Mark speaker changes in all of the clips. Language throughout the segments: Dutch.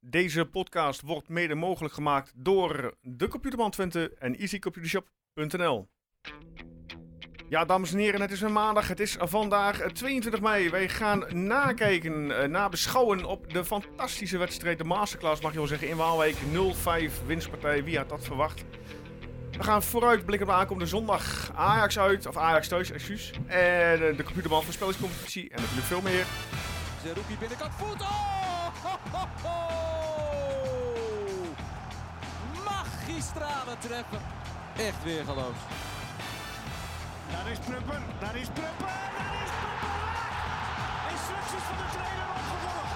Speaker 1: Deze podcast wordt mede mogelijk gemaakt door de Computerman Twente en easycomputershop.nl. Ja, dames en heren, het is een maandag. Het is vandaag eh, 22 mei. Wij gaan nakijken, eh, nabeschouwen op de fantastische wedstrijd, de masterclass mag je wel zeggen, in Waalwijk 0-5 winstpartij. Wie had dat verwacht? We gaan vooruitblikken op de aankomende zondag. Ajax uit, of Ajax thuis, excuus. En eh, de Computerman voorspellingscompetitie en natuurlijk veel meer.
Speaker 2: Zerouki binnenkant voet. Oh! Ho, ho, ho! Magistrale treffer. Echt weer geloof.
Speaker 3: Daar is Prupper, daar is Prupper, daar is Prupper! Instructies van de trainer opgevolgd.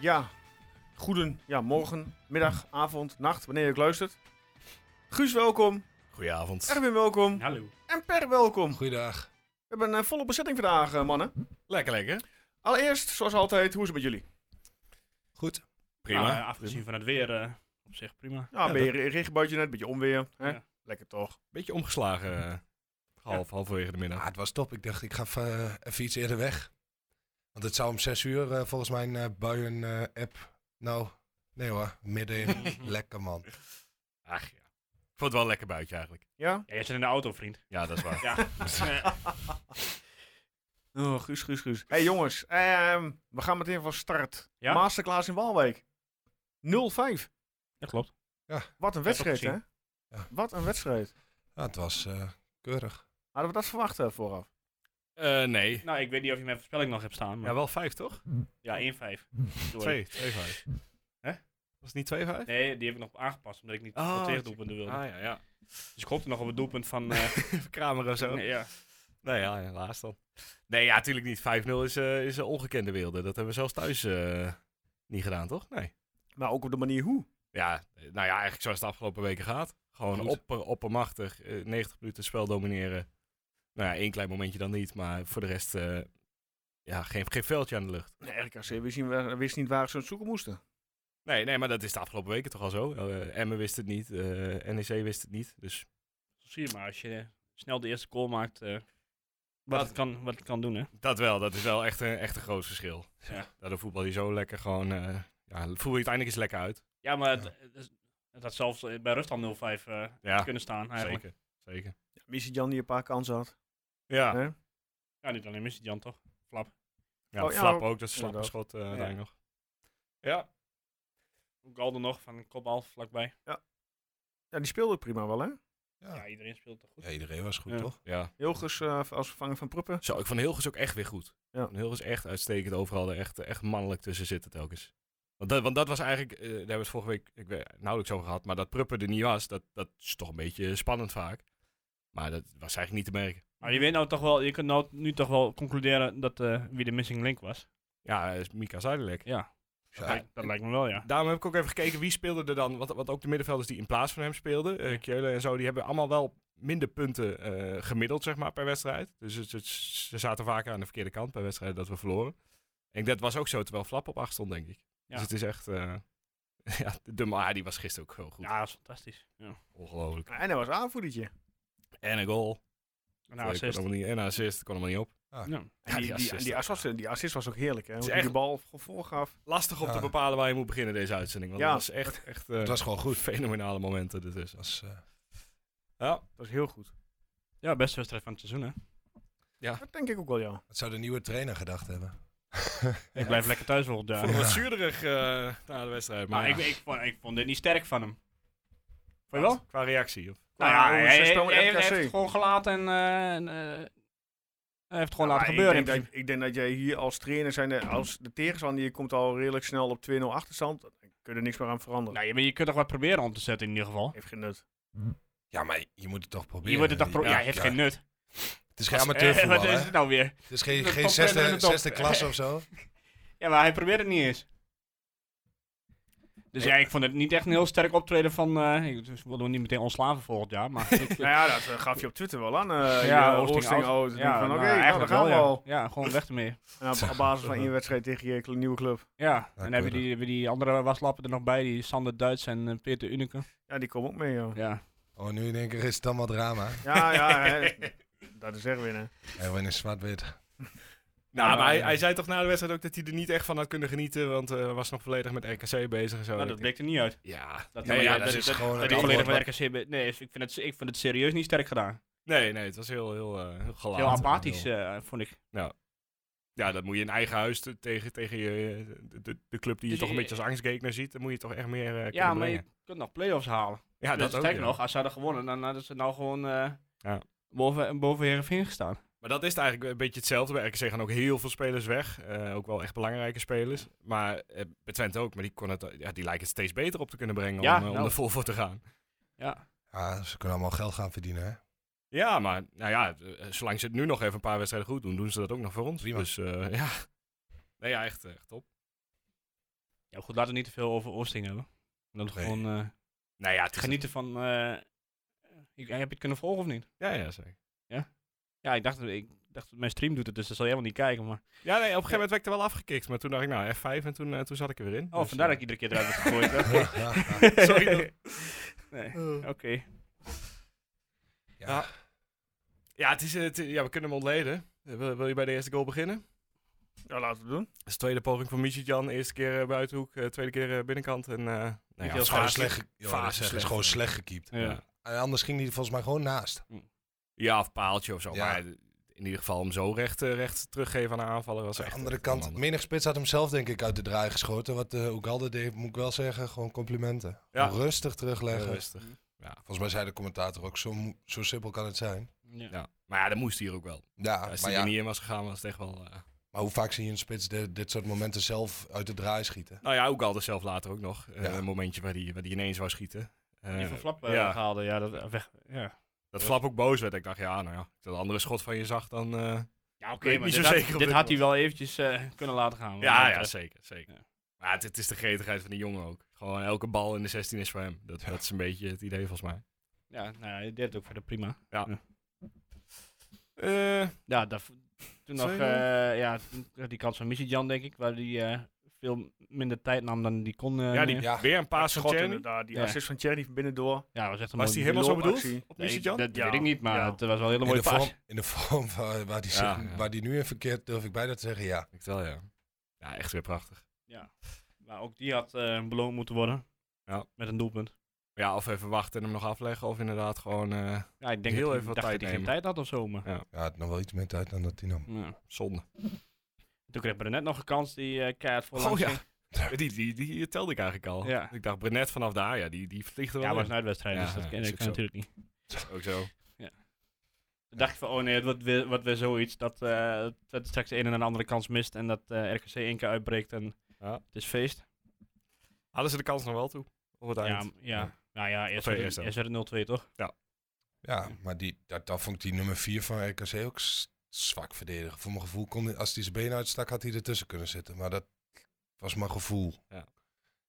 Speaker 1: Ja, goeden, ja, morgen, middag, avond, nacht, wanneer je ook luistert. Guus, welkom.
Speaker 4: Goedenavond.
Speaker 1: Erwin, welkom.
Speaker 5: Hallo.
Speaker 1: En Per, welkom. We
Speaker 4: Goeiedag.
Speaker 1: hebben een eh, volle bezetting vandaag, eh, mannen.
Speaker 4: Lekker, lekker.
Speaker 1: Allereerst, zoals altijd, hoe is het met jullie?
Speaker 4: Goed.
Speaker 5: Nou, eh, afgezien van het weer, eh, op zich prima.
Speaker 1: Ja,
Speaker 4: Ja,
Speaker 1: ben je re- regenbuitje net, beetje onweer. Hè?
Speaker 5: Ja.
Speaker 1: Lekker toch?
Speaker 4: Beetje omgeslagen. eh, half, halverwege de middag.
Speaker 6: Ah, het was top. Ik dacht, ik ga eh, even iets eerder weg. Want het zou om zes uur eh, volgens mijn eh buien-app. nou, nee hoor, middenin. Lekker man.
Speaker 4: Ach ja. Ik vond het wel een lekker buitje eigenlijk.
Speaker 1: Ja?
Speaker 5: Ja, jij zit in de auto, vriend.
Speaker 4: Ja, dat is waar.
Speaker 5: Ja. Eh,
Speaker 1: Oh, Guus, Guus, Guus. hey, jongens, ehm, we gaan meteen van start.
Speaker 5: Ja?
Speaker 1: Masterclass in Waalwijk. 0-5.
Speaker 5: dat klopt.
Speaker 1: Wat een wedstrijd, hè?
Speaker 5: gezien.
Speaker 6: Ja.
Speaker 1: Wat een wedstrijd.
Speaker 6: Ja, het was eh, keurig.
Speaker 1: Hadden we dat verwacht eh, vooraf?
Speaker 4: Eh, nee.
Speaker 5: Nou, ik weet niet of je mijn voorspelling nog hebt staan.
Speaker 4: Ja,
Speaker 5: Maar...
Speaker 4: wel vijf toch?
Speaker 5: Ja, 1-5. Sorry.
Speaker 4: Twee. Twee vijf. Hè? Was het niet twee vijf?
Speaker 5: Nee, die heb ik nog aangepast, omdat ik niet
Speaker 4: Oh,
Speaker 5: oh, tegen doelpunten wilde.
Speaker 4: Ah ja, ja.
Speaker 5: Dus ik hoopte nog op het doelpunt van... eh,
Speaker 4: Even kramer of zo.
Speaker 5: nee, ja.
Speaker 4: Nee, ja, helaas dan. Nee, ja, natuurlijk niet. 5-0 is, eh, is een ongekende wilde. Dat hebben we zelfs thuis eh, niet gedaan, toch? Nee.
Speaker 1: Maar ook op de manier hoe.
Speaker 4: Ja, eh, nou ja, eigenlijk zoals het de afgelopen weken gaat. Gewoon
Speaker 5: Goed.
Speaker 4: opper, oppermachtig, eh, 90 minuten spel domineren. Nou ja, één klein momentje dan niet, maar voor de rest eh, ja, geen, geen veldje aan de lucht.
Speaker 1: Nee, RKC wist niet, waar- wist niet waar ze het zoeken moesten.
Speaker 4: Nee, nee, maar dat is de afgelopen weken toch al zo. Eh, Emmen wist het niet, eh, NEC wist het niet. Dus
Speaker 5: Zo zie je maar, als je eh, snel de eerste goal maakt, eh, wat, het kan, wat het kan doen, hè.
Speaker 4: dat wel, dat is wel echt een, echt een groot verschil.
Speaker 5: Ja.
Speaker 4: Daardoor voetbal je zo lekker gewoon, eh, ja, voel je uiteindelijk eens lekker uit.
Speaker 5: Ja, maar het, het is- het had zelfs eh, bij rust al 0-5 eh,
Speaker 4: Ja,
Speaker 5: kunnen staan, eigenlijk.
Speaker 4: zeker. Zeker.
Speaker 1: Ja, Missie Jan die een paar kansen had.
Speaker 4: Ja,
Speaker 1: Hè?
Speaker 5: Ja, niet alleen Missie Jan, toch? Flap.
Speaker 4: ja
Speaker 1: Oh, ja,
Speaker 4: flap ook, dat slappe
Speaker 1: inderdaad.
Speaker 4: schot eh uiteindelijk nog. Ja,
Speaker 5: Galden nog, van een kopbal vlakbij.
Speaker 1: Ja, die speelde ook prima wel, hè?
Speaker 6: Ja.
Speaker 5: Ja, iedereen speelt toch goed.
Speaker 6: Ja, iedereen was goed,
Speaker 5: Ja.
Speaker 6: toch?
Speaker 4: ja.
Speaker 1: Hilgers eh, als vervanger van Pruppen.
Speaker 4: Zo, ik vond Hilgers ook echt weer goed.
Speaker 1: Ja.
Speaker 4: Van Hilgers echt uitstekend overal. Er echt, echt mannelijk tussen zitten telkens. Want dat, want dat was eigenlijk, eh, daar hebben we het vorige week ik weet, nauwelijks over gehad. Maar dat Pruppen er niet was, dat, dat is toch een beetje spannend vaak. Maar dat was eigenlijk niet te merken.
Speaker 5: Maar je weet nou toch wel, je kunt nou, nu toch wel concluderen dat eh, wie de missing link was.
Speaker 4: Ja, eh, Mika Zuiderlek.
Speaker 5: Ja,
Speaker 6: Ja,
Speaker 5: dat, lijkt, dat lijkt me wel, ja.
Speaker 4: Daarom heb ik ook even gekeken wie speelde er dan. Want, want ook de middenvelders die in plaats van hem speelden, eh Keulen en zo, die hebben allemaal wel minder punten eh, gemiddeld, zeg maar, per wedstrijd. Dus het- het- ze zaten vaker aan de verkeerde kant bij wedstrijden dat we verloren. En dat was ook zo, terwijl Flap op acht stond, denk ik.
Speaker 5: Ja.
Speaker 4: Dus het is echt... eh, ja, de maar die was gisteren ook heel goed.
Speaker 5: Ja, dat is fantastisch. Ja.
Speaker 4: Ongelooflijk.
Speaker 1: En hij was aanvoerdertje.
Speaker 4: En een goal.
Speaker 5: Een
Speaker 4: Nou,
Speaker 5: assist.
Speaker 4: Niet, en een assist, kon allemaal niet op.
Speaker 5: Ja.
Speaker 1: En die,
Speaker 4: die
Speaker 1: die,
Speaker 4: assist
Speaker 1: die,
Speaker 4: ook,
Speaker 1: assist, die assist was ook heerlijk, hè? Hoe
Speaker 4: is
Speaker 1: die
Speaker 4: echt-
Speaker 1: de bal voorgaf.
Speaker 4: Lastig om
Speaker 6: Ja.
Speaker 4: te bepalen waar je moet beginnen deze uitzending. Want
Speaker 1: Ja.
Speaker 4: dat was echt, echt eh,
Speaker 6: Het was gewoon goed.
Speaker 4: fenomenale momenten ertussen.
Speaker 6: Het was, eh,
Speaker 4: Ja,
Speaker 1: Dat was heel goed.
Speaker 5: ja, beste wedstrijd van het seizoen, hè.
Speaker 1: Dat denk ik ook wel, ja.
Speaker 6: wat zou de nieuwe trainer gedacht hebben?
Speaker 5: Ik blijf lekker thuis volgend
Speaker 4: ik
Speaker 5: jaar.
Speaker 4: vond het wat zuurderig eh, na de wedstrijd. Maar,
Speaker 5: Maar ik,
Speaker 4: ja.
Speaker 5: ik, vond, ik vond dit niet sterk van hem. Vond je wel?
Speaker 4: Wat? Qua reactie. Of?
Speaker 5: Nou ja,
Speaker 1: hoe
Speaker 5: hij,
Speaker 1: ze spelen met
Speaker 5: hij heeft-
Speaker 1: RKC.
Speaker 5: hij heeft het gewoon gelaten en... eh, en, eh, hij heeft het gewoon
Speaker 1: Maar
Speaker 5: laten gebeuren.
Speaker 1: Ik
Speaker 5: in
Speaker 1: denk, dat, ik denk dat jij hier als trainer, zijn, als de tegenstander, je komt al redelijk snel op 2-0 achterstand. Dan kun je er niks meer aan veranderen.
Speaker 5: principe. nou, je, maar je kunt toch wat proberen om te zetten in ieder geval.
Speaker 1: Heeft geen nut.
Speaker 6: Ja, maar je moet het toch proberen.
Speaker 5: Je wordt het toch pro- ja, hij heeft
Speaker 6: ja.
Speaker 5: geen nut.
Speaker 6: Het is geen
Speaker 5: Eh,
Speaker 6: amateurvoetbal,
Speaker 5: Wat is
Speaker 6: hè?
Speaker 5: het nou weer?
Speaker 6: Het is geen,
Speaker 5: Top
Speaker 6: geen
Speaker 5: trainer in
Speaker 6: zesde,
Speaker 5: de top.
Speaker 6: zesde klas of zo.
Speaker 5: Ja, maar hij probeert het niet eens. Dus ja, ik vond het niet echt een heel sterk optreden van... eh ik dus wilde hem niet meteen ontslaven volgend jaar, maar... ik-
Speaker 1: nou ja, dat eh, gaf je op Twitter wel aan. eh
Speaker 5: Ja,
Speaker 1: ja,
Speaker 5: Oosting
Speaker 1: Oosting
Speaker 5: out.
Speaker 1: out. Ja, van
Speaker 5: nou,
Speaker 1: oké, nou,
Speaker 5: eigenlijk
Speaker 1: daar gaan we
Speaker 5: wel, ja.
Speaker 1: al.
Speaker 5: Ja, gewoon weg ermee.
Speaker 1: En op, op basis van één wedstrijd tegen je nieuwe club.
Speaker 5: Ja, en dan
Speaker 6: keurig.
Speaker 5: hebben die, hebben die andere waslappen er nog bij, die Sander Duits en eh, Peter Unike.
Speaker 4: Oh,
Speaker 1: Ja, die komen ook mee, joh.
Speaker 5: Ja.
Speaker 6: Oh, nu in één keer is het allemaal drama.
Speaker 1: Ja, ja. hè. dat is echt winnen.
Speaker 6: Erwin is
Speaker 5: Dus
Speaker 6: zwart-wit.
Speaker 4: Nou, maar hij,
Speaker 5: ja.
Speaker 4: hij zei toch na de wedstrijd ook dat hij er niet echt van had kunnen genieten, want eh, hij was nog volledig met RKC bezig en zo.
Speaker 5: Nou, dat bleek er niet uit.
Speaker 4: Ja,
Speaker 5: Dat,
Speaker 4: nee,
Speaker 5: maar
Speaker 4: ja,
Speaker 5: ja,
Speaker 4: dat is
Speaker 6: gewoon
Speaker 5: dat
Speaker 6: het
Speaker 5: is volledig
Speaker 6: antwoord,
Speaker 5: met RKC. be- Nee, dus ik vind, het, ik vind het serieus niet sterk gedaan.
Speaker 4: nee, nee, het was heel, heel, eh, heel gelaten.
Speaker 5: Heel apathisch, eh, vond ik.
Speaker 4: Ja, dat moet je in eigen huis te- tegen, tegen je, eh, de- de, de club die je
Speaker 5: Dus
Speaker 4: toch een
Speaker 5: je-
Speaker 4: beetje als angstgekner ziet, dan moet je toch echt meer eh,
Speaker 5: Ja,
Speaker 4: kunnen
Speaker 5: maar je
Speaker 4: brengen.
Speaker 5: kunt nog play-offs halen.
Speaker 4: Ja,
Speaker 5: dus
Speaker 4: ook,
Speaker 5: kijk
Speaker 4: ja.
Speaker 5: nog, als ze hadden gewonnen, dan hadden ze nou gewoon eh,
Speaker 4: Ja.
Speaker 5: boven, boven Heerenveen gestaan.
Speaker 4: Maar dat is het eigenlijk een beetje hetzelfde. Bij RKC gaan ook heel veel spelers weg. Eh, ook wel echt belangrijke spelers. Maar eh, bij Twente ook. Maar die, kon het, ja, die lijken het steeds beter op te kunnen brengen
Speaker 5: Ja,
Speaker 4: om, eh, om
Speaker 5: nou.
Speaker 4: er vol voor te gaan.
Speaker 5: Ja.
Speaker 6: Ja, ze kunnen allemaal geld gaan verdienen, hè?
Speaker 4: Ja, maar nou ja, eh, zolang ze het nu nog even een paar wedstrijden goed doen, doen ze dat ook nog voor ons.
Speaker 6: Prima.
Speaker 4: Dus eh, ja. Nee, ja, echt, echt top.
Speaker 5: ja, goed, laten we niet te veel over Oosting hebben. Dat we
Speaker 6: Nee.
Speaker 5: gewoon eh,
Speaker 4: Nou ja, het is-
Speaker 5: genieten van... eh, ik- heb je het kunnen volgen of niet?
Speaker 4: Ja, ja, zeker.
Speaker 5: Ja, ik dacht, ik dacht mijn stream doet het, dus dat zal jij wel niet kijken. Maar...
Speaker 4: Ja, nee, op een gegeven moment werd ik er wel afgekikt. Maar toen dacht ik, nou, F5 en toen, eh, toen zat ik er weer in.
Speaker 5: Oh,
Speaker 4: Dus,
Speaker 5: vandaar dat
Speaker 4: eh,
Speaker 5: ik iedere keer eruit werd gegooid. hè.
Speaker 6: Ja, ja, ja.
Speaker 4: Sorry.
Speaker 5: Nee, oké.
Speaker 6: Ja.
Speaker 4: Ja, het is, eh, het- ja, we kunnen hem ontleden. Eh, Wil, wil je bij de eerste goal beginnen?
Speaker 1: Ja, laten we het doen.
Speaker 4: Dat is de tweede poging van Michitjan. Eerste keer eh, buitenhoek, eh, tweede keer eh, binnenkant. En, eh nou ja,
Speaker 5: heel
Speaker 6: Het is
Speaker 4: fase.
Speaker 6: gewoon slecht, ge- joh,
Speaker 4: fase
Speaker 6: dat is- het is
Speaker 4: slecht.
Speaker 6: gewoon slecht gekiept.
Speaker 5: Ja.
Speaker 4: Ja.
Speaker 6: En Eh, anders ging hij er volgens mij gewoon naast.
Speaker 4: ja, of paaltje of zo.
Speaker 6: Ja.
Speaker 4: Maar in ieder geval hem zo recht, eh, recht teruggeven aan de aanvaller was
Speaker 6: Aan de
Speaker 4: echt...
Speaker 6: andere
Speaker 4: echt
Speaker 6: kant,
Speaker 4: onhandig.
Speaker 6: menig spits had hem zelf denk ik uit de draai geschoten. Wat eh Ugalde deed, moet ik wel zeggen, gewoon complimenten.
Speaker 4: Ja.
Speaker 6: Rustig
Speaker 4: Heel
Speaker 6: terugleggen.
Speaker 4: eh, rustig.
Speaker 6: Volgens mij zei de commentator ook, zo, mo- zo simpel kan het zijn.
Speaker 5: Ja.
Speaker 4: Ja. Maar ja, dat moest hier ook wel.
Speaker 6: Ja,
Speaker 4: Als
Speaker 6: maar,
Speaker 4: hij
Speaker 6: ja,
Speaker 4: er niet in was gegaan, was het echt wel... eh,
Speaker 6: maar hoe vaak zie je een spits de- dit soort momenten zelf uit de draai schieten?
Speaker 4: Nou ja, ook al zelf later ook nog. Eh,
Speaker 6: Ja.
Speaker 4: Een momentje waar hij, waar die ineens zou schieten. Eh,
Speaker 5: Die van Flap eh,
Speaker 4: ja.
Speaker 5: haalde, ja, dat eh, weg. Ja,
Speaker 4: dat Flap ook boos werd. Ik dacht, ja, nou ja, dat andere schot van je zag dan... eh,
Speaker 5: ja oké,
Speaker 4: weet niet
Speaker 5: maar
Speaker 4: zo
Speaker 5: dit,
Speaker 4: zeker
Speaker 5: had,
Speaker 4: op
Speaker 5: dit
Speaker 4: dit
Speaker 5: had hij wel eventjes eh, kunnen laten gaan. want
Speaker 4: Ja,
Speaker 5: dat,
Speaker 4: ja,
Speaker 5: eh,
Speaker 4: zeker, zeker.
Speaker 5: ja.
Speaker 4: Maar het, het is de gretigheid van die jongen ook. Gewoon elke bal in de 16 is voor hem. Dat, dat is een beetje het idee volgens mij.
Speaker 5: ja, nou ja, hij deed het ook verder prima.
Speaker 4: Eh,
Speaker 5: Ja, daar, toen nog,
Speaker 4: Tweede?
Speaker 5: eh, ja, toen kreeg die kans van Missy Jan, denk ik, waar hij veel minder tijd nam dan die kon. eh,
Speaker 4: ja, die,
Speaker 5: nemen.
Speaker 4: weer een paas van
Speaker 1: schot
Speaker 4: Tjerni.
Speaker 1: inderdaad. Die
Speaker 5: Ja.
Speaker 1: assist van Cherry van binnendoor.
Speaker 5: ja, was echt een
Speaker 4: Was die
Speaker 5: mooie
Speaker 4: helemaal zo bedoeld?
Speaker 1: loopactie.
Speaker 4: Op
Speaker 5: Nee,
Speaker 4: Missy
Speaker 5: ik-
Speaker 4: Jan?
Speaker 5: Dat
Speaker 1: Ja.
Speaker 5: weet ik niet, maar
Speaker 1: Ja.
Speaker 5: het was wel een hele
Speaker 6: In
Speaker 5: mooie
Speaker 6: de
Speaker 5: paas.
Speaker 6: vorm, in de vorm van, waar, die,
Speaker 4: Ja,
Speaker 6: zin-
Speaker 4: ja.
Speaker 6: waar die nu in verkeerd durf ik bijna te zeggen ja.
Speaker 4: Ik wel, ja. Ja, echt weer prachtig.
Speaker 5: Maar ook die had eh, beloond moeten worden.
Speaker 4: Ja.
Speaker 5: Met een doelpunt.
Speaker 4: Ja, of even wachten en hem nog afleggen. Of inderdaad gewoon eh,
Speaker 5: Ja, ik
Speaker 4: Heel
Speaker 5: denk dat hij
Speaker 4: even wat
Speaker 5: dacht
Speaker 4: tijd
Speaker 5: dat hij geen
Speaker 4: nemen.
Speaker 5: tijd had of zo, maar...
Speaker 6: Ja, het nog wel iets meer tijd dan dat hij nou nam.
Speaker 5: Ja.
Speaker 4: zonde.
Speaker 5: Toen kreeg Brenet nog een kans, die eh keihard voor
Speaker 4: Oh
Speaker 5: langs
Speaker 4: ja.
Speaker 5: ging.
Speaker 4: Die, die, die telde ik eigenlijk al.
Speaker 5: Ja.
Speaker 4: Ik dacht, Brenet vanaf daar, ja, die, die vliegt er
Speaker 5: Ja, maar
Speaker 4: wel
Speaker 5: het is
Speaker 4: in.
Speaker 5: een uitwedstrijd,
Speaker 4: Ja,
Speaker 5: dus dat
Speaker 4: ja,
Speaker 5: kan,
Speaker 4: is
Speaker 5: dat
Speaker 4: ook
Speaker 5: kan
Speaker 4: zo.
Speaker 5: natuurlijk niet.
Speaker 4: Ook zo.
Speaker 5: Toen dacht ik van, oh nee, het wordt weer, wordt weer zoiets dat eh Twente straks de ene en de andere kans mist en dat eh, RKC één keer uitbreekt en
Speaker 4: Ja.
Speaker 5: het is feest.
Speaker 4: Hadden ze de kans nog wel toe? Op het
Speaker 5: Ja,
Speaker 4: eind.
Speaker 5: m- ja. Nou ja, eerst
Speaker 4: Of, eh,
Speaker 5: werd
Speaker 4: eerst
Speaker 5: het-
Speaker 4: dan.
Speaker 5: eerst werd het 0-2, toch?
Speaker 6: Ja, maar die, dat, dat vond ik die nummer 4 van RKC ook s- zwak verdedigen. Voor mijn gevoel kon hij, als hij zijn benen uitstak, had hij ertussen kunnen zitten. Maar dat was mijn gevoel.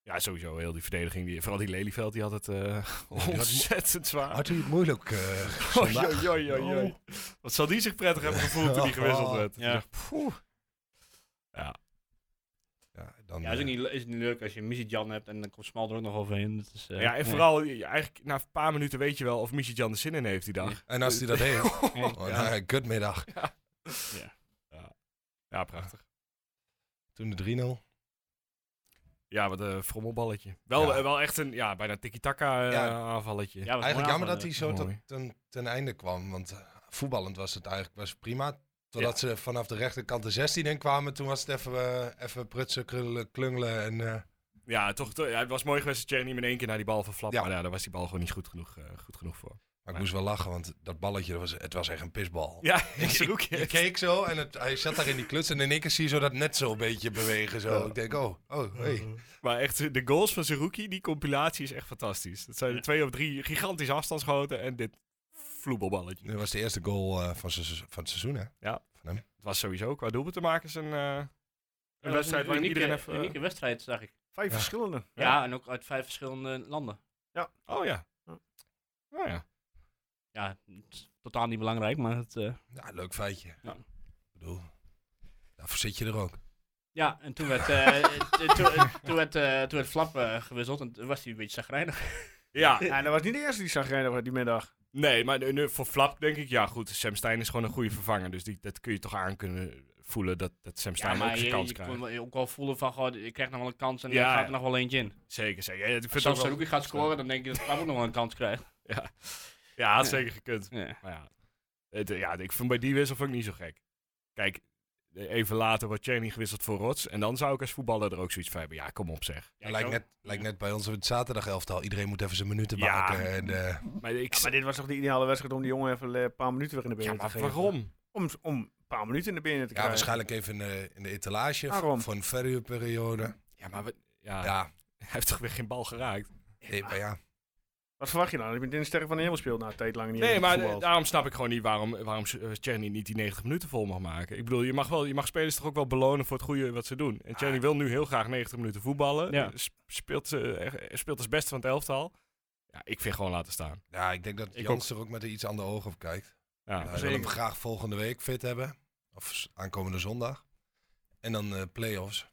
Speaker 4: Ja, sowieso. Heel die verdediging. Die, vooral die Lelyveld, die had het eh,
Speaker 6: had mo-
Speaker 4: ontzettend zwaar.
Speaker 6: Had hij het moeilijk? eh, zondag?
Speaker 4: Oei, oei, oei, oei. Wat zal die zich prettig hebben gevoeld toen die gewisseld werd?
Speaker 5: Ja.
Speaker 4: Ik dacht, poeh.
Speaker 6: Ja, dan,
Speaker 5: Ja, is
Speaker 6: eh,
Speaker 5: ook niet, le- is niet leuk als je Missy Jan hebt en dan komt Smal er ook nog overheen. Dat is, eh,
Speaker 4: Ja, en vooral, je- eigenlijk na een paar minuten weet je wel of Michel Jan de zin in heeft die dag.
Speaker 6: En als hij dat heeft,
Speaker 5: Nee.
Speaker 6: oh, nou, kutmiddag.
Speaker 4: Ja, prachtig.
Speaker 6: Toen de
Speaker 5: Oh,
Speaker 6: 3-0.
Speaker 4: Ja, wat een frommelballetje. Wel,
Speaker 6: Ja.
Speaker 4: eh, wel echt een, ja, bijna tiki-taka eh,
Speaker 6: Ja.
Speaker 4: aanvalletje.
Speaker 5: Ja, was mooi
Speaker 6: Eigenlijk jammer
Speaker 5: aanvallen.
Speaker 6: dat hij zo tot-
Speaker 4: Mooi.
Speaker 6: ten, ten einde kwam, want eh, voetballend was het eigenlijk was het prima. Totdat ze vanaf de rechterkant de 16 in kwamen, toen was het even, eh, even prutsen, krullen, klungelen en... eh,
Speaker 4: Ja, toch, toch- ja, het was mooi geweest dat Tjerni in één keer naar die bal van Flap,
Speaker 6: Ja.
Speaker 4: maar ja, daar was die bal gewoon niet goed genoeg, eh, goed genoeg voor.
Speaker 6: maar ik moest wel lachen, want dat balletje, dat was, het was echt een pisbal.
Speaker 4: Ja,
Speaker 6: Ik,
Speaker 4: zijn
Speaker 6: ik,
Speaker 4: hoekje.
Speaker 6: ik keek zo en het, hij zat daar in die kluts en in één keer zie je zo dat net zo een beetje bewegen. Zo. Ik denk, oh, oh, hey.
Speaker 4: Maar echt, de goals van Zerouki, die compilatie is echt fantastisch. Dat zijn er
Speaker 5: Ja.
Speaker 4: twee of drie gigantische afstandsschoten en dit vloebelballetje.
Speaker 6: Dit was de eerste goal eh, van, se- van het seizoen, hè?
Speaker 4: Het was sowieso qua doelpunt te maken is een, eh,
Speaker 5: Ja,
Speaker 4: een
Speaker 5: dat was
Speaker 4: wedstrijd waar
Speaker 5: unieke-
Speaker 4: iedereen even... eh,
Speaker 5: unieke wedstrijd, zag ik.
Speaker 1: Vijf
Speaker 6: Ja.
Speaker 1: verschillende.
Speaker 5: Ja.
Speaker 4: Ja.
Speaker 5: en ook uit vijf verschillende landen.
Speaker 4: Oh ja.
Speaker 1: Ja.
Speaker 4: Oh ja.
Speaker 5: Ja, het is totaal niet belangrijk, maar het... eh,
Speaker 6: Ja, leuk feitje.
Speaker 5: Ja.
Speaker 6: Ik bedoel, daarvoor zit je er ook.
Speaker 5: Ja, en toen werd, eh, eh, toen, eh, toen werd, eh, toen werd Flap eh, gewisseld en toen was hij een beetje zagrijnig.
Speaker 4: Ja,
Speaker 1: Ja, en dat was niet de eerste die zag rijden die middag.
Speaker 4: Nee, maar nu- nu voor Flap denk ik, ja goed, Sam Stein is gewoon een goede vervanger. Dus die, dat kun je toch aan kunnen voelen dat, dat Sam
Speaker 5: Ja,
Speaker 4: Stein ook
Speaker 5: maar je,
Speaker 4: zijn
Speaker 5: je
Speaker 4: kans krijgt.
Speaker 5: kon wel- ook wel voelen van, goh, ik krijg nog wel een kans en
Speaker 4: Ja,
Speaker 5: er gaat
Speaker 4: ja.
Speaker 5: er nog wel eentje in.
Speaker 4: Zeker, zeker. Ja, ik vind het
Speaker 5: Als Sam
Speaker 4: ook wel-
Speaker 5: Saruki gaat scoren, dan denk je dat Flap ook nog wel een kans krijgt.
Speaker 4: Ja, ja had zeker gekund.
Speaker 5: Ja.
Speaker 4: Maar ja, het, eh, ja, ik vind bij die wissel vind ik niet zo gek. Kijk, eh, even later wordt Cheney gewisseld voor Rots. En dan zou ik als voetballer er ook zoiets van hebben. Ja, kom op zeg.
Speaker 5: Ja,
Speaker 6: lijkt,
Speaker 5: ik
Speaker 6: net, lijkt net bij ons op het zaterdag elftal. Iedereen moet even zijn minuten
Speaker 4: Ja.
Speaker 6: maken. En, eh,
Speaker 4: Maar, ik,
Speaker 1: Ja, maar dit was toch de ideale wedstrijd om die jongen even eh, een paar minuten weer in de benen
Speaker 4: Ja,
Speaker 1: te
Speaker 4: maar
Speaker 1: geven?
Speaker 4: waarom?
Speaker 1: Om, om een paar minuten in de benen te
Speaker 6: ja,
Speaker 1: krijgen.
Speaker 6: waarschijnlijk even in de, in de etalage v-
Speaker 1: Waarom?
Speaker 6: voor een verhuurperiode.
Speaker 4: Ja, maar we- ja,
Speaker 6: Ja,
Speaker 4: hij heeft toch weer geen bal geraakt?
Speaker 6: nee, maar ja.
Speaker 1: Wat verwacht je nou? Dat je met een sterren van de hemel speelt na nou, tijd lang niet.
Speaker 4: Nee,
Speaker 1: in
Speaker 4: maar eh,
Speaker 1: voetbal.
Speaker 4: daarom snap ik gewoon niet waarom, waarom eh, Cheney niet die 90 minuten vol mag maken. Ik bedoel, je mag, wel, je mag spelers toch ook wel belonen voor het goede wat ze doen. En Cheney wil nu heel graag 90 minuten voetballen.
Speaker 5: Ja.
Speaker 4: Eh, sp- Speelt, eh, echt- speelt als beste van het elftal. Ja, ik vind gewoon laten staan.
Speaker 6: ja, ik denk dat
Speaker 4: Ik
Speaker 6: Jans er ook met een iets ander oog op kijkt.
Speaker 4: Ja.
Speaker 6: Hij wil hem graag volgende week fit hebben. Of s- aankomende zondag. En dan eh play-offs.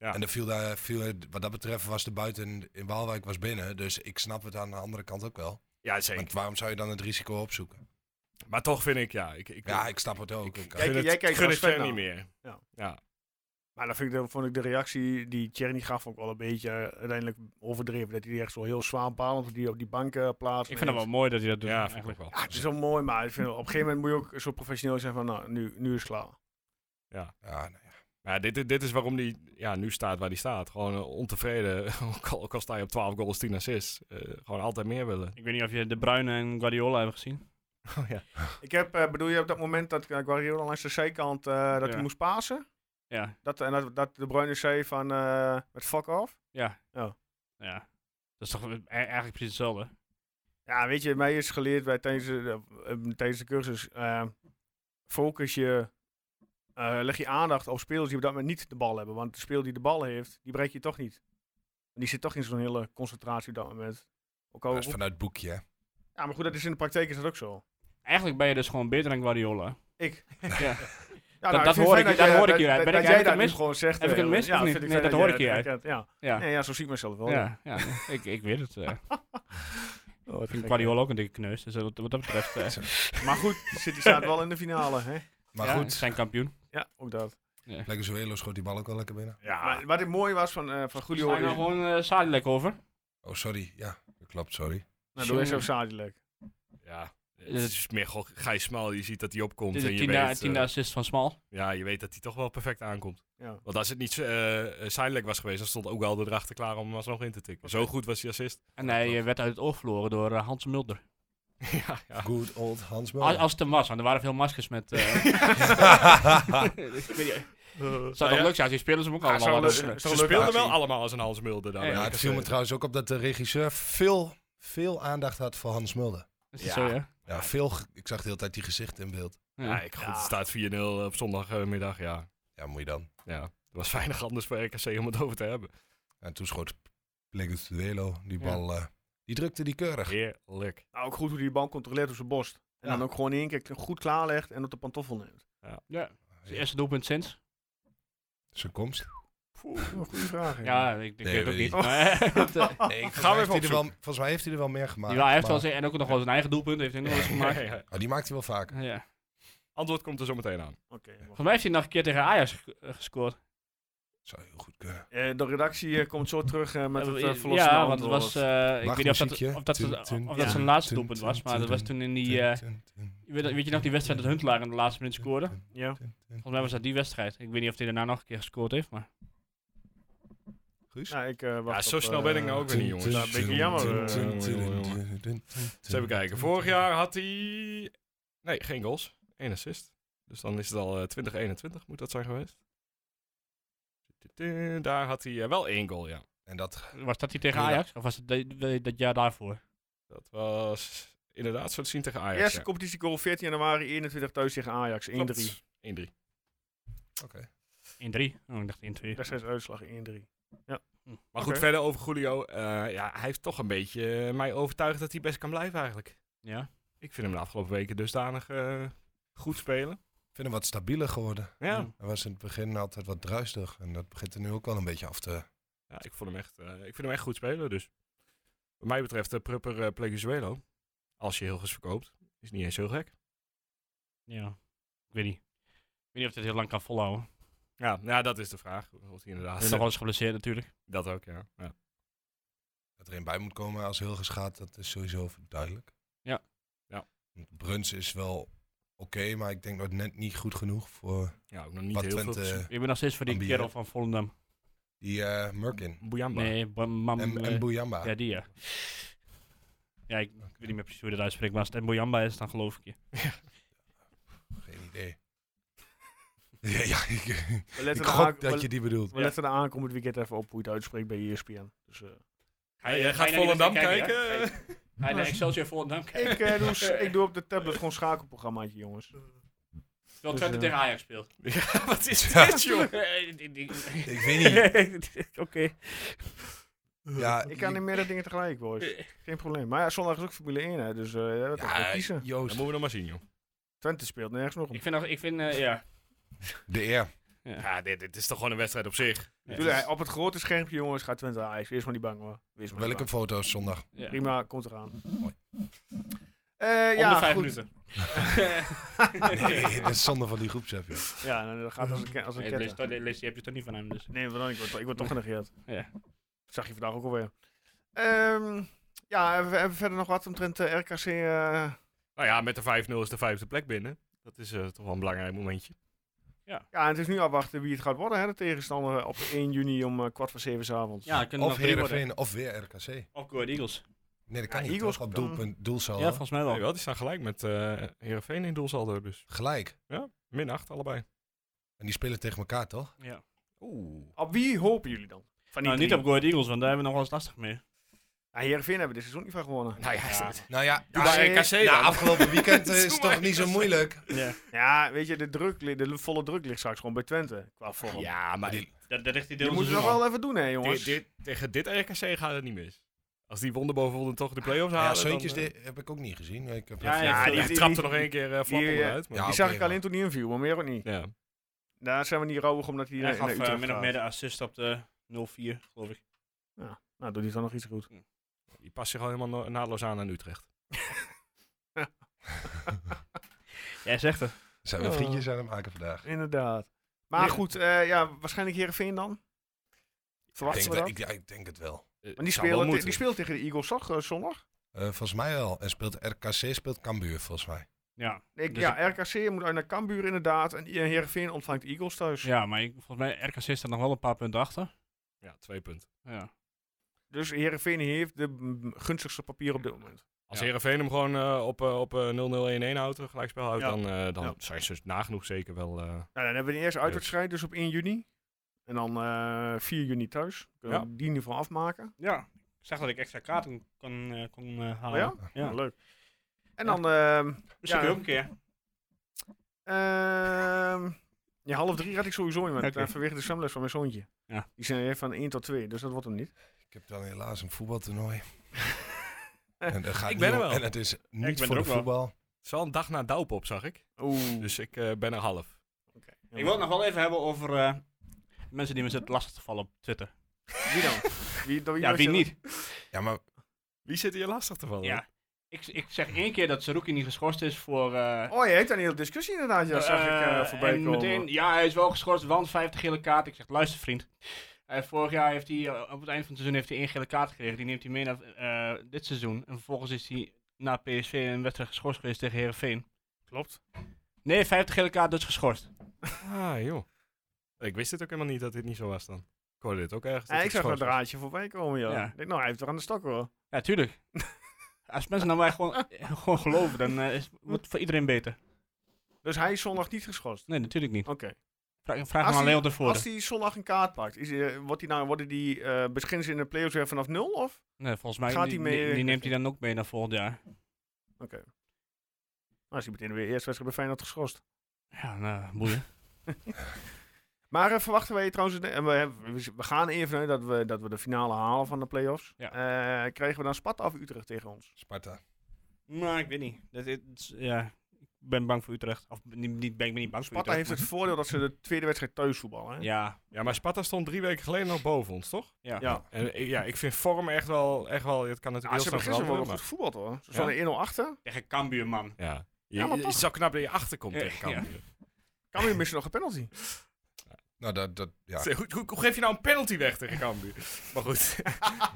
Speaker 4: Ja.
Speaker 6: En er viel daar, viel, wat dat betreft was de buiten in Waalwijk was binnen. Dus ik snap het aan de andere kant ook wel.
Speaker 4: Ja, zeker.
Speaker 6: Want waarom zou je dan het risico opzoeken?
Speaker 4: Maar toch vind ik, ja. Ik, ik,
Speaker 6: Ja, ik snap het ook. Ik-
Speaker 4: gun
Speaker 1: Kijk,
Speaker 4: het-
Speaker 1: jij kijkt
Speaker 4: gun
Speaker 1: als
Speaker 4: het Fer
Speaker 1: fan
Speaker 4: niet
Speaker 1: nou.
Speaker 4: meer.
Speaker 1: Ja.
Speaker 4: ja.
Speaker 1: Maar dan vind ik de, vond ik de reactie die Tjerni gaf ook wel een beetje eh, uiteindelijk overdreven. Dat hij die echt zo heel zwaanpalend op die, op die banken plaatst.
Speaker 5: vind het wel mooi dat hij dat doet.
Speaker 4: Ja, vind ik
Speaker 5: eigenlijk.
Speaker 4: wel.
Speaker 1: Ja, het is wel mooi, maar ik vind, op een gegeven moment moet je ook zo professioneel zijn van, nou, nu, nu is het klaar.
Speaker 6: Ja, nee.
Speaker 4: Maar ja, dit, dit- dit is waarom hij ja, nu staat waar hij staat. Gewoon eh, ontevreden. ook, al, ook al sta je op 12 goals, 10 assists. Eh, gewoon altijd meer willen.
Speaker 5: Ik weet niet of je De Bruyne en Guardiola hebt gezien.
Speaker 4: ja.
Speaker 1: Ik heb, eh, bedoel je op dat moment dat uh, Guardiola langs de zijkant eh, dat
Speaker 5: Ja.
Speaker 1: hij moest pasen?
Speaker 5: Ja,
Speaker 1: Dat, en dat, dat De Bruyne zei van, eh met fuck off?
Speaker 5: ja.
Speaker 1: Oh.
Speaker 5: Ja. Dat is toch e- eigenlijk precies hetzelfde.
Speaker 1: Ja, weet je, mij is geleerd bij, tijdens, de, eh, eh, tijdens de cursus, eh, focus je, eh, leg je aandacht op spelers die op dat moment niet de bal hebben. Want de speler die de bal heeft, die breek je toch niet. En die zit toch in zo'n hele concentratie op dat moment. Ook al,
Speaker 6: Dat is vanuit het boekje. hè.
Speaker 1: ja, maar goed, dat is in de praktijk is dat ook zo.
Speaker 5: Eigenlijk ben je dus gewoon beter dan Guardiola.
Speaker 1: Ik.
Speaker 5: Ja.
Speaker 1: Ja, nou,
Speaker 5: Dat- dat hoor
Speaker 1: vind
Speaker 5: ik-
Speaker 1: fijn
Speaker 5: dat hoor ik
Speaker 1: dat-
Speaker 5: hieruit.
Speaker 1: dat-
Speaker 5: Ben
Speaker 1: dat
Speaker 5: ik-
Speaker 1: jij
Speaker 5: heb ik
Speaker 1: dat
Speaker 5: het
Speaker 1: nu
Speaker 5: mis?
Speaker 1: gewoon zegt.
Speaker 5: Heb ik
Speaker 1: eh,
Speaker 5: het mis
Speaker 1: ja,
Speaker 5: of niet?
Speaker 1: vind ik
Speaker 5: Nee,
Speaker 1: fijn
Speaker 5: dat hoor
Speaker 1: jij
Speaker 5: ik hieruit.
Speaker 1: herkent, Ja.
Speaker 5: Ja,
Speaker 1: Nee, ja, zo zie ik mezelf wel.
Speaker 5: ja, ja. ik, ik weet het. eh.
Speaker 1: Oh,
Speaker 5: Ik vind Guardiola ook een dikke kneus, dus wat, wat dat betreft... eh,
Speaker 1: Maar goed, City staat wel in de finale. Hè?
Speaker 6: Maar
Speaker 5: ja,
Speaker 6: goed,
Speaker 5: ze zijn kampioen.
Speaker 1: Ja, ook dat.
Speaker 6: Leguizuelo schoot die bal ook wel lekker binnen.
Speaker 1: Maar wat het mooie was van, eh van
Speaker 5: Jullie horen
Speaker 1: Julio...
Speaker 5: gewoon eh Sadilek over.
Speaker 6: Oh, sorry. Ja, dat klopt, sorry.
Speaker 1: Nou, door is ook Sadilek.
Speaker 5: Oh,
Speaker 4: ja. Het is meer gewoon Gijs Smal. Je ziet dat hij opkomt.
Speaker 5: Dit is
Speaker 4: en
Speaker 5: de
Speaker 4: je
Speaker 5: tiende,
Speaker 4: weet, eh,
Speaker 5: tiende assist van Smal.
Speaker 4: ja, je weet dat hij toch wel perfect aankomt.
Speaker 1: Ja.
Speaker 4: Want als het niet eh eh, Seidelijk was geweest, dan stond ook wel erachter klaar om hem alsnog in te tikken. Zo goed was die assist.
Speaker 5: En hij eh, werd uit het oog verloren door eh, Hans Mulder.
Speaker 4: ja, ja.
Speaker 6: Good old Hans
Speaker 5: Als,
Speaker 6: Mulder.
Speaker 5: als het hem was, want er waren veel maskers met... eh ik weet niet, het zou toch leuk zijn als die spelers hem ook allemaal
Speaker 1: zou
Speaker 5: hadden.
Speaker 1: leuk- zou
Speaker 5: Eh,
Speaker 4: Ze
Speaker 1: leuke
Speaker 4: speelden
Speaker 1: actie.
Speaker 4: wel allemaal als een Hans Mulder dan.
Speaker 5: Ja,
Speaker 6: ja,
Speaker 4: eerlijk
Speaker 6: het viel me
Speaker 4: gezegd.
Speaker 6: trouwens ook op dat de regisseur veel, veel aandacht had voor Hans Mulder.
Speaker 5: is dat zo, ja?
Speaker 6: Ja, veel, ge- ik zag de hele tijd die gezicht in beeld.
Speaker 4: Ja, ik, goed, het staat 4-0 op zondagmiddag, ja.
Speaker 6: Ja, moet je dan.
Speaker 4: Ja, er was weinig anders voor RKC om het over te hebben.
Speaker 6: En toen schoot Leguizuelo die
Speaker 5: Ja.
Speaker 6: bal. eh, die drukte die keurig.
Speaker 4: Heerlijk.
Speaker 1: Nou, ook goed hoe die bal controleert op zijn borst. En
Speaker 6: Ja.
Speaker 1: dan ook gewoon in één keer goed klaarlegt en op de pantoffel neemt.
Speaker 5: Ja, het eerste doelpunt sinds.
Speaker 6: Zijn komst.
Speaker 1: goede vraag.
Speaker 5: Ja, ik, ik
Speaker 6: Nee,
Speaker 5: weet het ook
Speaker 6: weet
Speaker 5: niet. maar, eh, dat, eh,
Speaker 6: Nee, ik,
Speaker 4: Gaan we even
Speaker 6: volgens, mij heeft hij er wel, volgens mij heeft hij er wel meer gemaakt.
Speaker 5: ja, hij heeft wel
Speaker 6: maar-
Speaker 5: zijn, en ook nog wel zijn eigen doelpunt, heeft hij nog eens gemaakt.
Speaker 4: Ja, ja.
Speaker 6: Oh, die maakt hij wel vaker.
Speaker 5: Ja.
Speaker 4: Antwoord komt er zo meteen aan. Dus
Speaker 1: Oké.
Speaker 5: Volgens mij heeft hij nog een keer tegen Ajax ge- eh, gescoord.
Speaker 6: Zou heel goed kunnen.
Speaker 1: Eh, de redactie eh, komt zo terug eh, met het eh, verlossende
Speaker 5: ja, want het
Speaker 1: antwoord.
Speaker 5: was, eh, ik weet niet of dat,
Speaker 6: Wachtmuziekje.
Speaker 5: of dat,
Speaker 6: Tun,
Speaker 5: of
Speaker 6: tun,
Speaker 5: dat
Speaker 1: tun,
Speaker 5: zijn laatste
Speaker 6: tun,
Speaker 5: doelpunt
Speaker 6: tun,
Speaker 5: was, maar dat
Speaker 6: tun,
Speaker 5: was toen in die,
Speaker 6: Tun,
Speaker 5: eh,
Speaker 6: tun, tun,
Speaker 5: weet, weet je nog die wedstrijd dat Huntelaar in de laatste minuut scoorde?
Speaker 6: tun,
Speaker 1: Ja.
Speaker 6: tun, tun.
Speaker 5: Volgens mij was dat die wedstrijd. Ik weet niet of hij daarna nog een keer gescoord heeft, maar...
Speaker 6: Guus?
Speaker 1: Nou, ik, eh, wacht
Speaker 4: Ja, zo
Speaker 1: op,
Speaker 4: snel
Speaker 1: eh,
Speaker 4: ben ik nou ook weer niet, jongens.
Speaker 1: Ja, een beetje jammer, eh,
Speaker 4: jongen, jongen, Eens even kijken. Vorig jaar had hij... Nee, geen goals. Eén assist. Dus dan is het al eh, 2021, moet dat zijn geweest. Tudu, Daar had hij eh, wel één goal, ja.
Speaker 6: En dat,
Speaker 5: Was dat die tegen
Speaker 6: Ja.
Speaker 5: Ajax? Of was het de- de- dat jaar daarvoor?
Speaker 4: Dat was inderdaad zo te zien tegen Ajax.
Speaker 1: Eerste
Speaker 4: ja.
Speaker 1: competitiegoal 14 januari 21 thuis tegen Ajax 1-3.
Speaker 4: Klopt. 1-3.
Speaker 5: In 3? Oh, ik dacht in 2.
Speaker 1: Daar zijn de uitslag 1-3.
Speaker 4: Maar
Speaker 1: Oké.
Speaker 4: goed, verder over Julio. eh, ja, hij heeft toch een beetje eh, mij overtuigd dat hij best kan blijven eigenlijk.
Speaker 5: Ja.
Speaker 4: Ik vind hem de afgelopen weken dusdanig eh, goed spelen.
Speaker 6: ik vind hem wat stabieler geworden.
Speaker 4: Ja.
Speaker 5: Mm.
Speaker 6: Hij was in het begin altijd wat druistig. En dat begint er nu ook wel een beetje af te...
Speaker 4: Ja, ik, vond hem echt, eh, ik vind hem echt goed spelen. Dus wat mij betreft eh, Prupper eh Pleguzuelo. Als je heel goed verkoopt. Is niet eens heel gek.
Speaker 5: Ja, ik weet niet. Ik weet niet of dit heel lang kan volhouden. Ik
Speaker 4: Ja, ja dat is de vraag. Of hij inderdaad.
Speaker 5: ben nog wel eens geblesseerd natuurlijk.
Speaker 4: Dat ook, ja. ja.
Speaker 6: Dat er een bij moet komen als heel gaat, dat is sowieso duidelijk.
Speaker 5: Ja.
Speaker 4: Ja.
Speaker 6: Want Bruns is wel oké, maar ik denk nog net niet goed genoeg voor
Speaker 4: Ja, ook nog niet
Speaker 6: wat eh,
Speaker 4: heel veel. gezien.
Speaker 6: Twente...
Speaker 5: Ik ben nog steeds voor die
Speaker 6: Ambiëren.
Speaker 5: kerel van Volendam.
Speaker 6: Die eh Murkin
Speaker 4: Bouyamba.
Speaker 5: Nee, Bam- Mam-
Speaker 6: en,
Speaker 5: eh,
Speaker 6: en Bouyamba.
Speaker 5: Ja, die ja. Ja, ik weet niet meer precies hoe je dat uitspreekt, maar als het Boyamba is, dan geloof ik je.
Speaker 6: Geen idee. ja, ja, ik,
Speaker 1: We
Speaker 6: ik
Speaker 1: letten, de
Speaker 6: gok
Speaker 1: aank-
Speaker 6: dat
Speaker 1: we,
Speaker 6: je die bedoelt.
Speaker 1: we letten de aankomend weekend even op hoe je het uitspreekt bij ESPN. Dus, eh,
Speaker 5: Ga je-
Speaker 4: Jij
Speaker 5: ga
Speaker 4: gaat
Speaker 5: je naar die
Speaker 4: Volendam
Speaker 5: wedstrijd
Speaker 4: kijken.
Speaker 5: kijken, hè? Hij naar Excelsior Volendam kijken.
Speaker 1: ik, eh, doe, s- ik doe op de tablet gewoon schakelprogrammaatje, jongens.
Speaker 5: Terwijl Twente
Speaker 1: eh,
Speaker 5: tegen Ajax speelt.
Speaker 4: Ja, wat is
Speaker 6: Ja.
Speaker 4: dit, joh?
Speaker 5: Eh, die- die-
Speaker 6: Ik weet niet.
Speaker 1: Oké.
Speaker 6: Ja,
Speaker 1: Ik kan niet meerdere dingen tegelijk, boys. Geen probleem. Maar ja, zondag is ook Formule 1, hè, dus eh ja, dat is wel
Speaker 6: Ja,
Speaker 1: kiezen.
Speaker 4: Dat
Speaker 6: Joost,
Speaker 4: moeten we nog maar zien, joh.
Speaker 1: Twente speelt nergens nog om.
Speaker 5: Ik vind, nog, ik vind eh, ja.
Speaker 6: de eer.
Speaker 4: Ja, dit, dit is toch gewoon een wedstrijd op zich.
Speaker 1: Jullie,
Speaker 4: dus-
Speaker 1: eh, op het grote schermpje, jongens, gaat Twente Ajax. Wees maar niet bang, hoor. Wees maar niet
Speaker 6: Welke
Speaker 1: bang.
Speaker 6: foto's zondag?
Speaker 5: ja.
Speaker 1: Prima, komt eraan.
Speaker 6: Mooi.
Speaker 1: Eh,
Speaker 5: Om
Speaker 1: ja,
Speaker 5: de vijf
Speaker 1: goed.
Speaker 5: minuten.
Speaker 6: Nee, dat is zonde van die groepsapp, joh.
Speaker 1: Ja, nou, dat gaat als een, ke- als een
Speaker 5: Nee,
Speaker 1: ketter.
Speaker 5: lees, toch- dus lees, die heb je toch niet van hem, dus.
Speaker 1: Nee, maar dan, ik word, ik word toch genegeerd.
Speaker 5: Ja.
Speaker 1: Dat zag je vandaag ook alweer. Ehm ja, hebben we, hebben we verder nog wat omtrent eh, RKC? eh,
Speaker 4: Nou ja, met de 5-0 is de vijfde plek binnen. Dat is eh, toch wel een belangrijk momentje.
Speaker 1: Ja, en het is nu afwachten wie het gaat worden, hè, de tegenstander eh, op 1 juni om eh, kwart voor zeven 's avonds.
Speaker 5: Ja, kunnen
Speaker 6: Of
Speaker 5: nog drie worden.
Speaker 6: Heerenveen, of weer RKC. Nee,
Speaker 5: Of Go Ahead Eagles.
Speaker 6: dat kan
Speaker 1: Ja,
Speaker 6: niet,
Speaker 1: Eagles
Speaker 6: toch? Op
Speaker 1: kan-
Speaker 6: doelpunt, doelsaldo.
Speaker 5: Ja, volgens mij wel.
Speaker 4: Nee, wel, die staan gelijk met eh Heerenveen in doelsaldo, dus
Speaker 6: Gelijk.
Speaker 4: min 8 allebei.
Speaker 6: En die spelen tegen elkaar, toch?
Speaker 5: Ja.
Speaker 4: Oeh.
Speaker 1: Op wie hopen jullie dan? Van die
Speaker 5: Nou, niet
Speaker 1: drie.
Speaker 5: op Go Ahead Eagles, want daar hebben we nog wel eens lastig mee.
Speaker 1: Ja, Heerenveen hebben we dit seizoen niet van gewonnen.
Speaker 4: Nou ja,
Speaker 5: Ja.
Speaker 6: Nou ja,
Speaker 1: Doe maar
Speaker 4: eh,
Speaker 6: AC
Speaker 1: RKC
Speaker 6: na afgelopen weekend eh,
Speaker 4: Doe
Speaker 6: is het
Speaker 4: maar
Speaker 6: toch niet zo
Speaker 4: RKC.
Speaker 6: moeilijk.
Speaker 5: Ja.
Speaker 1: Ja, weet je, de, druk, li- de volle druk ligt straks gewoon bij Twente. Qua vorm.
Speaker 4: Ja, maar
Speaker 6: Die-
Speaker 5: Dat, dat ligt die
Speaker 1: Die
Speaker 5: deel
Speaker 1: moeten we nog wel even doen, hè, jongens.
Speaker 4: dit, dit- tegen dit RKC gaat het niet mis. Als die wonden bovenwonden toch de play-offs
Speaker 6: Ja,
Speaker 4: halen,
Speaker 6: Zeuntjes
Speaker 4: dan, eh,
Speaker 6: die heb ik ook niet gezien. Ik heb
Speaker 5: Ja,
Speaker 6: even-
Speaker 5: ja,
Speaker 4: ja,
Speaker 1: die-
Speaker 4: die,
Speaker 1: die-
Speaker 4: trapt er
Speaker 1: die-
Speaker 4: nog één keer eh, flap
Speaker 1: die, eh,
Speaker 4: onderuit. Maar,
Speaker 6: ja,
Speaker 5: Nou,
Speaker 1: die zag
Speaker 6: oké,
Speaker 1: ik alleen toen hij inviel, maar meer ook niet.
Speaker 4: ja.
Speaker 1: Daar zijn we niet rauwig omdat hij
Speaker 5: Hij
Speaker 1: naar, naar
Speaker 5: gaf eh,
Speaker 1: Utrecht
Speaker 5: min of
Speaker 1: gaat.
Speaker 5: meer de assist op de 0-4, geloof ik.
Speaker 1: Nou, doet hij dan nog iets goed.
Speaker 4: die past zich al helemaal na- naadloos aan aan Utrecht. Eh,
Speaker 5: Jij zegt het.
Speaker 6: Zijn we vriendjes aan het maken vandaag?
Speaker 1: Inderdaad. Maar
Speaker 4: Nee.
Speaker 1: goed, eh, ja, waarschijnlijk Heerenveen dan?
Speaker 6: Ik
Speaker 1: Verwachten
Speaker 6: denk,
Speaker 1: we
Speaker 6: dat,
Speaker 1: dat?
Speaker 6: ik, ja, ik denk het wel.
Speaker 1: Want
Speaker 4: Eh,
Speaker 1: die
Speaker 4: zou wel
Speaker 1: spelen, te-
Speaker 4: moeten.
Speaker 1: die speelt tegen de Eagles, toch? eh, zondag?
Speaker 6: Eh, volgens mij wel. En speelt RKC, speelt Cambuur volgens mij.
Speaker 5: Ja,
Speaker 1: Ik,
Speaker 5: Dus
Speaker 1: ja, RKC moet uit naar Cambuur inderdaad. En eh, Heerenveen ontvangt Eagles thuis.
Speaker 5: ja maar ik, volgens mij RKC staat nog wel een paar punten achter.
Speaker 4: Ja, twee punten.
Speaker 5: Ja.
Speaker 1: Dus Heerenveen heeft de mm, gunstigste papier op dit moment.
Speaker 4: Als
Speaker 5: Ja.
Speaker 4: Heerenveen hem gewoon eh, op, eh, op eh, 0-0-1-1 houdt, een gelijkspel houdt,
Speaker 1: Ja.
Speaker 4: dan, eh, dan
Speaker 1: Ja.
Speaker 4: zijn ze nagenoeg zeker wel... eh,
Speaker 1: Nou, dan hebben we de eerste uitwedstrijd dus op 1 juni. En dan eh 4 juni thuis. Kunnen
Speaker 4: Ja.
Speaker 1: we die in ieder geval afmaken.
Speaker 5: ja, ik zag dat ik extra kaarten kon, eh, kon eh,
Speaker 1: Oh
Speaker 5: halen.
Speaker 1: ja?
Speaker 5: Ja.
Speaker 1: Leuk. En dan... ehm
Speaker 5: Misschien
Speaker 1: Ja.
Speaker 5: ook een keer.
Speaker 1: ehm, ja, half drie had ik sowieso iemand.
Speaker 5: Oké.
Speaker 1: eh, vanwege de zwemles van mijn zoontje.
Speaker 5: Ja.
Speaker 1: Die zijn van 1 tot 2, dus dat wordt hem niet.
Speaker 6: Ik heb dan helaas een voetbaltoernooi. en, dat gaat
Speaker 4: Ik ben
Speaker 6: niet
Speaker 4: er
Speaker 6: om-
Speaker 4: wel.
Speaker 6: en het is
Speaker 5: ben
Speaker 6: niet
Speaker 5: er
Speaker 6: voor de
Speaker 5: ook wel.
Speaker 6: voetbal.
Speaker 4: Het is wel een dag na Douwpop, zag ik.
Speaker 1: Oeh.
Speaker 4: Dus ik eh, ben er half.
Speaker 5: Ik wil het nog wel even hebben over eh, mensen die me zitten lastig te vallen op Twitter.
Speaker 1: Wie dan? Wie, dan
Speaker 5: Ja, wie niet?
Speaker 6: Ja, maar
Speaker 4: Wie zit hier lastig te vallen?
Speaker 5: Ja. Ik, ik zeg één keer dat Saruki niet geschorst is voor... eh,
Speaker 1: Oh, je hebt daar een hele discussie inderdaad. Ja, zag ik eh,
Speaker 5: Eh,
Speaker 1: voorbij
Speaker 5: en
Speaker 1: komen.
Speaker 5: meteen, ja, hij is wel geschorst, want 50 gele kaart. Ik zeg, luister vriend. Eh, vorig jaar heeft hij, eh, op het eind van het seizoen, heeft hij één gele kaart gekregen. Die neemt hij mee naar eh, dit seizoen. En vervolgens is hij na PSV een wedstrijd geschorst geweest tegen Herenveen.
Speaker 1: Klopt.
Speaker 5: Nee, 50 gele kaart, dus geschorst.
Speaker 4: Ah, joh. Ik wist het ook helemaal niet dat dit niet zo was dan. Ik hoorde dit ook ergens. dat
Speaker 1: Ja, ik
Speaker 4: het
Speaker 1: zag dat
Speaker 4: geschorst was.
Speaker 1: draadje voorbij komen, ja.
Speaker 5: Ja.
Speaker 1: Ik denk, nou, hij heeft er aan de stok hoor.
Speaker 5: Ja, tuurlijk. Als mensen naar mij gewoon, gewoon geloven, dan eh, is, wordt het voor iedereen beter.
Speaker 1: Dus hij is zondag niet geschorst.
Speaker 5: Nee, natuurlijk niet.
Speaker 1: Oké.
Speaker 5: Vraag, vraag
Speaker 1: Als
Speaker 5: maar aan
Speaker 1: hij-
Speaker 5: Leon tevoren.
Speaker 1: Als hij zondag een kaart pakt, is, hij, eh, wordt hij nou, worden die eh beginnen ze in de play-offs weer vanaf nul? Of?
Speaker 5: Nee, volgens mij
Speaker 1: Gaat
Speaker 5: die,
Speaker 1: hij mee-
Speaker 5: die- die neemt hij dan ook mee naar volgend jaar.
Speaker 1: Nou, is hij meteen weer eerst wedstrijd bij Feyenoord geschorst.
Speaker 5: Ja, nou, boeien.
Speaker 1: Maar eh, verwachten wij trouwens, en we, hebben- we- we gaan even vanuit dat we, dat we de finale halen van de play-offs.
Speaker 5: Ja.
Speaker 1: Eh, krijgen we dan Sparta of Utrecht tegen ons?
Speaker 6: Sparta.
Speaker 5: Nou, ik weet niet. Dat is, ja. ben bang voor Utrecht. Of niet, niet, ben, ik ben niet bang
Speaker 1: Sparta
Speaker 5: voor
Speaker 1: heeft het
Speaker 5: Utrecht.
Speaker 1: voordeel dat ze de tweede wedstrijd thuis voetballen. Hè?
Speaker 5: Ja,
Speaker 4: Ja, maar Sparta stond drie weken geleden nog boven ons, toch?
Speaker 5: ja.
Speaker 1: Ja.
Speaker 4: En eh, ja, ik vind vorm echt wel, echt wel, het kan
Speaker 1: Ah,
Speaker 4: natuurlijk
Speaker 1: ze
Speaker 4: heel
Speaker 1: hebben
Speaker 4: snel
Speaker 1: gisteren wel
Speaker 4: veranderen.
Speaker 1: goed
Speaker 4: maar-
Speaker 1: voetbal hoor. Ze
Speaker 4: Ja.
Speaker 1: stonden 1-0 achter.
Speaker 5: Tegen Cambuur, man.
Speaker 4: Ja. Je,
Speaker 1: Ja, maar
Speaker 4: je-
Speaker 1: toch.
Speaker 4: het is zo knap dat je achterkomt
Speaker 5: Eh,
Speaker 4: tegen Cambuur.
Speaker 1: Cambuur missen nog een penalty.
Speaker 6: Nou, dat, dat, ja.
Speaker 4: Hoe, hoe- hoe geef je nou een penalty weg tegen Cambuur? maar goed.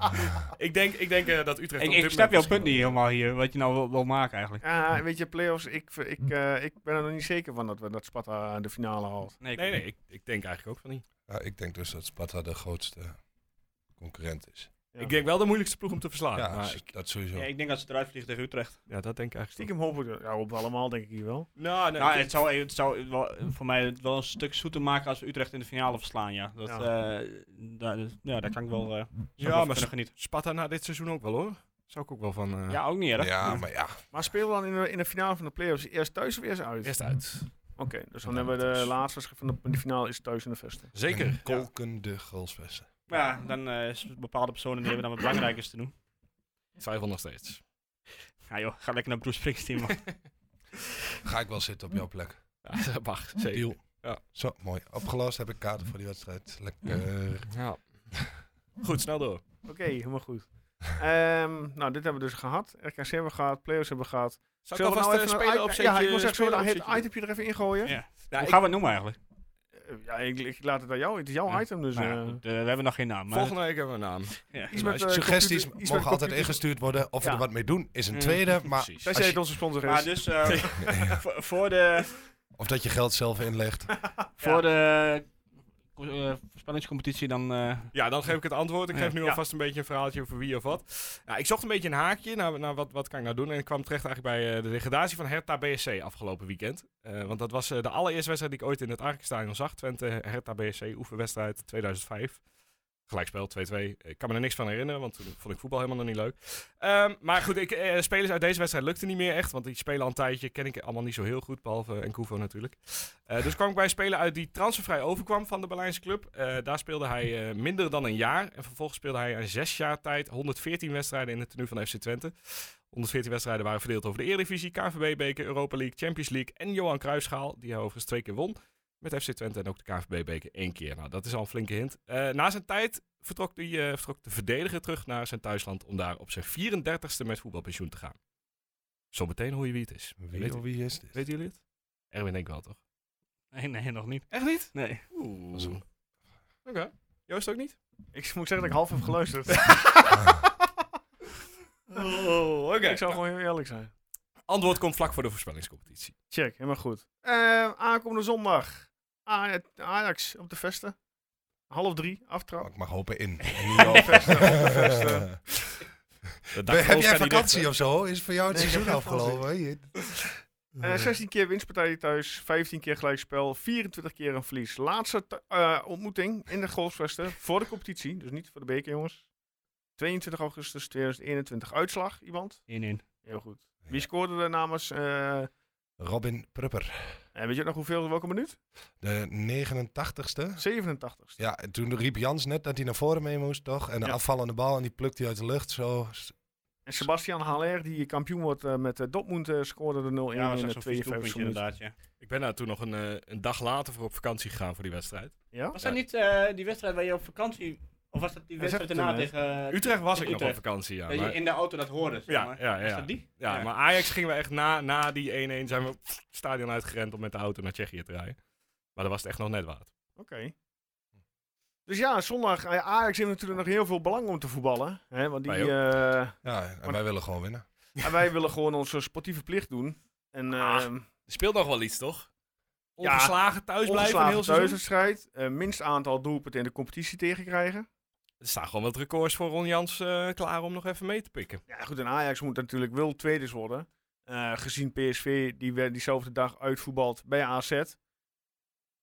Speaker 4: ik denk, ik denk eh, dat Utrecht
Speaker 5: Ik,
Speaker 4: op dit
Speaker 5: ik snap jouw
Speaker 4: moment
Speaker 5: punt niet
Speaker 4: misschien
Speaker 5: helemaal hier, wat je nou wil, wil maken eigenlijk.
Speaker 1: Ja, weet je, play-offs, ik, ik, eh, ik ben er nog niet zeker van dat, we, dat Sparta de finale haalt.
Speaker 5: Nee,
Speaker 4: wel- Nee, nee, ik, ik denk eigenlijk ook van niet.
Speaker 6: Ja, ik denk dus dat Sparta de grootste concurrent is.
Speaker 1: Ja.
Speaker 4: Ik denk wel de moeilijkste ploeg om te verslaan.
Speaker 6: ja,
Speaker 4: Ah, maar
Speaker 6: s-
Speaker 4: ik,
Speaker 6: dat sowieso.
Speaker 5: Ja, ik denk dat ze eruit vliegen tegen Utrecht.
Speaker 4: ja, dat denk ik eigenlijk
Speaker 1: Stiekem hoop ik, ja, hopen we allemaal denk ik hier wel.
Speaker 4: toch. Nou, nee,
Speaker 5: Nou,
Speaker 4: ik-
Speaker 5: het zou, het zou wel, voor mij het wel een stuk zoeter maken als we Utrecht in de finale verslaan, ja. Dat,
Speaker 1: Ja.
Speaker 5: ja. ja, daar kan ik wel, eh, zou ik
Speaker 4: Ja,
Speaker 5: wel van
Speaker 4: maar
Speaker 5: kunnen
Speaker 4: ze-
Speaker 5: genieten.
Speaker 4: Sparta na dit seizoen ook wel hoor. Zou ik ook wel van... eh,
Speaker 5: Ja, ook niet erg.
Speaker 6: ja, maar ja.
Speaker 1: Maar spelen we dan in de, in de finale van de play-offs eerst thuis of eerst uit?
Speaker 4: Eerst uit.
Speaker 1: Oké, dus dan hebben we de laatste wedstrijd van de, van de finale is thuis in de vesten.
Speaker 4: Zeker.
Speaker 6: En kolkende goalsvesten.
Speaker 5: Maar ja, dan eh, is bepaalde personen die hebben dan wat belangrijkers te doen.
Speaker 4: Twijfel nog steeds.
Speaker 5: Ja joh, ga lekker naar Bruce Springsteen, man.
Speaker 6: Ga ik wel zitten op jouw plek.
Speaker 4: Ja, dat mag. Zeker.
Speaker 6: Deal.
Speaker 4: Ja.
Speaker 6: Zo, mooi. Opgelost heb ik kaarten voor die wedstrijd. Lekker. Eh,
Speaker 4: Ja. Goed, snel door.
Speaker 1: Oké, helemaal goed. Ehm, nou, dit hebben we dus gehad. RKC hebben we gehad, play-offs hebben we gehad.
Speaker 4: Zal ik
Speaker 1: Zullen we
Speaker 4: alvast eh,
Speaker 1: nou
Speaker 4: een
Speaker 1: even een
Speaker 4: speler
Speaker 1: i-
Speaker 4: opzetten?
Speaker 1: Ja, ik wil zeggen, zullen we nou
Speaker 4: speler
Speaker 1: het
Speaker 4: opzetje?
Speaker 1: itempje er even ingooien?
Speaker 5: Ja.
Speaker 4: Nou,
Speaker 5: Hoe
Speaker 4: ik-
Speaker 5: gaan we het noemen eigenlijk?
Speaker 1: Eh, Ja, ik, ik laat het aan jou. Het is jouw
Speaker 5: Ja.
Speaker 1: item, dus...
Speaker 5: Nou ja,
Speaker 1: eh,
Speaker 5: goed, eh, we hebben nog geen naam. Maar
Speaker 4: Volgende week hebben we een naam.
Speaker 5: ja.
Speaker 1: iets
Speaker 4: maar
Speaker 1: met,
Speaker 4: als-
Speaker 1: eh,
Speaker 6: Suggesties
Speaker 1: computer- iets
Speaker 6: mogen
Speaker 1: met
Speaker 6: altijd
Speaker 1: computer-
Speaker 6: ingestuurd worden. Of we
Speaker 1: Ja.
Speaker 6: er wat mee doen, is een
Speaker 5: Mm.
Speaker 6: tweede. Maar
Speaker 4: Precies.
Speaker 1: Tenzij
Speaker 6: Als
Speaker 1: het
Speaker 6: je-
Speaker 1: onze sponsor is.
Speaker 5: Maar dus eh, voor, voor de,
Speaker 6: Of dat je geld zelf inlegt.
Speaker 5: voor de co- eh, voorspellingscompetitie dan... eh,
Speaker 4: Ja, dan geef ik het antwoord. Ik
Speaker 5: Ja.
Speaker 4: geef nu
Speaker 5: Ja.
Speaker 4: alvast een beetje een verhaaltje over wie of wat. Ja, ik zocht een beetje een haakje naar, naar wat, wat kan ik nou doen. En ik kwam terecht eigenlijk bij eh, de degradatie van Hertha BSC afgelopen weekend. Eh, want dat was eh, de allereerste wedstrijd die ik ooit in het Arkenstadion zag. Twente Hertha BSC, oefenwedstrijd 2005. Gelijkspel 2-2. Ik kan me er niks van herinneren, want toen vond ik voetbal helemaal nog niet leuk. Ehm, maar goed, ik, eh, spelers uit deze wedstrijd lukte niet meer echt. Want die spelen al een tijdje, ken ik allemaal niet zo heel goed. Behalve Enkoufo natuurlijk. Eh, dus kwam ik bij een speler uit die transfervrij overkwam van de Berlijnse club. Eh, daar speelde hij eh, minder dan een jaar. En vervolgens speelde hij in zes jaar tijd 114 wedstrijden in het tenue van FC Twente. 114 wedstrijden waren verdeeld over de Eredivisie, KNVB-beker, Europa League, Champions League en Johan Cruijffschaal. Die hij overigens twee keer won met FC Twente en ook de KNVB-beker één keer. Nou, dat is al een flinke hint. Eh, na zijn tijd vertrok, die, eh, vertrok de verdediger terug naar zijn thuisland om daar op zijn 34ste met voetbalpensioen te gaan. Zometeen hoor je wie het is.
Speaker 6: Wie,
Speaker 4: Weet,
Speaker 6: of wie is dit?
Speaker 4: weten jullie het? Erwin denk ik wel, toch?
Speaker 5: nee, nee, nog niet.
Speaker 4: Echt niet?
Speaker 5: Nee.
Speaker 4: Oeh. Oké. Joost ook niet?
Speaker 1: Ik moet zeggen dat ik half heb geluisterd.
Speaker 4: Oh, oké.
Speaker 1: Ik zou gewoon heel eerlijk zijn.
Speaker 4: Antwoord komt vlak voor de voorspellingscompetitie.
Speaker 1: Check, helemaal goed. Eh, aankomende zondag. A- Ajax op de vesten. Half drie,
Speaker 6: Oh,
Speaker 1: aftrap.
Speaker 6: ik mag hopen in.
Speaker 1: Vesten, op de vesten.
Speaker 6: Heb jij vakantie of zo? Is voor jou het
Speaker 1: Nee, ik heb
Speaker 6: seizoen
Speaker 1: geen vakantie.
Speaker 6: afgelopen? Je- Oh,
Speaker 1: Eh, 16 keer winstpartij thuis, 15 keer gelijkspel, 24 keer een verlies. Laatste t- eh, ontmoeting in de golfsvesten voor de competitie, dus niet voor de beker jongens. 22 augustus 2021 uitslag, iemand.
Speaker 5: 1-1.
Speaker 1: Heel goed. Wie scoorde er namens, eh, en
Speaker 6: Robin Prupper,
Speaker 1: weet je ook nog hoeveel, welke minuut?
Speaker 6: de 89ste.
Speaker 1: 87ste.
Speaker 6: Ja, en toen riep Jans net dat hij naar voren mee moest, toch? En de
Speaker 1: Ja.
Speaker 6: afvallende bal, en die plukt hij uit de lucht. Zo.
Speaker 1: En Sebastian Haller, die kampioen wordt eh, met eh, Dortmund, eh, scoorde de 0-1
Speaker 5: Ja, was
Speaker 1: in
Speaker 5: echt
Speaker 1: de
Speaker 5: zo'n vies
Speaker 1: 52
Speaker 5: doelpuntje
Speaker 1: minuten.
Speaker 5: inderdaad, ja.
Speaker 4: Ik ben daar toen nog een, eh, een dag later voor op vakantie gegaan voor die wedstrijd.
Speaker 1: Ja?
Speaker 5: Was
Speaker 4: Ja.
Speaker 5: dat niet eh, die wedstrijd waar je op vakantie... Of was dat die
Speaker 1: Hij
Speaker 5: wedstrijd
Speaker 1: zegt het
Speaker 5: daarna
Speaker 1: toen,
Speaker 5: tegen... eh,
Speaker 4: Utrecht was ik nog
Speaker 5: Utrecht.
Speaker 4: op vakantie, ja.
Speaker 5: dat je
Speaker 4: Maar,
Speaker 5: in de auto dat hoorde, zeg
Speaker 4: ja,
Speaker 5: maar.
Speaker 4: ja,
Speaker 5: Is
Speaker 4: ja.
Speaker 5: dat die?
Speaker 4: Ja,
Speaker 5: Ja.
Speaker 4: maar Ajax gingen we echt na, na die 1-1 zijn we het stadion uitgerend om met de auto naar Tsjechië te rijden. Maar dat was het echt nog net waard.
Speaker 1: Oké. Dus ja, zondag. eh, Ajax heeft natuurlijk nog heel veel belang om te voetballen. Hè, want die,
Speaker 4: Wij ook.
Speaker 1: eh,
Speaker 6: Ja, en wij willen gewoon winnen.
Speaker 1: en wij willen gewoon onze sportieve plicht doen. En
Speaker 4: Ah,
Speaker 1: ehm
Speaker 4: Er speelt nog wel iets, toch?
Speaker 1: Ja,
Speaker 4: Ongeslagen thuis blijven een heel
Speaker 1: ongeslagen
Speaker 4: seizoen.
Speaker 1: thuiswedstrijd. eh, minst aantal doelpunten in de competitie tegenkrijgen.
Speaker 4: Er staan gewoon wat records voor Ron Jans eh, klaar om nog even mee te pikken.
Speaker 1: Ja, goed. En Ajax moet natuurlijk wel tweede worden. Eh, gezien PSV, die werd diezelfde dag uitvoetbald bij AZ.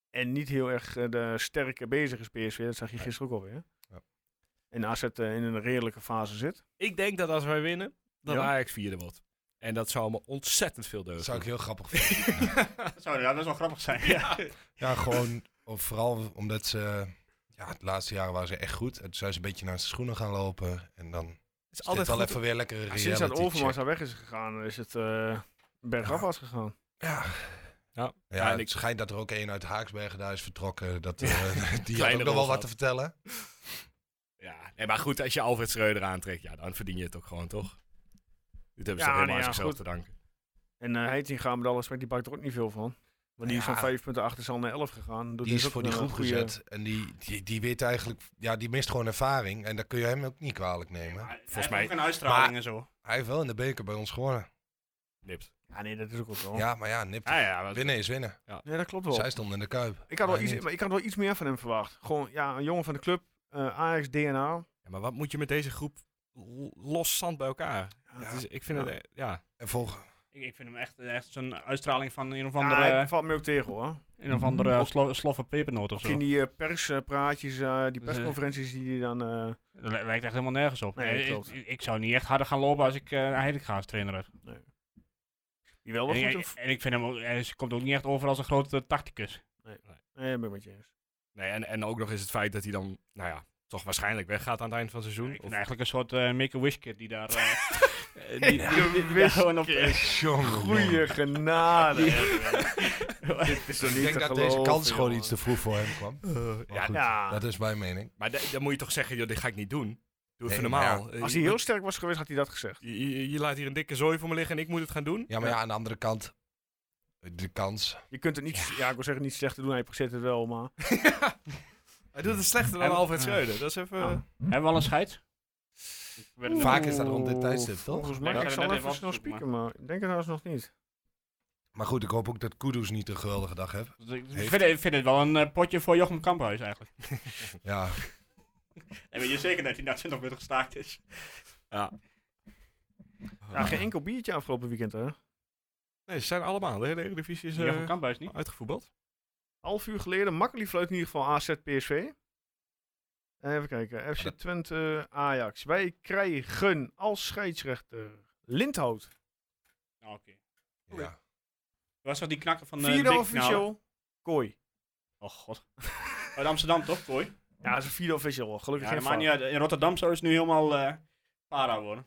Speaker 1: En niet heel erg eh, de sterke bezig is PSV. Dat zag je gisteren ook alweer.
Speaker 6: Ja.
Speaker 1: En AZ eh, in een redelijke fase zit.
Speaker 4: Ik denk dat als wij winnen, dat
Speaker 1: Ja.
Speaker 4: Ajax vierde wordt. En dat zou me ontzettend veel
Speaker 6: Dat
Speaker 4: deugen.
Speaker 6: zou ik heel grappig vinden.
Speaker 5: Dat zou inderdaad best wel grappig zijn, ja.
Speaker 6: Ja, gewoon of vooral omdat ze... eh, Ja, het laatste jaar waren ze echt goed. En toen zijn ze een beetje naar hun schoenen gaan lopen. En dan is
Speaker 4: Het is altijd
Speaker 6: altijd wel
Speaker 4: goed.
Speaker 6: even weer lekker
Speaker 1: Sinds dat
Speaker 6: reality
Speaker 1: Overmars
Speaker 6: check.
Speaker 1: daar weg is gegaan, is het eh bergafwaarts gegaan.
Speaker 6: Ja.
Speaker 4: Ja.
Speaker 6: Ja,
Speaker 4: Ja, en
Speaker 6: het
Speaker 4: ik-
Speaker 6: schijnt dat er ook één uit Haaksbergen daar is vertrokken. Dat, eh, die had
Speaker 4: Kleine
Speaker 6: ook nog
Speaker 4: rol
Speaker 6: wel
Speaker 4: gehad.
Speaker 6: wat te vertellen.
Speaker 4: Ja, nee, maar goed, als je Alfred Schreuder aantrekt, ja, dan verdien je het ook gewoon, toch? Dit hebben ze
Speaker 1: Ja,
Speaker 4: toch helemaal
Speaker 1: nee,
Speaker 4: aan
Speaker 1: ja,
Speaker 4: zichzelf
Speaker 1: goed.
Speaker 4: te danken.
Speaker 1: En eh Heitinga, met alle respect, die pakt er ook niet veel van. Want die is
Speaker 6: Ja.
Speaker 1: van vijf punten achter zal naar 11 gegaan. Dat
Speaker 6: Die is
Speaker 1: ook
Speaker 6: voor die
Speaker 1: een
Speaker 6: groep
Speaker 1: goede-
Speaker 6: gezet. En die, die, die weet eigenlijk... Ja, die mist gewoon ervaring. En dat kun je hem ook niet kwalijk nemen.
Speaker 5: Volgens
Speaker 4: mij-
Speaker 5: mij. Ook een uitstraling
Speaker 6: Maar-
Speaker 5: en zo.
Speaker 6: Hij heeft wel in de beker bij ons gewonnen.
Speaker 4: Nipt.
Speaker 1: Ja, nee, dat is ook wel zo. Ja.
Speaker 6: Ja, maar ja, nip.
Speaker 4: Ah, ja, wat-
Speaker 6: Winnen is winnen.
Speaker 1: dat klopt wel.
Speaker 6: Zij stond in de kuip.
Speaker 1: Oh. Ik had, wel
Speaker 6: Wij
Speaker 1: iets,
Speaker 6: niet.
Speaker 1: maar ik had wel iets meer van hem verwacht. Gewoon, ja, een jongen van de club, eh Ajax DNA.
Speaker 4: Ja, maar wat moet je met deze groep l- los zand bij elkaar?
Speaker 1: Ja,
Speaker 4: Het is, ik vind het, eh, ja.
Speaker 6: En volg,
Speaker 5: Ik, ik vind hem echt, echt zo'n uitstraling van een of
Speaker 1: Ja,
Speaker 5: andere, eh,
Speaker 1: hij valt me ook tegen hoor.
Speaker 5: een of andere eh, slo, sloffen pepernoot of
Speaker 1: Ook in
Speaker 5: zo.
Speaker 1: die eh, perspraatjes, eh, die
Speaker 5: eh,
Speaker 1: persconferenties die hij dan... eh,
Speaker 5: Dat li- lijkt echt helemaal nergens op.
Speaker 1: Nee,
Speaker 5: Eh, ik,
Speaker 1: klopt.
Speaker 5: ik, ik zou niet echt harder gaan lopen als ik eh Heidegaard als trainer had.
Speaker 1: die wel
Speaker 5: En,
Speaker 1: wel goed...
Speaker 5: ik- en ik vind hem, ook- hij is- komt ook niet echt over als een grote tacticus.
Speaker 1: Nee, ben ik met je eens.
Speaker 4: Nee, en, en ook nog is het feit dat hij dan, nou ja, toch waarschijnlijk weggaat aan het eind van het seizoen.
Speaker 5: Ik
Speaker 4: Of-
Speaker 5: vind eigenlijk een soort eh, make-a-wish kid die daar... eh, eh, die, die, die- die daar gewoon op...
Speaker 1: Goeie genade. Dit is toch niet
Speaker 6: Ik denk
Speaker 1: te
Speaker 6: dat deze
Speaker 1: geloven,
Speaker 6: kans gewoon
Speaker 1: jongen.
Speaker 6: iets te vroeg voor hem kwam. Maar
Speaker 4: ja,
Speaker 6: goed,
Speaker 1: ja.
Speaker 6: Dat is mijn mening.
Speaker 4: Maar da- dan moet je toch zeggen, joh, dit ga ik niet doen. Doe even
Speaker 6: Nee, maar ja,
Speaker 4: normaal. Eh,
Speaker 1: Als
Speaker 4: je
Speaker 1: hij heel
Speaker 4: moet-
Speaker 1: sterk was geweest, had hij dat gezegd.
Speaker 4: je, je- je laat hier een dikke zooi voor me liggen en ik moet het gaan doen?
Speaker 6: Ja, maar ja, aan de andere kant... De kans.
Speaker 1: Je kunt het niet, ja, ik wil zeggen niet slechter doen, hij presteert het wel, maar...
Speaker 4: Hij doet het slechter dan
Speaker 5: Hij-
Speaker 4: Alfred
Speaker 5: ja.
Speaker 4: Schreuder. Dat is even...
Speaker 1: Ja.
Speaker 5: Hebben we al een scheid? Ik ben er-
Speaker 6: Vaak is dat rond dit tijdstip, toch?
Speaker 1: Volgens mij,
Speaker 5: Ja, ik
Speaker 1: ik
Speaker 5: ga
Speaker 1: zal
Speaker 5: net
Speaker 1: even
Speaker 5: even
Speaker 1: snel
Speaker 5: opzoeken,
Speaker 1: spieken, maar ik denk het trouwens nog niet.
Speaker 6: Maar goed, ik hoop ook dat Kudus niet een geweldige dag heeft.
Speaker 5: Ik
Speaker 6: Heeft-
Speaker 5: vind, ik vind het wel een eh, potje voor Jochem Kamphuis eigenlijk.
Speaker 6: Ja,
Speaker 5: En weet je zeker dat hij na 20 minuten gestaakt is?
Speaker 1: Ja, geen enkel biertje afgelopen weekend, hè.
Speaker 4: Nee, ze zijn allemaal. De hele Eredivisie is eh,
Speaker 5: Jochem Kamphuis niet.
Speaker 4: uitgevoetbald.
Speaker 1: Half uur geleden, makkelijk fluit in ieder geval AZ PSV. Even kijken, FC Twente Ajax. Wij krijgen als scheidsrechter Lindhout.
Speaker 5: Nou, oké.
Speaker 6: ja.
Speaker 5: Was dat die knakker van de
Speaker 1: Vierde official, Kooi.
Speaker 5: Oh god. Uit Amsterdam toch, Kooi?
Speaker 1: Ja, dat is een vierde official, wel.
Speaker 5: Ja,
Speaker 1: gelukkig geen
Speaker 5: dat maakt
Speaker 1: fout.
Speaker 5: niet uit. In Rotterdam zou het nu helemaal eh, para worden.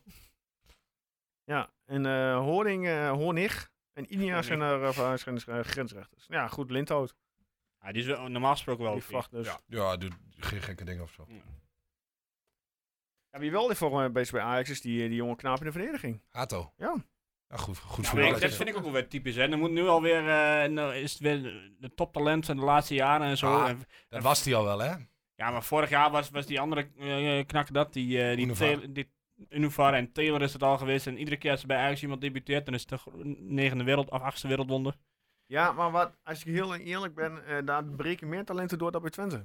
Speaker 1: Ja, en eh Horing, eh Hornig en Inia
Speaker 5: Hornig.
Speaker 1: zijn er eh, van- zijn er, eh, grensrechters. Ja, goed, Lindhout.
Speaker 5: Ja, die is wel, normaal gesproken wel
Speaker 1: Die
Speaker 5: oké.
Speaker 1: vlacht dus. Ja.
Speaker 4: Ja.
Speaker 6: ja doe geen gekke dingen of zo.
Speaker 1: wie wel dit eh, volgens mij bezig bij Ajax is, die, die jonge knaap in de verdediging.
Speaker 6: Hato.
Speaker 1: Ja.
Speaker 6: Ja, goed, goed
Speaker 5: Ja,
Speaker 6: voor
Speaker 5: maar
Speaker 6: jou.
Speaker 5: ik- dat vind ik ook wel weer typisch. Hè. Dan moet nu alweer, eh nou, is het weer de toptalent van de laatste jaren en zo.
Speaker 6: Ah.
Speaker 5: En-
Speaker 6: Dat was die al wel, hè?
Speaker 5: ja, maar vorig jaar was, was die andere eh, knakker dat, die, eh, die,
Speaker 6: Unifar.
Speaker 5: Taylor- die Unifar en Taylor is het al geweest. En iedere keer als er bij Ajax iemand debuteert, dan is het de gro- negende wereld of achtste wereldwonder.
Speaker 1: Ja, maar wat, als ik heel eerlijk ben, eh, daar breken meer talenten door dan bij Twente.
Speaker 5: Ja,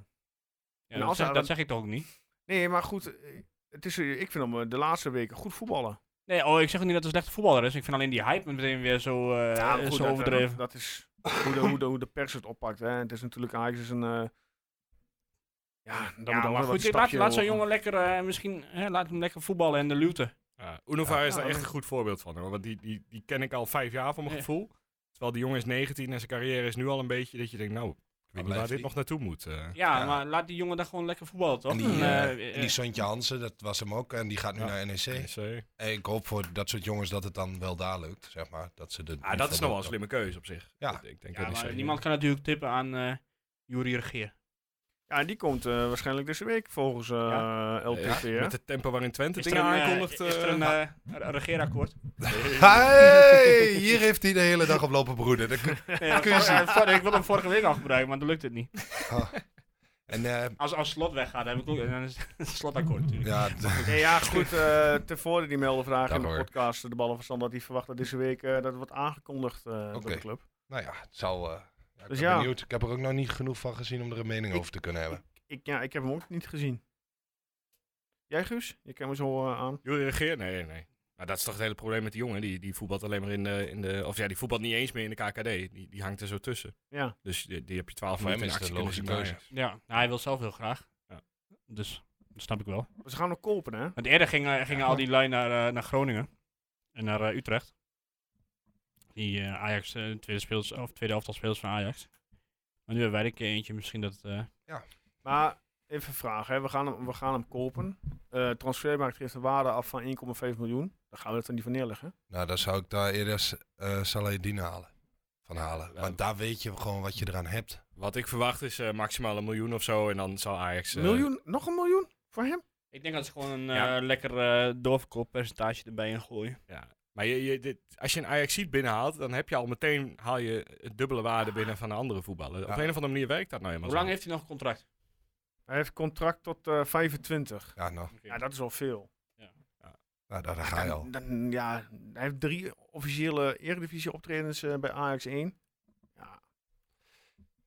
Speaker 1: En
Speaker 5: dat,
Speaker 1: als
Speaker 5: zeg,
Speaker 1: hij
Speaker 5: dat
Speaker 1: dan-
Speaker 5: zeg ik toch ook niet.
Speaker 1: Nee, maar goed, eh, het is, eh, ik vind hem eh, de laatste weken goed voetballen.
Speaker 5: Nee, oh, ik zeg ook niet dat hij een slechte voetballer is. Ik vind alleen die hype meteen weer zo, eh,
Speaker 1: maar
Speaker 5: zo
Speaker 1: dat-
Speaker 5: overdreven.
Speaker 1: Dat, dat is hoe de, hoe, de, hoe de pers het oppakt. Hè. Het is natuurlijk Ajax is een... eh, ja, dan
Speaker 5: ja,
Speaker 1: moet
Speaker 5: maar goed, laat, laat zo'n jongen lekker, eh, misschien, hè, laat hem lekker voetballen en de luwte.
Speaker 4: Ja, Unova is
Speaker 1: Ja,
Speaker 4: daar
Speaker 1: maar-
Speaker 4: echt een goed voorbeeld van. Hoor, want die, die, die ken ik al vijf jaar voor mijn
Speaker 5: Ja.
Speaker 4: gevoel. Terwijl die jongen is 19 en zijn carrière is nu al een beetje dat je denkt, nou, ik weet niet
Speaker 6: blijft
Speaker 4: waar dit
Speaker 6: die?
Speaker 4: nog naartoe moet. eh.
Speaker 5: Ja,
Speaker 6: Ja.
Speaker 5: maar laat die jongen daar gewoon lekker voetballen, toch?
Speaker 6: En die,
Speaker 5: En,
Speaker 6: eh,
Speaker 5: eh,
Speaker 6: en die Sontje Hansen, dat was hem ook. En die gaat nu
Speaker 4: Ja.
Speaker 6: naar NEC.
Speaker 4: NEC.
Speaker 6: En ik hoop voor dat soort jongens dat het dan wel daar lukt, zeg maar. Dat ze de,
Speaker 4: Ah, dat is nog wel een slimme keuze op zich.
Speaker 6: Ja.
Speaker 4: Ik- Ik denk
Speaker 5: ja,
Speaker 4: dat
Speaker 5: maar
Speaker 4: NEC
Speaker 5: niemand kan natuurlijk tippen aan eh Jury Regeer.
Speaker 1: Ja, die komt eh, waarschijnlijk deze week volgens eh LTV.
Speaker 4: Ja,
Speaker 1: hè?
Speaker 4: met het tempo waarin Twente
Speaker 5: Is
Speaker 4: dingen
Speaker 5: er een, eh,
Speaker 4: aankondigt.
Speaker 5: is er
Speaker 4: eh,
Speaker 5: een eh, re- regeerakkoord?
Speaker 6: Hey, hier heeft hij de hele dag op lopen broeden. Dat kun-
Speaker 5: Nee, dat- eh, voor- ik wilde hem vorige week al gebruiken, maar dan lukt het niet.
Speaker 6: En eh,
Speaker 5: Als, als slot weggaat, dan, heb ik ook, dan is het een slotakkoord natuurlijk.
Speaker 6: ja, d-
Speaker 1: Nee, ja, goed. eh tevoren die mailde vandaag
Speaker 6: Dag
Speaker 1: in de
Speaker 6: hoor.
Speaker 1: podcast eh, de ballenverstand dat hij verwacht dat deze week eh, dat wordt aangekondigd eh door
Speaker 6: Oké.
Speaker 1: de club.
Speaker 6: nou ja, het zal... eh, ja, ik
Speaker 1: Dus
Speaker 6: ben
Speaker 1: ja.
Speaker 6: benieuwd. Ik heb er ook nog niet genoeg van gezien om er een mening
Speaker 1: Ik-
Speaker 6: over te kunnen hebben.
Speaker 1: Ik, ja, ik heb hem ook niet gezien. Jij, Guus? Je kijkt me zo eh, aan.
Speaker 4: Jullie regeer? Nee, nee. Maar dat is toch het hele probleem met die jongen. Die, die voetbalt alleen maar in de, in de... Of ja, die voetbalt niet eens meer in de KKD. Die, die hangt er zo tussen.
Speaker 1: Ja.
Speaker 4: Dus die, die heb je 12
Speaker 6: Voor hem
Speaker 4: minuten in
Speaker 6: is het
Speaker 4: actie
Speaker 6: een
Speaker 4: kunnen zien.
Speaker 6: logische
Speaker 4: bij Ajax.
Speaker 5: Ja, nou, hij wil zelf heel graag.
Speaker 4: Ja.
Speaker 5: Dus, dat snap ik wel.
Speaker 1: Maar ze gaan nog kopen, hè?
Speaker 5: Want eerder gingen, gingen al die lui naar, eh, naar Groningen en naar eh, Utrecht. Die eh, Ajax, eh, tweede, speels, of tweede elftal spelers van Ajax. Maar nu hebben wij er een keer eentje, misschien dat... eh,
Speaker 1: Maar even een vraag, hè. We gaan hem, we gaan hem kopen. Eh transfermarkt geeft een waarde af van 1,5 miljoen. Daar gaan we het dan niet van neerleggen.
Speaker 6: Nou, dan zou ik daar eerder eh Saladin halen. van halen. Want daar weet je gewoon wat je eraan hebt.
Speaker 4: Wat ik verwacht is eh, maximaal een miljoen of zo. En dan zal Ajax... eh,
Speaker 1: miljoen, nog een miljoen voor hem?
Speaker 5: Ik denk dat ze gewoon een
Speaker 4: Ja.
Speaker 5: eh, lekker eh, doorverkooppercentage erbij in gooien.
Speaker 4: Ja. Maar je, je, dit, als je een Ajax ziet binnenhaalt, dan heb je al meteen haal je het dubbele waarde binnen van de andere voetballer. Op
Speaker 6: Ja.
Speaker 4: een of andere manier werkt dat nou helemaal
Speaker 5: Hoe lang heeft hij nog een contract?
Speaker 1: Hij heeft contract tot eh, 25.
Speaker 6: Ja, nou,
Speaker 1: Ja, dat is al veel.
Speaker 6: nou daar, daar ga je al.
Speaker 1: Dan, ja, hij heeft drie officiële eredivisie optredens eh, bij Ajax 1.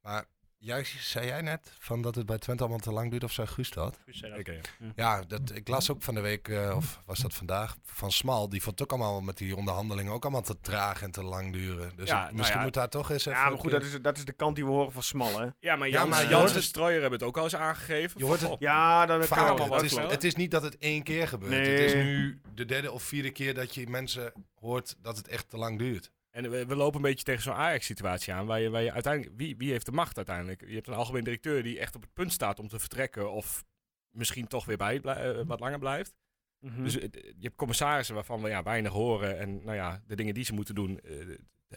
Speaker 6: Maar juist zei jij net van dat het bij Twente allemaal te lang duurt of zei Guus dat?
Speaker 5: Goed zei dat.
Speaker 4: Oké.
Speaker 6: Ja, dat, ik las ook van de week, eh, of was dat vandaag, van Smal. Die vond het ook allemaal met die onderhandelingen ook allemaal te traag en te lang duren. Dus
Speaker 4: Ja,
Speaker 6: het-
Speaker 4: nou
Speaker 6: misschien
Speaker 4: ja.
Speaker 6: moet daar toch eens even...
Speaker 1: Ja, maar goed, dat is, dat is de kant die we horen van Smal, hè?
Speaker 4: Ja, maar
Speaker 6: Ja,
Speaker 4: Jans,
Speaker 6: maar je
Speaker 4: Jans
Speaker 6: hoort
Speaker 4: en
Speaker 6: het-
Speaker 4: Strooijer hebben het ook al eens aangegeven.
Speaker 6: Je hoort
Speaker 4: Van,
Speaker 6: het
Speaker 4: goh,
Speaker 1: Ja, dat kan
Speaker 6: Vaak,
Speaker 1: allemaal wel
Speaker 6: het, is,
Speaker 1: kloppen.
Speaker 6: het is niet dat het één keer gebeurt. Het
Speaker 1: Nee.
Speaker 6: is nu de derde of vierde keer dat je mensen hoort dat het echt te lang duurt.
Speaker 4: En we, we lopen een beetje tegen zo'n Ajax-situatie aan, waar je, waar je uiteindelijk... Wie, wie heeft de macht uiteindelijk? Je hebt een algemeen directeur die echt op het punt staat om te vertrekken of misschien toch weer bij blij- eh, wat langer blijft.
Speaker 6: Hm.
Speaker 1: Mhm.
Speaker 4: Dus eh, je hebt commissarissen waarvan we ja, weinig horen en nou ja, de dingen die ze moeten doen, eh,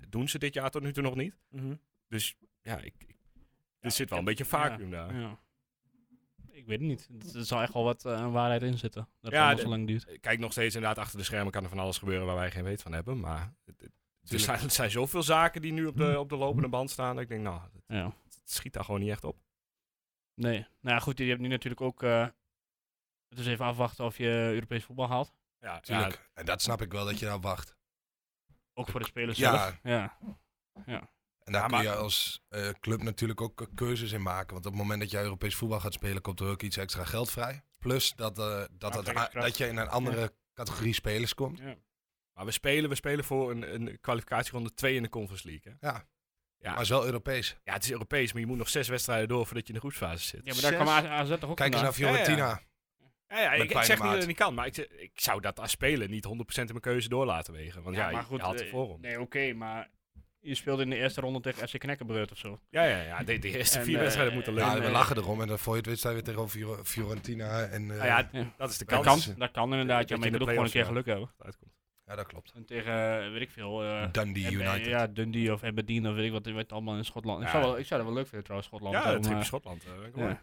Speaker 4: doen ze dit jaar tot nu toe nog niet.
Speaker 1: Mhm.
Speaker 4: Dus ja, ik, ik-
Speaker 5: Ja,
Speaker 4: er zit wel
Speaker 5: ik
Speaker 4: een
Speaker 5: heb-
Speaker 4: beetje vacuüm daar.
Speaker 5: Ja. Ik weet het niet. Het- Er zal echt wel wat eh, aan waarheid in zitten. Dat het
Speaker 4: Ja,
Speaker 5: allemaal
Speaker 4: de-
Speaker 5: zo lang duurt.
Speaker 4: Ik Kijk, nog steeds inderdaad, achter de schermen kan er van alles gebeuren waar wij geen weet van hebben. Maar het, het- er,
Speaker 6: Tuurlijk.
Speaker 4: zijn, er zijn zoveel zaken die nu op de, op de lopende band staan. Dat ik denk, nou, het,
Speaker 5: Ja.
Speaker 4: het schiet daar gewoon niet echt op.
Speaker 5: Nee. Nou ja, goed, je hebt nu natuurlijk ook... eh, het is even afwachten of je Europees voetbal haalt.
Speaker 4: Ja,
Speaker 6: Tuurlijk. En dat snap ik wel dat je nou wacht.
Speaker 5: Ook voor de spelers zelf.
Speaker 6: Ja,
Speaker 5: Ja.
Speaker 6: en daar
Speaker 4: Ja,
Speaker 6: kun
Speaker 4: maar-
Speaker 6: je als eh, club natuurlijk ook eh, keuzes in maken. Want op het moment dat je Europees voetbal gaat spelen, komt er ook iets extra geld vrij. Plus dat, eh, dat, het a-
Speaker 5: aantrekkingskracht.
Speaker 6: dat je in een andere categorie spelers komt.
Speaker 5: ja.
Speaker 4: Maar we spelen, we spelen voor een, een kwalificatieronde 2 in de Conference League. Hè?
Speaker 6: Ja.
Speaker 4: Ja.
Speaker 6: Maar het is wel Europees.
Speaker 4: Ja, het is Europees, maar je moet nog zes wedstrijden door voordat je in de groepsfase zit.
Speaker 5: maar daar kwam AZ toch ook
Speaker 6: Kijk eens naar
Speaker 5: vandaan?
Speaker 6: Fiorentina.
Speaker 4: Ja, Ja, ja,
Speaker 6: Met
Speaker 4: ik, ik
Speaker 6: kleine
Speaker 4: zeg niet dat
Speaker 6: maat.
Speaker 4: het niet kan, maar ik, zeg- ik zou dat als speler niet 100% in mijn keuze door laten wegen. Want ja,
Speaker 5: maar
Speaker 4: je- je haalt de
Speaker 5: eh,
Speaker 4: voorronde.
Speaker 5: Nee, oké, maar... Je speelde in de eerste ronde tegen FC Knekkenbeurt of zo.
Speaker 4: Ja, ja, ja, de, de eerste
Speaker 5: En,
Speaker 4: vier
Speaker 5: eh,
Speaker 4: wedstrijden moeten
Speaker 5: Ja,
Speaker 4: lukken.
Speaker 6: Ja, we
Speaker 5: nee.
Speaker 6: lachen erom en dan voor je het weet zijn we weer tegen Fiorentina. En, eh,
Speaker 4: Nou ja,
Speaker 5: Ah Ja.
Speaker 4: dat is de
Speaker 6: Dat
Speaker 4: kans.
Speaker 5: Kan,
Speaker 6: is-
Speaker 5: dat kan inderdaad. Ja,
Speaker 4: Dat je
Speaker 5: maar je
Speaker 4: in
Speaker 5: moet
Speaker 4: de
Speaker 5: ook gewoon een keer
Speaker 4: play-offs,
Speaker 5: geluk hebben.
Speaker 4: uitkomt.
Speaker 6: ja, dat klopt.
Speaker 5: En tegen, eh, weet ik veel... eh,
Speaker 6: Dundee
Speaker 5: En bij-
Speaker 6: United.
Speaker 5: Ja, Dundee of Aberdeen of weet ik wat, weet allemaal in Schotland. Ik,
Speaker 4: Ja.
Speaker 5: zou wel, ik zou dat wel leuk vinden trouwens, Schotland.
Speaker 4: Ja,
Speaker 5: om,
Speaker 4: het tripje
Speaker 5: eh,
Speaker 4: Schotland. eh, kom
Speaker 5: ja.
Speaker 4: maar.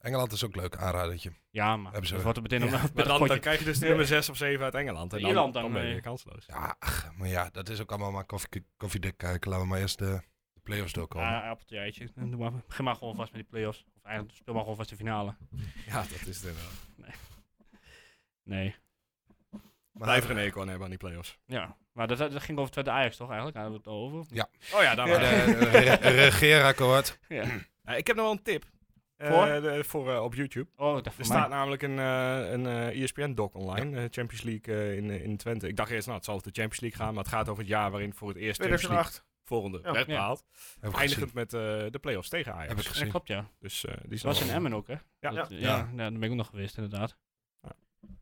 Speaker 6: Engeland is ook leuk, aanradertje.
Speaker 5: ja, maar
Speaker 6: Hebben ze-
Speaker 5: dat wordt er meteen om een
Speaker 4: Maar dan, dan
Speaker 5: potje.
Speaker 4: krijg je dus de nummer 6 of 7 uit Engeland. En dan,
Speaker 5: Ierland dan, eh.
Speaker 4: dan ben
Speaker 5: nee.
Speaker 4: je kansloos.
Speaker 6: Ja, ach, maar ja, dat is ook allemaal maar koffie, koffiedik kijken. Laten we maar eerst de, de play-offs doorkomen.
Speaker 5: Ja, appeltje, eitje. Doe maar, begin maar gewoon vast met die play-offs. Of eigenlijk speel maar gewoon vast de finale.
Speaker 4: Ja, dat is het eh, inderdaad.
Speaker 5: Nee.
Speaker 6: maar,
Speaker 4: Blijf er een eco aan hebben aan die play-offs.
Speaker 5: Ja, maar dat, dat ging over Twente Ajax toch eigenlijk? Hadden we het al over?
Speaker 4: Oh ja, daar
Speaker 6: maar
Speaker 4: waren
Speaker 6: de, re- regeerakkoord.
Speaker 5: Ja.
Speaker 4: we. Eh, Ik heb nog wel een tip. Eh,
Speaker 5: Voor?
Speaker 4: de- voor eh, op YouTube.
Speaker 5: Oh, dat
Speaker 4: Er
Speaker 5: voor mij.
Speaker 4: staat namelijk een, eh, een ESPN-doc online. eh, Champions League eh, in, eh, in Twente. Ik dacht eerst, nou, het zal over de Champions League gaan. Maar het gaat over het jaar waarin voor het eerst Champions League
Speaker 1: 2008.
Speaker 4: volgende
Speaker 1: Ja.
Speaker 4: werd
Speaker 5: Ja.
Speaker 4: behaald.
Speaker 6: Heb ik gezien.
Speaker 4: Eindigend met eh, de play-offs tegen
Speaker 6: Heb ik
Speaker 4: Ajax.
Speaker 5: Ja,
Speaker 6: gezien.
Speaker 5: klopt, ja.
Speaker 4: Dus eh, die is
Speaker 5: Het was
Speaker 4: nog-
Speaker 5: in Emmen ook, hè?
Speaker 4: Ja.
Speaker 5: Dat- ja.
Speaker 6: Ja.
Speaker 5: ja, nou, daar ben ik ook nog geweest, inderdaad.
Speaker 4: Ja.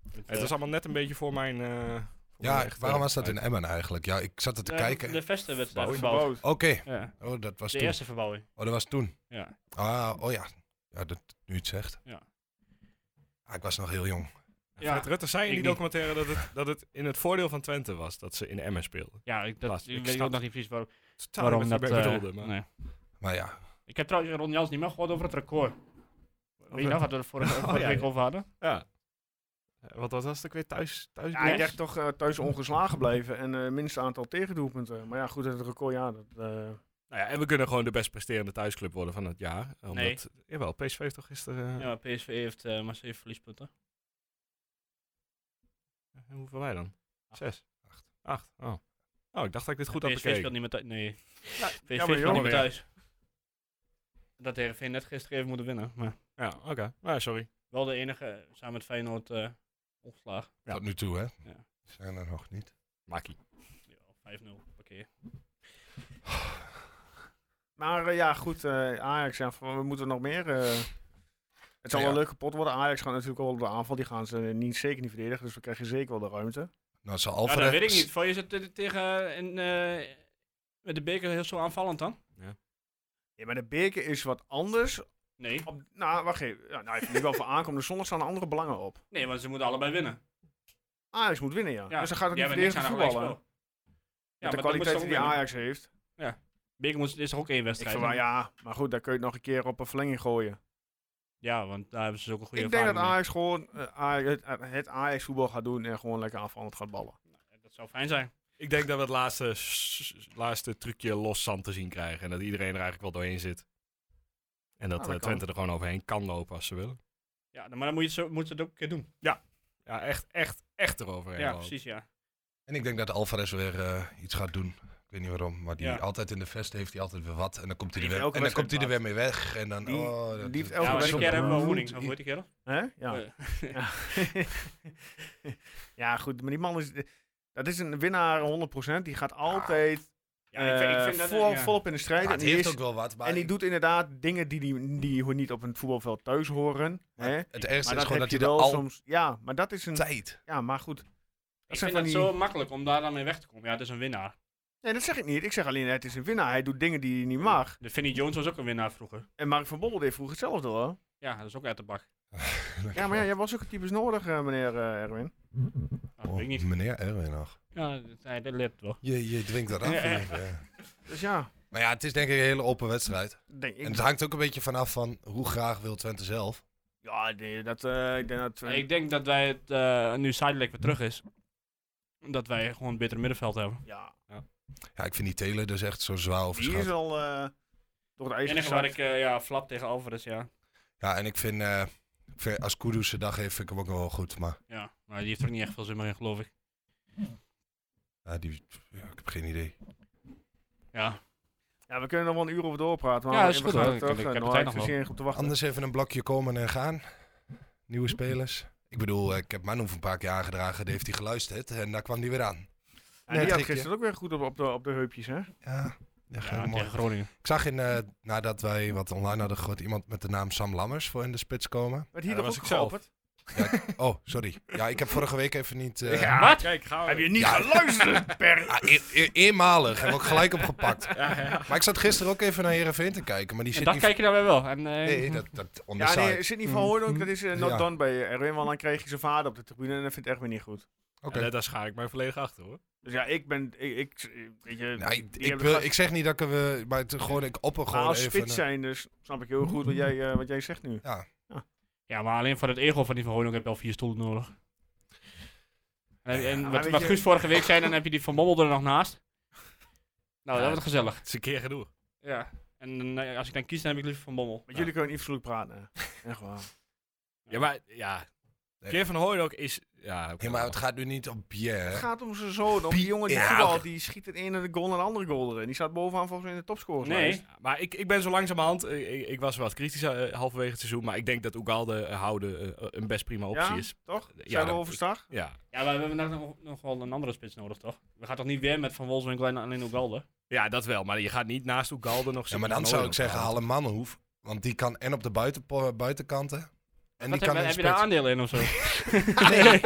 Speaker 5: Met,
Speaker 4: Het
Speaker 5: eh,
Speaker 4: was allemaal net een beetje voor mijn... eh, voor mijn
Speaker 6: Ja,
Speaker 4: echte-
Speaker 6: waarom was dat in Emmen eigenlijk? Ja, ik zat er te
Speaker 5: de-
Speaker 6: kijken.
Speaker 5: eh, De
Speaker 6: Oké.
Speaker 5: vesten werd daar
Speaker 4: Verbouwing.
Speaker 5: verbouwd. Ja,
Speaker 6: Oh, dat was
Speaker 5: de
Speaker 6: toen.
Speaker 5: eerste verbouwing.
Speaker 6: Oh, dat was toen.
Speaker 5: Ja.
Speaker 6: Ah, oh ja. Ja, dat, nu je het zegt.
Speaker 5: Ja.
Speaker 6: Ah, ik was nog heel jong.
Speaker 5: Ja.
Speaker 4: Fred Rutte zei in
Speaker 5: Ik
Speaker 4: die
Speaker 5: niet.
Speaker 4: documentaire dat het, dat het in het voordeel van Twente was dat ze in Emmen speelden.
Speaker 5: Ja, ik, dat,
Speaker 4: Laat-
Speaker 5: ik
Speaker 4: ik
Speaker 5: weet
Speaker 4: snap-
Speaker 5: ook nog niet precies waarom.
Speaker 4: Totaal
Speaker 5: waarom
Speaker 4: niet
Speaker 5: dat
Speaker 4: wat je
Speaker 5: eh,
Speaker 4: bedoelde, maar
Speaker 5: nee.
Speaker 6: Maar ja.
Speaker 5: Ik heb trouwens Ron Jans niet meer gehoord over het record. Weet je
Speaker 4: het-
Speaker 5: nog wat we er vorige,
Speaker 4: Oh,
Speaker 5: vorige
Speaker 4: ja,
Speaker 5: week
Speaker 4: ja.
Speaker 5: over hadden?
Speaker 4: ja. Eh, Wat was dat ook weer thuis? thuis
Speaker 1: Ja, hij
Speaker 5: Yes.
Speaker 1: dacht toch eh, thuis ongeslagen blijven en eh minste aantal tegendoelpunten. Maar ja, goed, het record, ja. Dat, eh,
Speaker 4: Nou ja, en we kunnen gewoon de best presterende thuisclub worden van het jaar. Omdat,
Speaker 5: Nee.
Speaker 4: Jawel, PSV heeft toch gisteren... eh,
Speaker 5: Ja, maar PSV heeft eh, maar 7 verliespunten.
Speaker 4: Hoeveel wij dan?
Speaker 5: Acht.
Speaker 4: Zes? Acht. Acht, oh. Oh, ik dacht dat ik dit goed had
Speaker 5: PSV speelt
Speaker 4: bekeken.
Speaker 5: niet meer thuis. Nee, PSV
Speaker 1: jammer,
Speaker 5: speelt niet
Speaker 1: jammer.
Speaker 5: meer thuis. Dat de RV net gisteren heeft moeten winnen. Maar
Speaker 4: Ja, oké. Nou, sorry.
Speaker 5: wel de enige, samen met Feyenoord, eh ongeslagen.
Speaker 4: Ja.
Speaker 6: Tot nu toe, hè?
Speaker 5: Ja.
Speaker 6: Zijn er nog niet.
Speaker 4: Makkie.
Speaker 5: Ja, 5-0. Oké.
Speaker 1: maar eh, ja, goed, eh, Ajax, ja, van, we moeten nog meer. eh, het zal
Speaker 6: Ja.
Speaker 1: wel leuk kapot worden. Ajax gaat natuurlijk wel op de aanval. Die gaan ze niet, zeker niet verdedigen, dus we krijgen zeker wel de ruimte.
Speaker 6: Nou, zal
Speaker 5: Ja,
Speaker 6: Alvarez...
Speaker 5: dat weet ik niet. Voor je zit eh, tegen, in, eh, met de beker heel zo aanvallend dan?
Speaker 1: Ja, maar de beker is wat anders.
Speaker 5: Nee.
Speaker 1: Op, nou, wacht even. Ja, nou, even nu wel voor aankomende zondag staan andere belangen op.
Speaker 5: Nee, want ze moeten allebei winnen.
Speaker 1: Ajax moet winnen, ja. Dus dan gaat het
Speaker 5: jij
Speaker 1: niet
Speaker 5: bent niks
Speaker 1: verdedigen
Speaker 5: aan een
Speaker 1: voetballen.
Speaker 5: gelijkspel.
Speaker 1: Met de
Speaker 5: maar dan moet je
Speaker 1: kwaliteit
Speaker 5: toch
Speaker 1: die
Speaker 5: winnen.
Speaker 1: Ajax heeft.
Speaker 5: Ja. Bekermonster is toch ook één
Speaker 1: Ik
Speaker 5: wedstrijd?
Speaker 1: vind wel, ja, maar goed, daar kun je het nog een keer op een verlenging gooien.
Speaker 5: Ja, want daar hebben ze ook een goede
Speaker 1: ik denk dat
Speaker 5: ervaring
Speaker 1: Ajax gewoon eh, Aj- het, het Ajax voetbal gaat doen en gewoon lekker aanvallend gaat ballen.
Speaker 5: mee. Dat zou fijn zijn.
Speaker 4: Ik denk dat we het laatste, s- s- laatste trucje los zand te zien krijgen. En dat iedereen er eigenlijk wel doorheen zit. En
Speaker 1: Nou,
Speaker 4: dat,
Speaker 1: dat
Speaker 4: eh,
Speaker 1: kan.
Speaker 4: Twente er gewoon overheen kan lopen als ze willen.
Speaker 5: Ja, maar dan moet je, het zo, moet je het ook een keer doen.
Speaker 4: Ja, echt, echt, echt eroverheen
Speaker 5: Ja,
Speaker 4: lopen.
Speaker 5: precies, ja.
Speaker 6: En ik denk dat Alvarez weer eh, iets gaat doen. Ik weet niet waarom, maar die
Speaker 5: Ja.
Speaker 6: altijd in de vest heeft hij altijd weer wat. En dan komt hij er
Speaker 1: Die
Speaker 6: weer,
Speaker 1: heeft
Speaker 6: en dan
Speaker 1: elke
Speaker 6: komt hij er weer
Speaker 1: wedstrijd
Speaker 6: mee weg. En dan,
Speaker 1: Die-
Speaker 6: oh, dat-
Speaker 1: die heeft
Speaker 6: dat-
Speaker 1: elke
Speaker 5: ja,
Speaker 1: wedstrijd
Speaker 5: maar die
Speaker 1: zo'n
Speaker 5: keer hebben we wel Hoening. Of
Speaker 6: bloed-
Speaker 5: hoe heet die kerel?
Speaker 1: Hè? Ja.
Speaker 5: Eh,
Speaker 1: Ja. ja, goed, maar die man is. Dat is een winnaar 100%. Die gaat altijd
Speaker 5: Ja, ik vind- ik
Speaker 1: eh,
Speaker 5: vind dat-
Speaker 1: vol-
Speaker 5: ja.
Speaker 1: volop in de strijd.
Speaker 6: Ja,
Speaker 1: en,
Speaker 6: het
Speaker 1: die
Speaker 6: heeft
Speaker 1: is-
Speaker 6: ook wel wat, maar
Speaker 1: en die doet inderdaad dingen die, die, die hoe niet op een voetbalveld thuis horen.
Speaker 6: maar
Speaker 1: hè?
Speaker 6: het ergste
Speaker 1: Maar
Speaker 6: is
Speaker 1: dat
Speaker 6: gewoon
Speaker 1: heb
Speaker 6: dat
Speaker 1: je
Speaker 6: hij er
Speaker 1: wel
Speaker 6: altijd...
Speaker 1: soms. Ja, maar dat is een. Ja, maar goed.
Speaker 5: Ik
Speaker 1: zijn
Speaker 5: vind
Speaker 1: van
Speaker 5: het
Speaker 1: die-
Speaker 5: zo makkelijk om daar dan mee weg te komen. Ja, het is een winnaar.
Speaker 1: Nee, dat zeg ik niet. Ik zeg alleen, het is een winnaar. Hij doet dingen die hij niet mag.
Speaker 5: De Vinnie Jones was ook een winnaar vroeger.
Speaker 1: En Mark van Bommel deed vroeger hetzelfde hoor.
Speaker 5: Ja, dat is ook uit de bak.
Speaker 1: Ja, maar ja, jij was ook een types nodig, eh, meneer eh, Erwin.
Speaker 5: Nou, dat weet ik niet.
Speaker 6: Oh, Meneer Erwin nog.
Speaker 5: Ja, dat, nee, dat leert wel.
Speaker 6: Je, je dwingt dat af.
Speaker 5: Ja.
Speaker 6: ja.
Speaker 1: Dus ja,
Speaker 6: Maar ja, het is denk ik een hele open wedstrijd.
Speaker 1: denk ik.
Speaker 6: En het hangt ook een beetje vanaf van hoe graag wil Twente zelf.
Speaker 1: Ja, nee, dat, eh, ik denk dat. eh,
Speaker 5: Ik denk dat wij het, eh, nu Sidelijk weer terug is, dat wij gewoon een beter middenveld hebben.
Speaker 1: ja,
Speaker 6: Ja, ik vind die Telen dus echt zo zwaar
Speaker 1: die is
Speaker 6: overschat.
Speaker 1: al eh, door de
Speaker 5: Het
Speaker 1: ijs
Speaker 5: enige waar
Speaker 1: gezakt.
Speaker 5: ik, eh, ja, flap tegen Alvarez, ja.
Speaker 6: Ja, en ik vind, eh, ik vind als Kudus zijn dag heeft, vind ik hem ook wel goed. Maar
Speaker 5: Ja, maar die heeft er ook niet echt veel zin meer in, geloof ik.
Speaker 6: ja, die, ja, ik heb geen idee.
Speaker 5: Ja,
Speaker 1: Ja, we kunnen er wel een uur over doorpraten, maar
Speaker 5: Ja, dat is
Speaker 1: we
Speaker 5: goed,
Speaker 1: gaan
Speaker 5: hoor.
Speaker 1: het
Speaker 5: Ik-
Speaker 1: terug.
Speaker 5: ik heb de
Speaker 1: Nou,
Speaker 5: tijd
Speaker 1: ik
Speaker 5: nog wel.
Speaker 1: zit hier goed te wachten.
Speaker 6: Anders even een blokje komen en gaan. Nieuwe spelers. Ik bedoel, eh, ik heb Manu een paar keer aangedragen. Die heeft hij geluisterd en daar kwam hij weer aan.
Speaker 1: En
Speaker 6: Nee,
Speaker 1: die had
Speaker 6: gek,
Speaker 1: gisteren ook weer goed op, op, de, op de heupjes, hè?
Speaker 6: Ja, ja,
Speaker 5: ja
Speaker 6: mooi.
Speaker 5: tegen Groningen.
Speaker 6: Ik zag in, eh, nadat wij wat online hadden gegooid, iemand met de naam Sam Lammers voor in de spits komen.
Speaker 1: Werd hier
Speaker 4: dat
Speaker 1: toch
Speaker 4: was
Speaker 1: ook
Speaker 4: ik zelf.
Speaker 1: geopperd?
Speaker 6: Oh, sorry. Ja, ik heb vorige week even niet... eh,
Speaker 1: Ja,
Speaker 5: Wat?
Speaker 4: Kijk, gaan we.
Speaker 1: Heb je niet
Speaker 6: Ja.
Speaker 1: geluisterd, Per?
Speaker 6: Ah, e- e- eenmalig. Heb ik ook gelijk opgepakt. Maar ik zat gisteren ook even naar Heerenveen te kijken. Maar die
Speaker 5: En
Speaker 6: zit
Speaker 5: dat
Speaker 6: niet...
Speaker 5: kijk je dan weer wel. En, eh,
Speaker 6: Nee, dat, dat on the
Speaker 1: Ja,
Speaker 6: side.
Speaker 1: nee, zit niet van Hoornhoek, dat is eh, not
Speaker 6: Mm. Ja.
Speaker 1: done bij eh, Erwin, want dan kreeg je zijn vader op de tribune en dat vindt Erwin niet goed.
Speaker 6: Oké.
Speaker 4: daar schaar ik mij volledig achter hoor.
Speaker 1: Dus ja, ik ben, ik, ik weet je,
Speaker 6: Nou,
Speaker 1: die
Speaker 6: ik, ik,
Speaker 1: hebben
Speaker 6: wil,
Speaker 1: gast-
Speaker 6: ik zeg niet dat ik we, maar het, gewoon, ik opper
Speaker 1: maar
Speaker 6: gewoon
Speaker 1: als
Speaker 6: even.
Speaker 1: spits zijn, dus snap ik heel goed wat jij, eh, wat jij zegt nu.
Speaker 5: Ja, maar alleen voor het ego van die Van Hooydonk heb je al vier stoelen nodig. En, en
Speaker 1: maar
Speaker 5: wat,
Speaker 1: weet
Speaker 5: wat
Speaker 1: je-
Speaker 5: Guus vorige week zei, dan heb je die Van Bommel er nog naast. Nou,
Speaker 4: Ja.
Speaker 5: dat wordt gezellig.
Speaker 4: Het is een keer genoeg.
Speaker 5: Ja. En eh, als ik dan kies, dan heb ik liever Van Bommel.
Speaker 1: Want jullie kunnen niet vrolijk praten. hè. Echt waar.
Speaker 4: Ja, maar ja.
Speaker 6: Nee.
Speaker 4: Keer van Hooydonk is. Ja, oké.
Speaker 6: Ja, maar het gaat nu niet om Pierre.
Speaker 1: Het
Speaker 6: hè?
Speaker 1: gaat om zijn zoon, om die jongen die
Speaker 6: Ja,
Speaker 1: voetbal,
Speaker 6: oké.
Speaker 1: die schiet het ene de goal en de andere goal erin. Die staat bovenaan volgens mij in de topscorers.
Speaker 5: Nee.
Speaker 4: Ja, Maar ik, ik ben zo langzamerhand, eh, ik, ik was wat kritisch eh, halverwege het seizoen, maar ik denk dat Oegalde eh, houden eh, een best prima optie
Speaker 1: Ja?
Speaker 4: is.
Speaker 1: toch?
Speaker 4: Ja,
Speaker 1: Zijn we
Speaker 4: dat-
Speaker 1: overstag?
Speaker 4: Ja.
Speaker 5: Ja, maar we hebben nog- nog, nog wel een andere spits nodig, toch? We gaan toch niet weer met Van Wolfswinkel en alleen Ugalde?
Speaker 4: ja, dat wel, maar je gaat niet naast Oegalde nog
Speaker 6: Ja,
Speaker 4: zitten
Speaker 6: maar dan
Speaker 4: van
Speaker 6: zou ik
Speaker 4: Hooydonk
Speaker 6: zeggen,
Speaker 4: halen.
Speaker 6: haal een Mannenhoef. Want die kan en op de buiten, buitenkanten. En
Speaker 5: Wat
Speaker 6: die kan
Speaker 5: heb,
Speaker 6: in
Speaker 5: heb je
Speaker 6: spits.
Speaker 5: daar aandelen in of zo?
Speaker 6: Nee,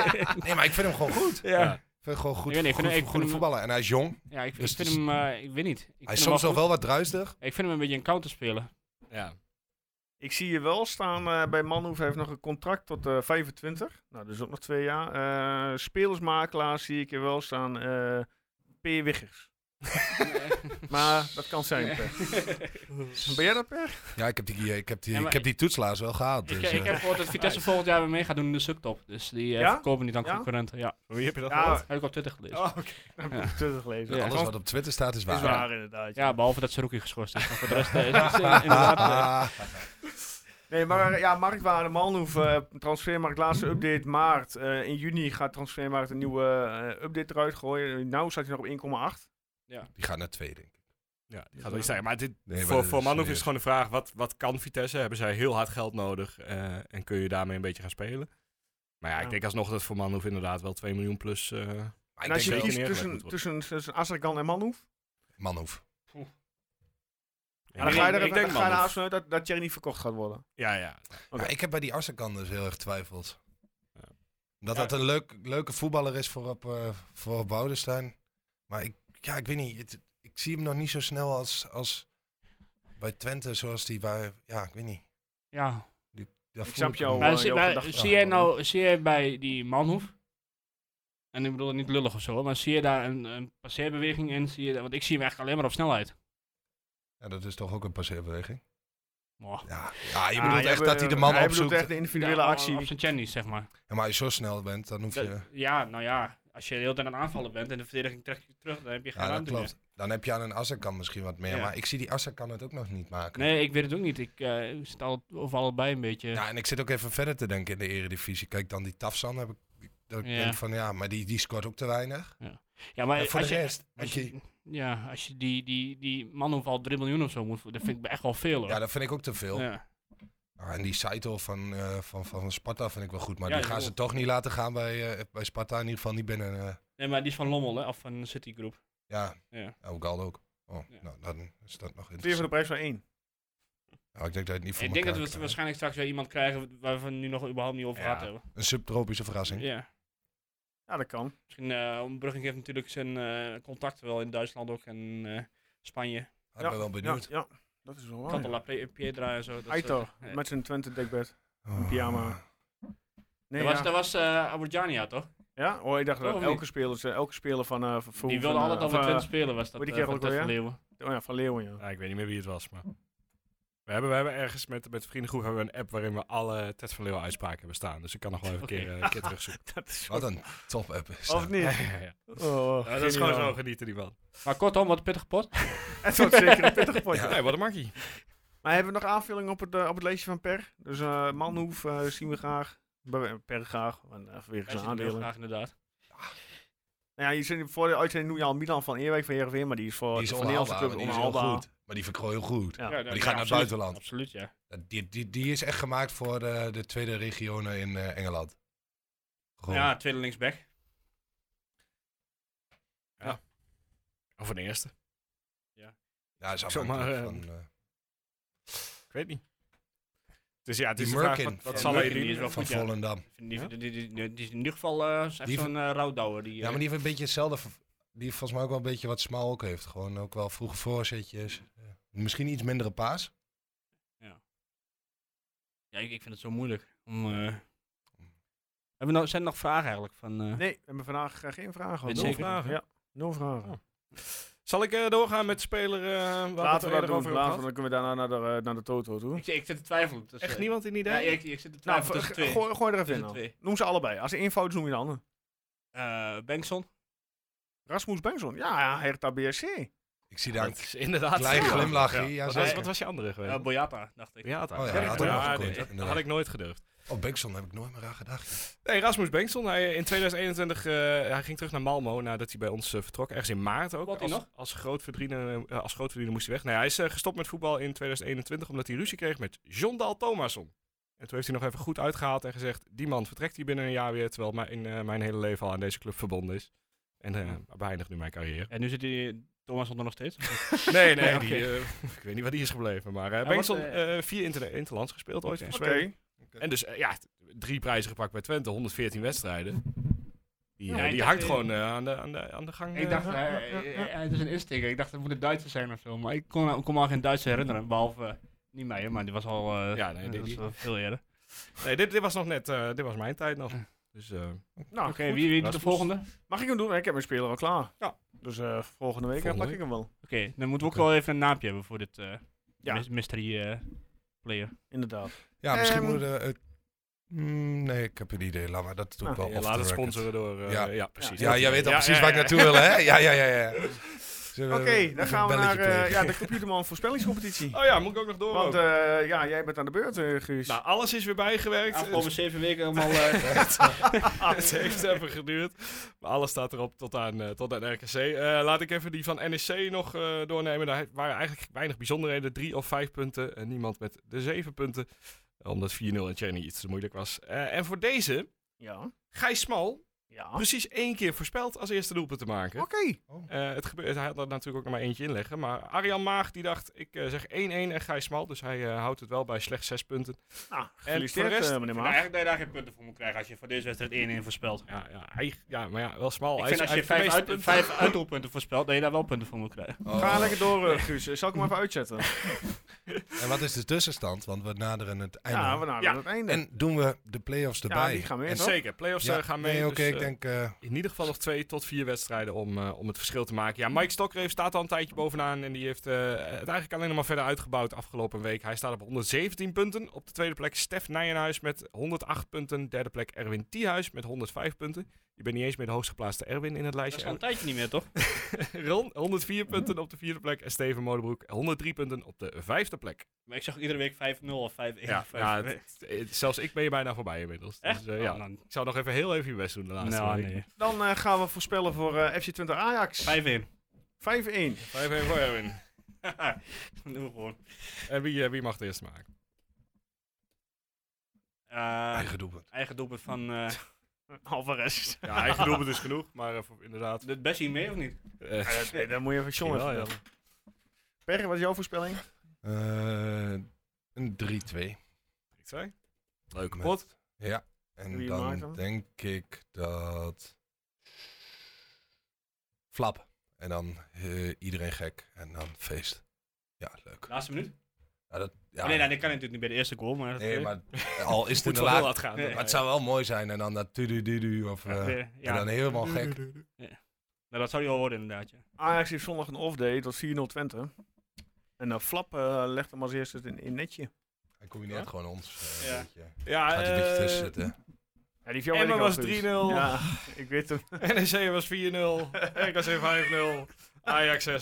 Speaker 6: nee, maar ik vind hem gewoon goed. Ik
Speaker 5: ja.
Speaker 6: vind hem gewoon
Speaker 5: Ik
Speaker 6: goed,
Speaker 5: weet niet, ik
Speaker 6: goed,
Speaker 5: vind- ik
Speaker 6: goede
Speaker 5: vind hem-
Speaker 6: voetballer. En hij is jong.
Speaker 5: Ja, ik, ik
Speaker 6: Dus
Speaker 5: vind
Speaker 6: het
Speaker 5: hem, eh, ik weet niet. Ik vind
Speaker 6: Hij
Speaker 5: hem
Speaker 6: is soms nog
Speaker 5: goed.
Speaker 6: wel wat druistig.
Speaker 5: Ik vind hem een beetje een counter spelen.
Speaker 4: Ja.
Speaker 1: Ik zie je wel staan eh, bij Manhoef. Hij heeft nog een contract tot eh 25. Nou, dus ook nog twee jaar. Eh, spelersmakelaar zie ik je wel staan. eh P. Wiggers. Maar dat kan zijn, Per. Ben jij dat, Per?
Speaker 6: Ja, ik heb die, ik heb die,
Speaker 5: Ja, maar-
Speaker 6: ik heb die toetslaars wel gehaald.
Speaker 5: ik,
Speaker 6: Dus,
Speaker 5: ik
Speaker 6: eh,
Speaker 5: heb gehoord dat Vitesse volgend jaar weer mee gaat doen in de subtop. Dus die eh
Speaker 1: Ja?
Speaker 5: verkopen niet aan
Speaker 1: Ja? Oh.
Speaker 5: concurrenten. Ja,
Speaker 4: Wie heb je dat
Speaker 1: Ja,
Speaker 5: heb ik op Twitter gelezen.
Speaker 1: dat heb ik terug gelezen.
Speaker 5: Ja,
Speaker 6: alles wat op Twitter staat is waar.
Speaker 1: is waar, inderdaad.
Speaker 5: Ja, behalve dat Saruki geschorst is. Maar voor de rest eh, is het eh, inderdaad... eh,
Speaker 6: Ah,
Speaker 1: Nee, maar eh, ja, marktwaarde Manhoef, eh, transfermarkt, laatste update maart. Eh, in juni gaat transfermarkt een nieuwe eh, update eruit gooien. Nou staat hij nog op 1,8.
Speaker 6: die gaat naar twee, denk ik.
Speaker 4: Ja, die gaat wel iets zeggen. Maar, dit,
Speaker 6: Nee, maar
Speaker 4: voor,
Speaker 6: dat
Speaker 4: voor
Speaker 6: is
Speaker 4: Manhoef is
Speaker 6: serieus.
Speaker 4: het gewoon de vraag, wat, wat kan Vitesse? Hebben zij heel hard geld nodig eh, en kun je daarmee een beetje gaan spelen? Maar ja, ik
Speaker 1: Ja.
Speaker 4: denk alsnog dat voor Manhoef inderdaad wel 2 miljoen plus... eh,
Speaker 6: Maar
Speaker 1: En
Speaker 6: ik
Speaker 1: als
Speaker 6: denk
Speaker 1: Nou, je
Speaker 6: wel,
Speaker 1: kiest
Speaker 4: dat hij neergelegd
Speaker 1: tussen,
Speaker 4: moet worden.
Speaker 1: tussen, tussen Azarkan en Manhoef,
Speaker 6: Manhoef.
Speaker 1: ja, dan ga je er
Speaker 4: ik
Speaker 1: dan ga je er
Speaker 4: Manhoef.
Speaker 1: haast vanuit dat, dat Thierry niet verkocht gaat worden.
Speaker 4: Ja, ja.
Speaker 1: Oké.
Speaker 6: Ja, ik heb bij die Arsenkan dus heel erg getwijfeld.
Speaker 4: Ja.
Speaker 6: Dat dat een leuk, leuke voetballer is voor op, eh, voor op Boudestein. Maar ik, ja, ik weet niet. het- ik zie hem nog niet zo snel als, als bij Twente. Zoals die bij... Ja, ik weet niet.
Speaker 5: ja.
Speaker 6: Daar
Speaker 1: Ik
Speaker 6: voel
Speaker 1: snap
Speaker 6: hem
Speaker 1: jou.
Speaker 6: niet.
Speaker 5: Maar, zie,
Speaker 1: jouw
Speaker 5: maar
Speaker 1: gedachten
Speaker 5: zie jij
Speaker 1: gewoon,
Speaker 5: nou zie jij bij die Manhoef... En ik bedoel niet lullig of zo, maar zie je daar een, een passeerbeweging in? Zie je, daar- want ik zie hem eigenlijk alleen maar op snelheid.
Speaker 6: Ja, dat is toch ook een passeerbeweging.
Speaker 5: Moh.
Speaker 6: Ja, ja je
Speaker 1: Ah,
Speaker 6: bedoelt
Speaker 1: jij
Speaker 6: echt
Speaker 1: be-
Speaker 6: dat hij de man
Speaker 1: Hij
Speaker 6: opzoekt.
Speaker 1: bedoelt echt de individuele
Speaker 5: Ja,
Speaker 1: actie.
Speaker 5: Op zijn Chinese, zeg maar.
Speaker 6: Ja, maar als je zo snel bent, dan hoef je...
Speaker 5: Dat- ja, nou ja. Als je de hele tijd aan het aanvallen bent en de verdediging trekt je terug, dan heb je geen
Speaker 6: Ja, dat
Speaker 5: ruimte
Speaker 6: klopt. Dan heb je aan een Assakan misschien wat meer.
Speaker 5: Ja.
Speaker 6: Maar ik zie die Assakan het ook nog niet maken.
Speaker 5: meer. Nee, ik weet het ook niet. Ik eh, zit al over allebei een beetje...
Speaker 6: Ja, en ik zit ook even verder te denken in de eredivisie. Kijk, dan die Tafsan heb ik... Dat ik
Speaker 5: Ja.
Speaker 6: denk van, ja, maar die, die scoort ook te weinig.
Speaker 5: Ja, maar
Speaker 6: En voor de
Speaker 5: als je,
Speaker 6: rest... want
Speaker 5: als
Speaker 6: je,
Speaker 5: je, ja, als je die, die, die man hoeveel 3 miljoen of zo moet... Dat vind ik echt wel veel, hoor.
Speaker 6: ja, dat vind ik ook te veel.
Speaker 5: Ja.
Speaker 6: Ah, en die Saito van, eh, van, van Sparta vind ik wel goed. Maar
Speaker 5: Ja,
Speaker 6: die gaan
Speaker 5: joh.
Speaker 6: ze toch niet laten gaan bij, eh, bij Sparta. In ieder geval niet binnen... eh,
Speaker 5: Nee, maar die is van Lommel, hè? Of van City Group.
Speaker 6: ja,
Speaker 5: Ja.
Speaker 6: ook al ook. Oh,
Speaker 5: Ja.
Speaker 6: nou, dan is
Speaker 1: Twee
Speaker 6: dat nog
Speaker 1: van de
Speaker 6: interessant.
Speaker 1: prijs van één.
Speaker 6: Ja, ik denk dat je het niet voor
Speaker 5: ik denk dat we het
Speaker 6: elkaar krijgt.
Speaker 5: waarschijnlijk straks weer iemand krijgen waar we nu nog überhaupt niet over
Speaker 6: Ja.
Speaker 5: gehad hebben.
Speaker 6: Een subtropische verrassing.
Speaker 5: Ja.
Speaker 1: Ja, dat kan.
Speaker 5: Misschien, eh Brugging heeft natuurlijk zijn eh, contacten wel in Duitsland ook en eh, Spanje.
Speaker 6: Ik
Speaker 1: Ja,
Speaker 6: ben wel benieuwd.
Speaker 1: Ja, Oh, ja. dat is wel waar.
Speaker 5: Cantala Pe- Piedra en zo. Dat,
Speaker 1: Aito,
Speaker 5: eh, eh,
Speaker 1: met zijn Twente dekbed.
Speaker 6: Oh.
Speaker 1: pyjama. Nee,
Speaker 5: dat was,
Speaker 1: ja.
Speaker 5: dat was eh Abidjania, toch?
Speaker 1: ja? Oh, ik dacht dat
Speaker 5: Oh, nee.
Speaker 1: elke speler, ze- elke speler van... eh van
Speaker 5: die
Speaker 1: van,
Speaker 5: wilde
Speaker 1: eh,
Speaker 5: altijd al
Speaker 1: van,
Speaker 5: met Twente spelen, was dat
Speaker 1: hoe die
Speaker 5: eh,
Speaker 1: kerel
Speaker 5: van
Speaker 1: ook
Speaker 5: Ted van
Speaker 1: alweer?
Speaker 5: Leeuwen.
Speaker 1: eh, oh ja, van Leeuwen, ja.
Speaker 4: Ja, Nou, ik weet niet meer wie het was, maar... We hebben, we hebben ergens met, met de vriendengroep hebben we een app waarin we alle Ted van Leeuwen uitspraken hebben staan. Dus ik kan nog wel even
Speaker 5: Oké.
Speaker 4: een, keer, eh, een keer terugzoeken.
Speaker 1: Dat is
Speaker 6: Wat een top app is
Speaker 1: Of
Speaker 6: dat.
Speaker 4: Ja,
Speaker 1: niet?
Speaker 4: ja, ja.
Speaker 1: Oh,
Speaker 4: Ja, dat is gewoon
Speaker 1: geniaal.
Speaker 4: zo genieten, die man.
Speaker 5: Maar kortom, wat een pittige pot.
Speaker 1: Het wordt zeker een pittig potje.
Speaker 4: Nee, wat een makkie.
Speaker 1: Maar hebben we nog aanvulling op het, eh, op het leesje van Per? Dus eh Manhoef eh, zien we graag. Be- Per graag, want eh, vanwege zijn
Speaker 5: Hij zit hem heel
Speaker 1: aandelen.
Speaker 5: graag inderdaad.
Speaker 1: Nou ja, je zit voor de uitzending noem je al Milan van Eerwijk van Heerenveen, maar die is voor
Speaker 6: Die is
Speaker 1: voor Nederlandse
Speaker 6: onhaalbaar, maar
Speaker 1: club
Speaker 6: die is heel
Speaker 1: onhaalbaar.
Speaker 6: goed. Maar die verkrooi heel goed.
Speaker 1: Ja.
Speaker 5: Ja,
Speaker 6: Maar die
Speaker 5: ja,
Speaker 6: gaat naar
Speaker 5: absoluut.
Speaker 6: buitenland.
Speaker 5: Absoluut, ja.
Speaker 6: Die, die, die is echt gemaakt voor de, de tweede regionen in eh, Engeland. Gewoon.
Speaker 5: Ja, tweede linksback.
Speaker 4: Of een eerste.
Speaker 6: Ja, is
Speaker 4: Zomaar,
Speaker 6: afhankelijk
Speaker 4: eh,
Speaker 6: van, eh,
Speaker 4: Ik weet niet. Dus ja, het
Speaker 6: Die
Speaker 4: is de vraag,
Speaker 6: Merkin
Speaker 4: wat, wat
Speaker 6: van
Speaker 4: zal hij
Speaker 5: Merkin, die is
Speaker 4: doen?
Speaker 5: wel
Speaker 6: van
Speaker 5: goed, ja.
Speaker 6: Volendam.
Speaker 5: Die, die, die, die- die- die is in ieder geval eh, echt
Speaker 6: Die
Speaker 5: zo'n eh rouwdouwer. Die,
Speaker 6: Ja, maar die heeft een beetje hetzelfde. v- Die heeft volgens mij ook wel een beetje wat Smaal ook heeft. Gewoon ook wel vroege voorzetjes. Ja. Misschien iets mindere paas.
Speaker 5: Ja, ik, ik vind het zo moeilijk. Om, eh, Hebben we nou, zijn er nog vragen eigenlijk? Van, eh,
Speaker 1: Nee, we hebben vandaag eh, geen vragen.
Speaker 5: Met
Speaker 1: Nul
Speaker 5: zeker.
Speaker 1: vragen. Ja, nul vragen.
Speaker 4: Oh, Zal ik eh, doorgaan met de speler eh waar
Speaker 1: laten we dat
Speaker 4: het er
Speaker 1: doen. Laten
Speaker 4: over hebben
Speaker 1: we,
Speaker 4: gehad?
Speaker 1: dan kunnen we daarna naar de, eh, naar de Toto toe.
Speaker 5: ik, ik zit te twijfelen. tussen-
Speaker 4: Echt niemand in
Speaker 5: Ja,
Speaker 4: idee?
Speaker 5: ik, ik zit te
Speaker 1: Nou,
Speaker 5: twijfelen tussen
Speaker 1: v-
Speaker 5: twee.
Speaker 1: gooi, gooi er even
Speaker 5: Tussen
Speaker 1: in dan.
Speaker 5: twee.
Speaker 1: Noem ze allebei. Als er één fout is, noem je de ander.
Speaker 5: Eh, Bengtson.
Speaker 1: Rasmus Bengtson. Ja, ja, Hertha BSC.
Speaker 6: Ik zie daar
Speaker 4: Dat
Speaker 6: een
Speaker 4: is inderdaad...
Speaker 6: klein
Speaker 4: Ja.
Speaker 6: glimlachje. Ja,
Speaker 4: Wat,
Speaker 6: zeker.
Speaker 4: was, wat was je andere geweest?
Speaker 5: eh Boyata, dacht ik.
Speaker 4: Ja, had hij.
Speaker 6: Oh ja,
Speaker 4: Ja,
Speaker 6: had
Speaker 4: ja,
Speaker 6: hij nog
Speaker 4: ja,
Speaker 6: gekund,
Speaker 4: nee, dat
Speaker 6: inderdaad.
Speaker 4: had ik nooit gedurfd.
Speaker 6: Oh, Bengtson heb ik nooit meer aan gedacht.
Speaker 4: Nee, Rasmus Bengtson, hij, eh, in 2021 eh, hij ging terug naar Malmo nadat hij bij ons eh, vertrok. Ergens in maart ook.
Speaker 5: Wat hij
Speaker 4: als,
Speaker 5: nog?
Speaker 4: Als grootverdiener, eh, als grootverdiener moest hij weg. Nee, hij is eh, gestopt met voetbal in 2021 omdat hij ruzie kreeg met John Dal Thomasson. En toen heeft hij nog even goed uitgehaald en gezegd, die man vertrekt hier binnen een jaar weer, terwijl mijn, eh, mijn hele leven al aan deze club verbonden is. En eh beëindigt nu mijn carrière.
Speaker 5: En nu zit die Thomas onder nog steeds.
Speaker 4: Nee, nee,
Speaker 5: Ja,
Speaker 4: die,
Speaker 5: oké.
Speaker 4: eh, ik weet niet waar die is gebleven. Maar eh
Speaker 5: wat,
Speaker 4: Bengtson,
Speaker 5: eh,
Speaker 4: eh, vier inter- interlands gespeeld ooit. voor
Speaker 1: Oké.
Speaker 4: Zweden. En dus eh, ja, t- drie prijzen gepakt bij Twente, 114 wedstrijden. Die, eh,
Speaker 5: Ja, ik
Speaker 4: die
Speaker 5: dacht,
Speaker 4: hangt
Speaker 5: eh,
Speaker 4: gewoon eh, aan, de, aan, de, aan de gang.
Speaker 5: ik
Speaker 4: eh,
Speaker 5: dacht,
Speaker 1: ja,
Speaker 5: eh,
Speaker 1: ja, ja, ja.
Speaker 5: eh, het is een insteker. Ik dacht, het moet een Duitser zijn of zo. Maar ik kon, ik kon me al geen Duitser herinneren. Behalve, eh, niet mij, hè, maar die was al eh,
Speaker 4: Ja, nee,
Speaker 5: dat
Speaker 4: die-
Speaker 5: was
Speaker 4: die-
Speaker 5: wel veel eerder.
Speaker 4: Nee, dit, dit was nog net, eh, dit was mijn tijd nog. Dus eh,
Speaker 1: Nou,
Speaker 5: Oké,
Speaker 1: goed.
Speaker 5: wie, wie doet de
Speaker 4: Rasmus.
Speaker 5: volgende? Oké,
Speaker 1: Mag ik hem doen? Ik heb mijn speler al klaar.
Speaker 4: Ja.
Speaker 1: Dus eh, volgende week eh,
Speaker 4: Volgende
Speaker 1: pak ik hem wel.
Speaker 5: dan moeten we ook
Speaker 4: Oké.
Speaker 5: wel even een naampje hebben voor dit eh,
Speaker 1: Ja.
Speaker 5: mys- mystery eh, player.
Speaker 1: Inderdaad.
Speaker 6: Ja, misschien
Speaker 1: Ehm.
Speaker 6: moeten we... eh, mm, nee, ik heb een idee. Laat maar, dat doe ik
Speaker 1: Ah,
Speaker 6: wel
Speaker 4: Nou, ja,
Speaker 6: off
Speaker 4: laat
Speaker 6: the
Speaker 4: het
Speaker 6: record.
Speaker 4: eh, sponsoren door. eh,
Speaker 6: Ja.
Speaker 4: ja. precies.
Speaker 6: Ja, jij weet al
Speaker 4: Ja,
Speaker 6: precies
Speaker 4: ja,
Speaker 6: waar ik
Speaker 4: ja.
Speaker 6: naartoe wil, hè? Ja, ja, ja, ja. Zullen
Speaker 1: Oké,
Speaker 6: we een
Speaker 1: dan gaan we naar
Speaker 6: belletje
Speaker 1: eh,
Speaker 6: plegen?
Speaker 1: ja, de computerman voorspellingscompetitie.
Speaker 4: Oh ja, moet ik ook nog door?
Speaker 1: Want
Speaker 4: ook?
Speaker 1: eh, ja, jij bent aan de beurt, eh, Guus.
Speaker 4: nou, alles is weer bijgewerkt.
Speaker 5: Afgelopen zeven weken eh, allemaal...
Speaker 4: het heeft even geduurd. Maar alles staat erop tot aan, eh, tot aan RKC. Eh, laat ik even die van NEC nog eh, doornemen. Daar waren eigenlijk weinig bijzonderheden. Drie of vijf punten. En niemand met de zeven punten. Omdat 4-0 en Cherny iets te moeilijk was. Eh, en voor deze,
Speaker 1: Ja.
Speaker 4: Gijs Smal.
Speaker 1: Ja.
Speaker 5: Oh.
Speaker 1: Oké.
Speaker 4: Precies één keer voorspeld als eerste doelpunt te maken. Eh, het gebeurt, hij had er natuurlijk ook nog maar eentje inleggen. Maar Arjan Maag die dacht, ik eh, zeg 1-1 en Gijs Smal. Dus hij eh, houdt het wel bij slechts zes punten.
Speaker 1: Nou, gefeliciteerd,
Speaker 4: voor de rest-
Speaker 1: eh, meneer Maag.
Speaker 5: eigenlijk dat je daar geen punten voor moet krijgen als je voor deze wedstrijd 1-1 voorspelt.
Speaker 4: Ja, ja, hij, ja maar ja, wel Smal.
Speaker 5: Ik
Speaker 4: Hij
Speaker 5: vind
Speaker 4: is-
Speaker 5: als je
Speaker 4: hij heeft
Speaker 5: vijf,
Speaker 4: de meeste
Speaker 5: uit, vijf
Speaker 1: Oh.
Speaker 5: uitroeppunten voorspelt, dat je daar wel punten voor moet krijgen.
Speaker 1: Ga lekker door, eh, Guus. Eh, Zal ik hem even uitzetten?
Speaker 6: En wat is de tussenstand? Want we naderen het einde.
Speaker 1: Ja, we naderen
Speaker 4: Ja.
Speaker 1: het einde.
Speaker 6: En doen we de play-offs
Speaker 1: ja,
Speaker 6: erbij?
Speaker 1: die gaan mee,
Speaker 4: En
Speaker 1: toch?
Speaker 4: zeker, play-offs
Speaker 6: Ja,
Speaker 4: eh, gaan mee.
Speaker 6: Nee, oké,
Speaker 4: dus,
Speaker 6: ik
Speaker 4: eh,
Speaker 6: denk... eh,
Speaker 4: In ieder geval nog twee tot vier wedstrijden om, eh, om het verschil te maken. Ja, Mike Stokker staat al een tijdje bovenaan. En die heeft eh, het eigenlijk alleen nog maar verder uitgebouwd afgelopen week. Hij staat op 117 punten. Op de tweede plek Stef Nijenhuis met 108 punten. Derde plek Erwin Thiehuis met 105 punten. Je bent niet eens meer de hoogst geplaatste Erwin in het
Speaker 5: Dat is al
Speaker 4: lijstje.
Speaker 5: een tijdje niet meer, toch?
Speaker 4: Ron, 104 punten op de vierde plek. En Steven Molenbroek, 103 punten op de vijfde plek.
Speaker 5: Maar ik zag iedere week 5-0 of 5-1.
Speaker 4: Ja, ja, het- het- zelfs ik ben je bijna voorbij inmiddels.
Speaker 5: Echt?
Speaker 4: Dus, eh, ja.
Speaker 5: Oh,
Speaker 4: Ik zou nog even heel even je best doen de
Speaker 5: nou,
Speaker 4: laatste
Speaker 5: nou,
Speaker 4: week.
Speaker 5: nee.
Speaker 1: Dan eh, gaan we voorspellen voor eh, FC Twente Ajax.
Speaker 5: 5-1.
Speaker 1: 5-1.
Speaker 4: 5-1 voor Erwin.
Speaker 5: Doe we gewoon.
Speaker 4: En wie, eh, wie mag het eerst maken?
Speaker 5: Eh,
Speaker 6: eigen doelpunt.
Speaker 5: eigen doelpunt van... eh
Speaker 1: Alvarez.
Speaker 4: Ja, eigen doelpunt is genoeg, maar eh, voor- inderdaad.
Speaker 5: doet Bessie mee of niet?
Speaker 4: eh,
Speaker 1: Ja, dat- nee, dan moet je even John even bellen. Per, wat is jouw voorspelling?
Speaker 6: Eh, een 3-2.
Speaker 4: Ik zei. Leuke
Speaker 6: Met-
Speaker 4: pot.
Speaker 6: Ja, en
Speaker 1: Wie maakt
Speaker 6: dan
Speaker 1: hem?
Speaker 6: denk ik dat... Flap. En dan eh, iedereen gek. En dan feest. Ja, leuk.
Speaker 5: Laatste minuut?
Speaker 6: Ja, dat, ja.
Speaker 5: Oh, nee, nou, dat kan natuurlijk niet bij de eerste goal, maar...
Speaker 6: Nee,
Speaker 5: eh,
Speaker 6: maar al is het in
Speaker 4: Moet
Speaker 6: de
Speaker 4: wel heel
Speaker 6: laatste...
Speaker 4: laat gaan.
Speaker 5: Nee.
Speaker 4: dan.
Speaker 6: Maar het zou wel mooi zijn. En dan dat tudu-dudu. Of, eh,
Speaker 5: eh,
Speaker 6: En
Speaker 5: ja,
Speaker 6: dan helemaal gek.
Speaker 5: nou, dat zou hij al worden inderdaad, ja.
Speaker 1: Ajax heeft zondag een off-day tot 4-0 Twente. En eh, Flap eh, legt hem als eerste in, in netje.
Speaker 6: Hij combineert
Speaker 4: Ja?
Speaker 6: gewoon ons. eh,
Speaker 5: Ja.
Speaker 6: een beetje.
Speaker 4: Ja,
Speaker 6: Gaat er een beetje
Speaker 4: eh,
Speaker 6: tussen zitten.
Speaker 1: Ja, die heeft jou
Speaker 4: Emma
Speaker 1: weet ik wel
Speaker 4: was
Speaker 1: goed.
Speaker 4: 3-0.
Speaker 1: Ja, ik weet hem.
Speaker 4: NEC E was 4-0. RKC 5-0. Ajax 6-0.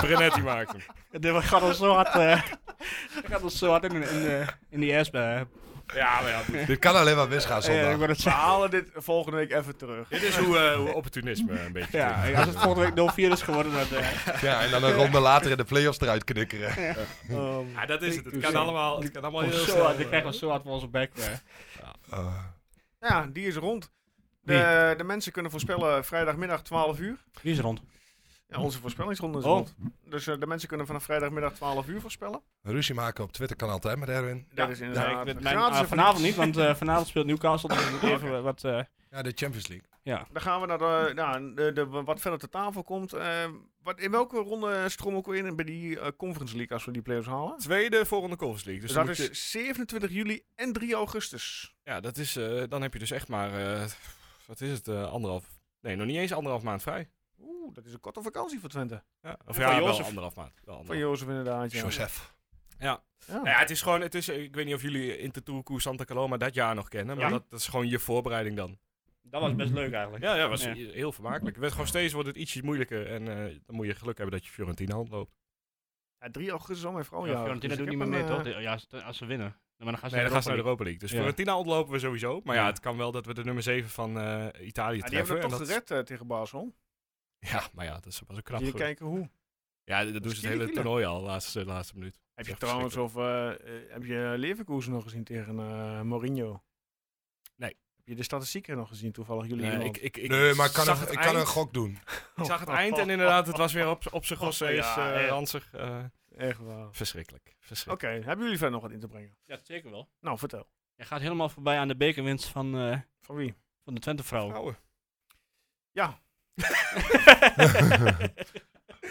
Speaker 4: Brenetti maakt hem.
Speaker 5: Dit gaat ons zo hard, eh, gaat ons zo hard in, in, eh, in die ass bij.
Speaker 4: Ja, maar ja. goed.
Speaker 6: Dit kan alleen maar misgaan
Speaker 5: Ja, ik
Speaker 6: zondag.
Speaker 5: wou het
Speaker 1: We
Speaker 5: zeggen.
Speaker 1: halen dit volgende week even terug.
Speaker 4: Dit is hoe, eh, hoe opportunisme een beetje.
Speaker 5: Ja, als het volgende week 04 is geworden, dan... eh,
Speaker 6: Ja, en dan een ronde later in de play-offs eruit knikkeren.
Speaker 5: um,
Speaker 4: Ja, dat is het. Het kan allemaal, het kan allemaal heel
Speaker 5: zo hard,
Speaker 4: snel.
Speaker 5: dan krijgen we zo hard voor onze bek. eh.
Speaker 6: Eh,
Speaker 1: Ja, die is rond. De, de mensen kunnen voorspellen vrijdagmiddag 12 uur.
Speaker 5: Die is rond.
Speaker 1: Ja, onze voorspellingsronde is
Speaker 5: Oh.
Speaker 1: rond. Dus eh, de mensen kunnen vanaf vrijdagmiddag 12 uur voorspellen.
Speaker 6: ruzie maken op Twitter kan altijd met Erwin.
Speaker 1: Dat is inderdaad
Speaker 5: ik weet
Speaker 1: een
Speaker 5: mijn,
Speaker 1: gratis
Speaker 5: eh, vanavond niet, want eh, vanavond speelt Newcastle. Dus ik moet even wat... eh,
Speaker 6: Ja, de Champions League.
Speaker 5: ja.
Speaker 1: Dan gaan we naar de, nou, de, de- wat verder te tafel komt. Eh, wat, in welke ronde stromen we ook in bij die eh, Conference League als we die players halen?
Speaker 4: Tweede volgende Conference League. Dus
Speaker 1: Dus
Speaker 4: dan
Speaker 1: dat is
Speaker 4: moet je-
Speaker 1: 27 juli en 3 augustus.
Speaker 4: Ja, dat is, eh, dan heb je dus echt maar, eh, wat is het, eh, anderhalf, nee, nog niet eens anderhalf maand vrij.
Speaker 1: Oeh, dat is een korte vakantie voor Twente.
Speaker 4: Ja, of
Speaker 5: Van
Speaker 4: ja, wel
Speaker 5: Jozef.
Speaker 4: anderhalf maand.
Speaker 1: Van
Speaker 4: Wel anderhalf.
Speaker 1: Jozef inderdaad. Ja.
Speaker 6: Joseph.
Speaker 1: Ja.
Speaker 4: Nou ja, het is gewoon, het is, eh, ik weet niet of jullie Intertourcours Santa Coloma dat jaar nog kennen, maar
Speaker 5: Ja.
Speaker 4: dat, dat is gewoon je voorbereiding dan.
Speaker 5: Dat was best leuk eigenlijk.
Speaker 4: Ja, ja, was
Speaker 5: Ja.
Speaker 4: heel vermakelijk. Het werd gewoon steeds wordt het ietsje moeilijker en eh, dan moet je geluk hebben dat je Fiorentina handloopt.
Speaker 1: Ja, 3 augustus al mijn vrouw.
Speaker 5: Oh,
Speaker 1: Dus
Speaker 5: Ja, Fiorentina doet niet meer mee,
Speaker 1: eh,
Speaker 5: toch? Ja, als, als ze winnen. Maar dan gaan ze
Speaker 4: Nee, dan gaan ze
Speaker 5: Europa
Speaker 4: naar de Europa League. Dus
Speaker 5: Ja.
Speaker 4: Fiorentina ontlopen we sowieso, maar ja,
Speaker 5: Ja.
Speaker 4: het kan wel dat we de nummer 7 van eh, Italië
Speaker 1: Ja, die hebben
Speaker 4: treffen.
Speaker 1: het
Speaker 4: en
Speaker 1: toch
Speaker 4: dat-
Speaker 1: gered eh, tegen Basel.
Speaker 4: Ja, maar ja, dat is was ook knap.
Speaker 1: Zie je
Speaker 4: goed.
Speaker 1: kijken hoe.
Speaker 4: Ja, dat doen ze het
Speaker 1: kiele,
Speaker 4: hele
Speaker 1: kiele.
Speaker 4: toernooi al, laatste, laatste minuut.
Speaker 1: Heb je
Speaker 4: Ja,
Speaker 1: trouwens of eh, eh, heb je Leverkusen nog gezien tegen eh, Mourinho?
Speaker 4: Nee.
Speaker 1: Heb je de statistieken nog gezien toevallig jullie?
Speaker 4: Nee,
Speaker 1: iemand?
Speaker 4: ik, ik, ik
Speaker 6: Nee, maar ik kan,
Speaker 4: zag
Speaker 6: een,
Speaker 4: het
Speaker 6: ik kan
Speaker 4: eind.
Speaker 6: een gok doen.
Speaker 4: Ik zag het eind en inderdaad, het was weer op, op zijn gosse is
Speaker 1: Oh. Ja,
Speaker 4: eh,
Speaker 1: echt.
Speaker 4: ranzig. eh,
Speaker 1: Echt waar. Oké,
Speaker 4: verschrikkelijk. verschrikkelijk.
Speaker 1: hebben jullie verder nog wat in te brengen?
Speaker 5: Ja, zeker wel.
Speaker 1: Nou, vertel.
Speaker 5: Je gaat helemaal voorbij aan de bekerwinst van, eh,
Speaker 1: Van wie?
Speaker 5: van de Twente-vrouwen.
Speaker 4: Vrouwen.
Speaker 1: Ja.
Speaker 4: 4-0,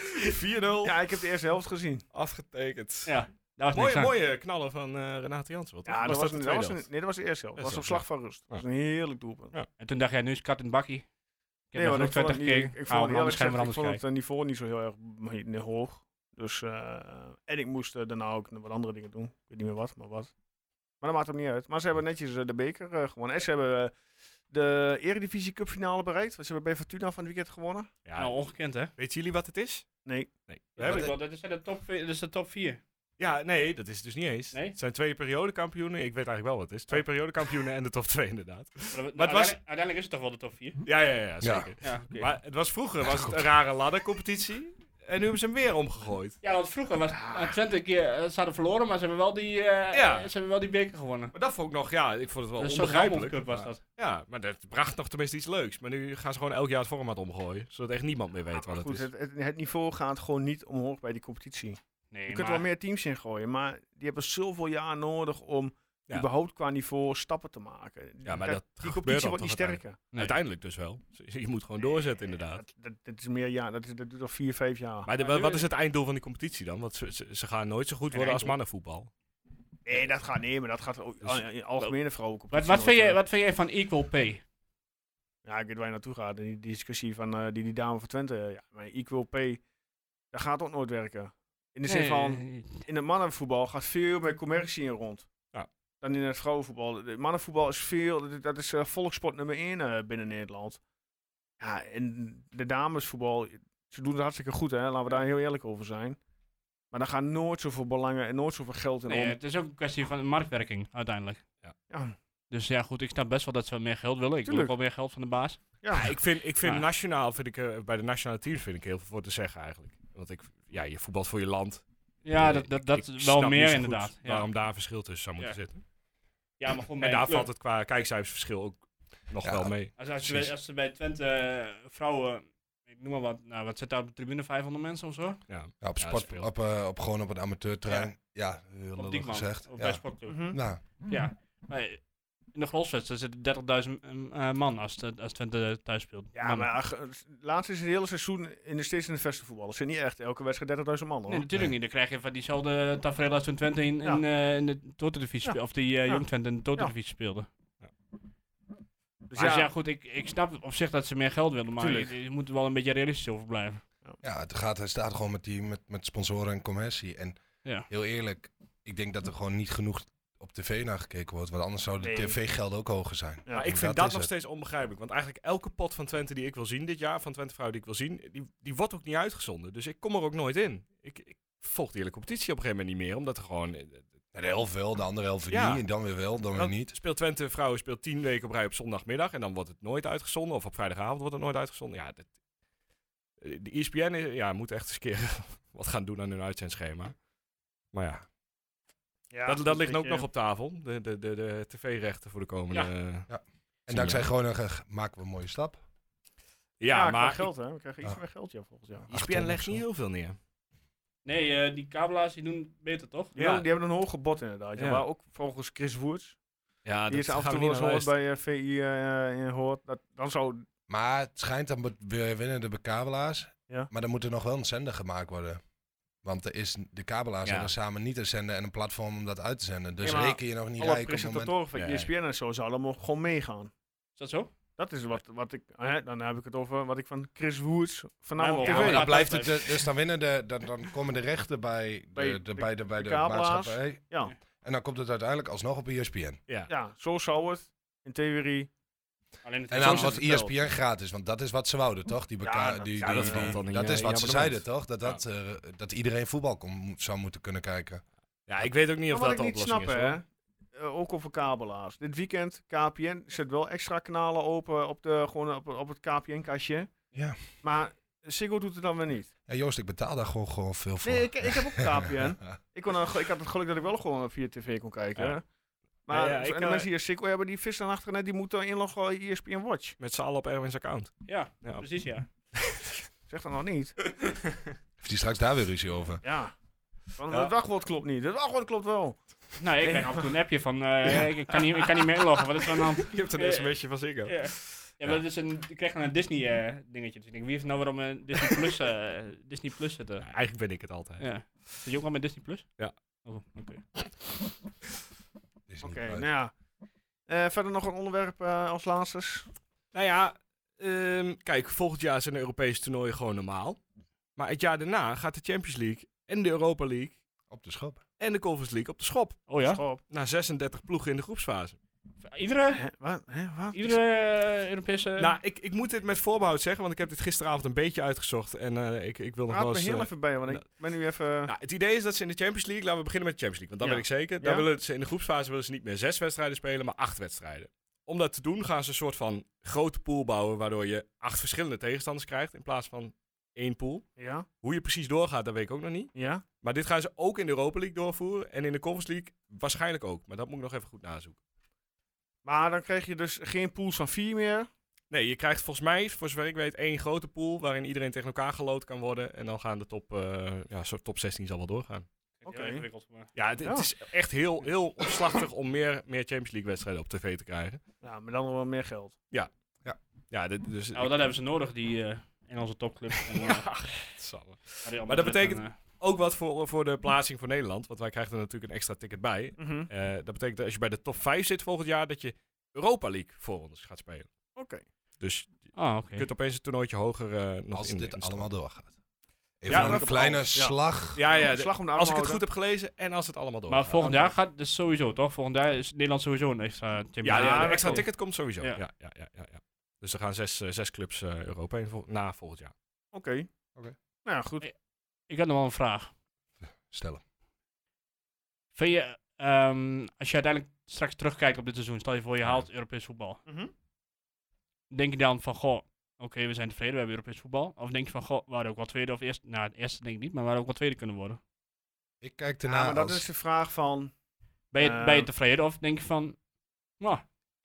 Speaker 1: Ja, ik heb de eerste helft gezien.
Speaker 4: afgetekend.
Speaker 5: ja, dat was niks
Speaker 4: Mooie,
Speaker 5: aan.
Speaker 4: mooie knallen van eh Renate Jansen. Wat
Speaker 1: Ja, dat was, een, dat was een, nee, dat was de eerste helft.
Speaker 4: Eerste
Speaker 1: Dat was op slag
Speaker 4: helft,
Speaker 1: van rust. Dat was
Speaker 4: Ja.
Speaker 1: een heerlijk doelpunt.
Speaker 5: En toen dacht jij, nu is kat in het bakkie. Ik heb
Speaker 1: want
Speaker 5: nee, nog
Speaker 1: ik vond
Speaker 5: Twente
Speaker 1: het niet-
Speaker 5: gekeken.
Speaker 1: Ik
Speaker 5: Ah,
Speaker 1: vond,
Speaker 5: maar
Speaker 1: het eerlijk
Speaker 5: anders
Speaker 1: gezegd,
Speaker 5: gaan we
Speaker 1: ik
Speaker 5: anders
Speaker 1: vond het
Speaker 5: kijken.
Speaker 1: eh, niveau niet zo heel erg m- niet hoog. Dus, eh, en ik moest eh, daarna ook wat andere dingen doen. Ik weet niet meer wat, maar wat. Maar dat maakt hem niet uit. Maar ze hebben netjes eh, de beker eh, gewonnen. En ze hebben eh, de Eredivisie Cup finale bereikt. Want ze hebben bij Fortuna van het weekend gewonnen.
Speaker 4: Ja,
Speaker 5: Nou, ongekend hè.
Speaker 4: Weet jullie wat het is?
Speaker 1: Nee.
Speaker 4: Nee. We
Speaker 5: Dat,
Speaker 4: hebben
Speaker 5: is wel- dat, is de top, vi- dat is de top 4.
Speaker 4: Ja, nee, dat is het dus niet eens.
Speaker 5: Nee?
Speaker 4: Het zijn twee periodekampioenen. Ik weet eigenlijk wel wat het is. Twee periodekampioenen en de top 2 inderdaad.
Speaker 5: Maar,
Speaker 4: Maar het
Speaker 5: dat- uiteindelijk,
Speaker 4: was-
Speaker 5: uiteindelijk is het toch wel de top 4?
Speaker 4: Ja, ja, ja, zeker.
Speaker 5: Ja, oké.
Speaker 4: Maar het was vroeger was het een rare laddercompetitie. En nu hebben ze hem weer omgegooid.
Speaker 5: ja, want vroeger was eh, Twente een keer, eh, ze hadden verloren, maar ze hebben wel die, eh,
Speaker 4: Ja.
Speaker 5: eh, ze hebben wel die beker gewonnen.
Speaker 4: Maar dat vond ik nog, ja, ik vond het wel
Speaker 5: Een soort Rabobank
Speaker 4: onbegrijpelijk.
Speaker 5: Cup was
Speaker 4: maar-
Speaker 5: dat.
Speaker 4: Ja, maar dat bracht nog tenminste iets leuks. Maar nu gaan ze gewoon elk jaar het format omgooien. Zodat echt niemand meer weet wat het
Speaker 1: Goed,
Speaker 4: is.
Speaker 1: het, het, het niveau gaat gewoon niet omhoog bij die competitie.
Speaker 5: Nee,
Speaker 1: Je kunt er wel meer teams in gooien, maar die hebben zoveel jaar nodig om
Speaker 4: Ja.
Speaker 1: überhaupt qua niveau stappen te maken. Die-
Speaker 4: Ja, maar
Speaker 1: dat-
Speaker 4: dat
Speaker 1: die
Speaker 4: gebeurt
Speaker 1: competitie
Speaker 4: dan
Speaker 1: wordt niet
Speaker 4: toch
Speaker 1: sterker.
Speaker 4: Uiteindelijk dus wel. Je moet gewoon doorzetten inderdaad.
Speaker 1: Dat, dat, dat is meer ja, dat, is- dat doet al vier, vijf jaar.
Speaker 4: Maar de- wat is het einddoel van die competitie dan? Want ze, ze, ze gaan nooit zo goed worden als
Speaker 1: einddoel.
Speaker 4: mannenvoetbal.
Speaker 1: nee, dat gaat nee, maar dat gaat ook
Speaker 4: Dus-
Speaker 1: al- in algemene vrouwencompetitie.
Speaker 5: Wat, wat, vind
Speaker 1: wordt,
Speaker 5: jij,
Speaker 1: eh,
Speaker 5: wat vind jij van equal pay?
Speaker 1: Ja, ik weet waar je naartoe gaat. En die discussie van eh, die, die dame van Twente. Ja, maar equal pay, dat gaat ook nooit werken. In de zin van, in het mannenvoetbal gaat veel meer commercie in rond.
Speaker 4: Ja.
Speaker 1: Dan in het vrouwenvoetbal. De- Mannenvoetbal is veel, dat- dat is eh, volkssport nummer 1 binnen Nederland. Ja, en de damesvoetbal, ze doen het hartstikke goed hè, laten we daar heel eerlijk over zijn. Maar daar gaan nooit zoveel belangen en nooit zoveel geld in
Speaker 5: Nee,
Speaker 1: om.
Speaker 5: het is ook een kwestie van marktwerking uiteindelijk.
Speaker 1: Ja,
Speaker 5: Dus ja, goed, ik snap best wel dat ze meer geld willen. Ik wil
Speaker 1: Tuurlijk.
Speaker 5: ook wel meer geld van de baas.
Speaker 1: ja.
Speaker 4: ik vind, ik vind
Speaker 5: Ja.
Speaker 4: nationaal, vind ik, eh, bij de nationale teams vind ik heel veel voor te zeggen eigenlijk. Want ik, ja, je voetbalt voor je land.
Speaker 5: Ja,
Speaker 4: Eh,
Speaker 5: dat, dat,
Speaker 4: ik
Speaker 5: dat
Speaker 4: snap
Speaker 5: wel
Speaker 4: niet
Speaker 5: meer
Speaker 4: zo goed
Speaker 5: inderdaad. Ja.
Speaker 4: Waarom daar een verschil tussen zou moeten
Speaker 5: Ja.
Speaker 4: zitten.
Speaker 5: ja, maar gewoon bij
Speaker 4: En daar
Speaker 5: een club.
Speaker 4: valt het qua kijkcijfersverschil ook nog
Speaker 6: Ja.
Speaker 4: wel mee.
Speaker 5: Als, als, je,
Speaker 4: Precies.
Speaker 5: bij- als ze bij Twente eh, vrouwen, ik noem maar wat, nou wat zit daar op de tribune, 500 mensen of zo?
Speaker 4: Ja.
Speaker 6: Ja, op,
Speaker 4: Ja,
Speaker 6: sport,
Speaker 4: speelt.
Speaker 6: op, eh, op, gewoon op een amateurterrein. Ja, heel
Speaker 5: Op
Speaker 6: lullig
Speaker 5: Diekman,
Speaker 6: gezegd.
Speaker 5: of bij
Speaker 6: Ja.
Speaker 5: Sportclub.
Speaker 1: Mhm.
Speaker 6: Nou,
Speaker 5: Ja, maar in de Grolsvesten zitten 30.000 eh, man als, de- als Twente thuis speelt.
Speaker 1: Ja,
Speaker 5: Mannen.
Speaker 1: maar ach, het laatste is het hele seizoen in de steeds in de vestenvoetbal. Het zijn niet echt elke wedstrijd 30.000 man hoor.
Speaker 5: Nee, natuurlijk niet. Dan krijg je van diezelfde tafereel als toen Twente in, in,
Speaker 1: Ja.
Speaker 5: eh, in de Tottendivisie
Speaker 1: Ja.
Speaker 5: speelde. Of die eh,
Speaker 1: Ja.
Speaker 5: Jong Twente in de Tottendivisie speelde.
Speaker 1: Dus
Speaker 5: Dus ja,
Speaker 1: ja,
Speaker 5: goed, ik, ik snap op zich dat ze meer geld willen, maar
Speaker 1: Tuurlijk.
Speaker 5: je, je moet er wel een beetje realistisch over blijven.
Speaker 6: ja, het gaat, het staat gewoon met, die, met, met sponsoren en commercie. En
Speaker 5: Ja.
Speaker 6: heel eerlijk, ik denk dat er gewoon niet genoeg op tv naar gekeken wordt. Want anders zouden de
Speaker 1: Nee.
Speaker 6: tv-gelden ook hoger zijn.
Speaker 1: Ja.
Speaker 4: Maar ik
Speaker 6: En
Speaker 4: vind
Speaker 6: dat
Speaker 4: dat
Speaker 6: is
Speaker 4: nog
Speaker 6: het.
Speaker 4: steeds onbegrijpelijk. Want eigenlijk elke pot van Twente die ik wil zien dit jaar, van Twente Vrouw die ik wil zien, die, die wordt ook niet uitgezonden. Dus ik kom er ook nooit in. Ik, ik volg de hele competitie op een gegeven moment niet meer, omdat er gewoon... eh,
Speaker 6: Ja, De helft wel, de andere helft
Speaker 4: Ja.
Speaker 6: niet. En dan weer wel, dan weer
Speaker 4: dan
Speaker 6: niet.
Speaker 4: Speelt Twente Vrouwen speelt tien weken op rij op zondagmiddag en dan wordt het nooit uitgezonden. Of op vrijdagavond wordt het nooit uitgezonden. Ja, dat, eh, de ESPN is- ja, moet echt eens een keer wat gaan doen aan hun uitzendschema. Maar ja,
Speaker 1: ja,
Speaker 4: dat, dat ligt ook
Speaker 1: je-
Speaker 4: nog op tafel. De, de, de, de tv-rechten voor de komende... Ja,
Speaker 6: En dankzij Groningen eh, maken we een mooie stap.
Speaker 1: Ja, qua
Speaker 4: maar E
Speaker 1: geld hè. We krijgen iets
Speaker 6: Ja.
Speaker 1: meer geld ja, volgens jou.
Speaker 4: ESPN
Speaker 6: 800
Speaker 4: legt
Speaker 6: zo.
Speaker 4: niet heel veel neer.
Speaker 5: Nee, eh, die kabelaars die doen beter, toch?
Speaker 1: Die,
Speaker 4: Ja.
Speaker 1: hebben, die hebben een hoog gebod inderdaad. Ja.
Speaker 4: Ja. Ah,
Speaker 1: Maar ook volgens Chris Woerts.
Speaker 4: Ja,
Speaker 1: die is af en toe wel eens gehoord bij eh, VI eh, in hoort. Dat, dan zou...
Speaker 6: Maar het schijnt dan be- we winnen de kabelaars.
Speaker 1: Ja.
Speaker 6: Maar dan moet er nog wel een zender gemaakt worden. Want er is, de kabelaars
Speaker 4: Ja.
Speaker 6: hebben samen niet een zender en een platform om dat uit te zenden. Dus
Speaker 1: Ja, maar
Speaker 6: reken je nog niet
Speaker 1: alle
Speaker 6: rijk op het moment.
Speaker 1: presentatoren van E
Speaker 4: Nee.
Speaker 1: ESPN en zo zouden mo- gewoon meegaan.
Speaker 5: Is dat zo?
Speaker 1: Dat is wat, wat ik... Hè, dan heb ik het over wat ik van Chris Woerts
Speaker 5: Ja,
Speaker 1: vanavond
Speaker 5: maar
Speaker 6: Ja,
Speaker 1: op tv.
Speaker 5: ja,
Speaker 6: maar dan
Speaker 5: dat
Speaker 6: blijft het,
Speaker 5: blijft-
Speaker 6: dus dan, winnen de, dan, dan komen de rechten bij
Speaker 1: Bij
Speaker 6: de, bij de,
Speaker 1: de-
Speaker 6: bij de, bij
Speaker 1: de
Speaker 6: de,
Speaker 1: kabelaars.
Speaker 6: maatschappij.
Speaker 1: Ja,
Speaker 6: En dan komt het uiteindelijk alsnog op E ESPN.
Speaker 1: ja, zo zou het in theorie...
Speaker 5: Alleen het
Speaker 6: En
Speaker 5: is
Speaker 6: dan
Speaker 5: zo-
Speaker 1: wordt
Speaker 6: wordt E
Speaker 1: het verteld.
Speaker 6: ESPN gratis, want dat is wat ze wouden, toch? Die beka-
Speaker 1: dat-
Speaker 6: die,
Speaker 1: ja,
Speaker 6: die-
Speaker 4: dat valt
Speaker 6: die-
Speaker 4: dan in
Speaker 6: dat
Speaker 1: eh,
Speaker 4: je-
Speaker 6: is
Speaker 4: je
Speaker 6: wat ze
Speaker 4: abonnement.
Speaker 6: zeiden, toch? Dat, dat, eh, dat iedereen voetbal kon, moet- zou moeten kunnen kijken.
Speaker 4: Ja, ik weet ook niet of
Speaker 1: Maar
Speaker 4: dat
Speaker 1: wat
Speaker 4: de
Speaker 1: ik niet
Speaker 4: oplossing
Speaker 1: snap,
Speaker 4: is.
Speaker 1: hè.
Speaker 4: hoor.
Speaker 1: eh, ook over kabelaars. Dit weekend, KPN, zet wel extra kanalen open op, de, gewoon op, op het KPN-kastje.
Speaker 6: Ja.
Speaker 1: Maar Siggo doet het dan weer niet.
Speaker 6: Ja, Joost, ik betaal daar gewoon, gewoon veel voor.
Speaker 1: Nee, ik, ik heb ook KPN. ik, kon, dan- ik had het geluk dat ik wel gewoon via tv kon kijken.
Speaker 4: Ja.
Speaker 1: Maar
Speaker 4: Ja, ja,
Speaker 1: en
Speaker 4: ik eh,
Speaker 1: de
Speaker 4: kan-
Speaker 1: mensen die Siggo hebben, die vissen dan achterna, die moeten inloggen E op ESPN Watch.
Speaker 4: Met z'n allen op Erwin's account.
Speaker 5: Ja,
Speaker 4: Ja.
Speaker 5: precies ja.
Speaker 1: Zeg dat nog niet.
Speaker 6: Heeft hij straks daar weer ruzie over?
Speaker 1: Ja. Want
Speaker 4: Ja.
Speaker 1: het wachtwoord klopt niet. Het wachtwoord klopt wel.
Speaker 5: Nou, ik krijg af en toe een appje van, eh, ik, ik kan niet, ik kan niet meer inloggen, wat is er aan de hand?
Speaker 4: Je hebt
Speaker 5: Eh,
Speaker 4: een sms'je van Ziggo.
Speaker 5: Ja, ja maar dat is een, ik krijg dan een Disney eh, dingetje. Dus ik denk, wie heeft nou waarom een Disney Plus, eh, Disney Plus zitten?
Speaker 4: Ja, eigenlijk ben ik het altijd.
Speaker 5: Ja. Zit je ook al met Disney Plus?
Speaker 4: Ja.
Speaker 5: Oh, oké.
Speaker 6: Is niet
Speaker 1: Oké,
Speaker 6: leuk.
Speaker 1: nou ja. Eh, verder nog een onderwerp eh, als laatste.
Speaker 4: Nou ja, ehm, kijk, volgend jaar zijn de Europese toernooien gewoon normaal. Maar het jaar daarna gaat de Champions League en de Europa League
Speaker 6: Op de schop.
Speaker 4: en de Conference League op de schop.
Speaker 5: Oh ja?
Speaker 1: Schop.
Speaker 4: Na 36 ploegen in de groepsfase.
Speaker 5: Iedere,
Speaker 1: Hè, wat? Hè, wat?
Speaker 5: iedere eh, Europese...
Speaker 1: Ehm.
Speaker 4: Nou, ik, ik moet dit met voorbehoud zeggen, want ik heb dit gisteravond een beetje uitgezocht. En eh, ik, ik wil nog
Speaker 1: Praat
Speaker 4: wel
Speaker 1: me
Speaker 4: eens... eh,
Speaker 1: heel even bij, want ik ben nu even...
Speaker 4: Nou, het idee is dat ze in de Champions League, laten we beginnen met de Champions League, want dat
Speaker 1: Ja.
Speaker 4: weet ik zeker. Daar
Speaker 1: Ja.
Speaker 4: willen ze in de groepsfase willen ze niet meer zes wedstrijden spelen, maar acht wedstrijden. Om dat te doen gaan ze een soort van grote pool bouwen, waardoor je acht verschillende tegenstanders krijgt in plaats van één pool.
Speaker 1: Ja,
Speaker 4: Hoe je precies doorgaat, dat weet ik ook nog niet.
Speaker 1: ja.
Speaker 4: Maar dit gaan ze ook in de Europa League doorvoeren en in de Conference League waarschijnlijk ook. Maar dat moet ik nog even goed nazoeken.
Speaker 1: Maar dan krijg je dus geen pools van vier meer.
Speaker 4: Nee, je krijgt volgens mij, voor zover ik weet, één grote pool waarin iedereen tegen elkaar geloot kan worden. En dan gaan de top, eh ja, soort top 16 zal wel doorgaan.
Speaker 5: Heel
Speaker 1: Oké.
Speaker 5: ingewikkeld, maar-
Speaker 4: Ja, het, het
Speaker 1: Ja.
Speaker 4: is echt heel, heel opslachtig om meer, meer Champions League wedstrijden op tv te krijgen.
Speaker 1: Ja, maar dan nog wel meer geld.
Speaker 4: Ja, dit, dus...
Speaker 5: Nou, dat hebben ze nodig, die eh, Engelse topclub. En, eh,
Speaker 4: het zal-
Speaker 5: Real
Speaker 4: Maar dat
Speaker 5: Madrid
Speaker 4: betekent-
Speaker 5: en, eh,
Speaker 4: Ook wat voor, voor de plaatsing voor Nederland, want wij krijgen er natuurlijk een extra ticket bij.
Speaker 1: Mhm.
Speaker 4: Eh, dat betekent dat als je bij de top 5 zit volgend jaar, dat je Europa League voorrondes gaat spelen.
Speaker 1: Oké.
Speaker 4: Dus
Speaker 5: Ah, oké.
Speaker 4: je kunt opeens een toernooitje hoger eh, nog
Speaker 6: Als
Speaker 4: in-
Speaker 6: dit
Speaker 4: in
Speaker 6: allemaal doorgaat. Even
Speaker 4: Ja,
Speaker 6: een
Speaker 4: dat-
Speaker 6: kleine
Speaker 1: ja.
Speaker 6: slag.
Speaker 4: Ja, ja. de-
Speaker 1: Slag om de
Speaker 4: als ik het
Speaker 1: armhouden.
Speaker 4: goed heb gelezen en als het allemaal door.
Speaker 5: Maar volgend jaar gaat dus sowieso, toch? Volgend jaar is Nederland sowieso een extra Champions
Speaker 4: Ja,
Speaker 5: League. Oh,
Speaker 1: Ja,
Speaker 4: ja, een
Speaker 1: dat
Speaker 4: extra
Speaker 1: klopt.
Speaker 4: ticket komt sowieso. Ja.
Speaker 5: Ja.
Speaker 4: Ja, ja, ja, ja, Dus er gaan zes, eh, zes clubs eh, Europa in vol- na volgend jaar.
Speaker 1: Oké.
Speaker 6: Oké.
Speaker 1: Nou ja, goed.
Speaker 5: Ik had nog wel een vraag.
Speaker 6: Stellen.
Speaker 5: Vind je, ehm, als je uiteindelijk straks terugkijkt op dit seizoen, stel je voor je
Speaker 4: Ja.
Speaker 5: haalt Europees voetbal.
Speaker 1: Mhm.
Speaker 5: Denk je dan van, goh, oké, we zijn tevreden, we hebben Europees voetbal. Of denk je van, goh, we hadden ook wel tweede of eerste. Nou, het eerste denk ik niet, maar we hadden ook wel tweede kunnen worden.
Speaker 6: Ik kijk
Speaker 1: Ja,
Speaker 6: ernaar
Speaker 1: maar dat
Speaker 6: als,
Speaker 1: is de vraag van...
Speaker 5: Ben je,
Speaker 1: Ehm.
Speaker 5: ben je tevreden of denk je van, nou,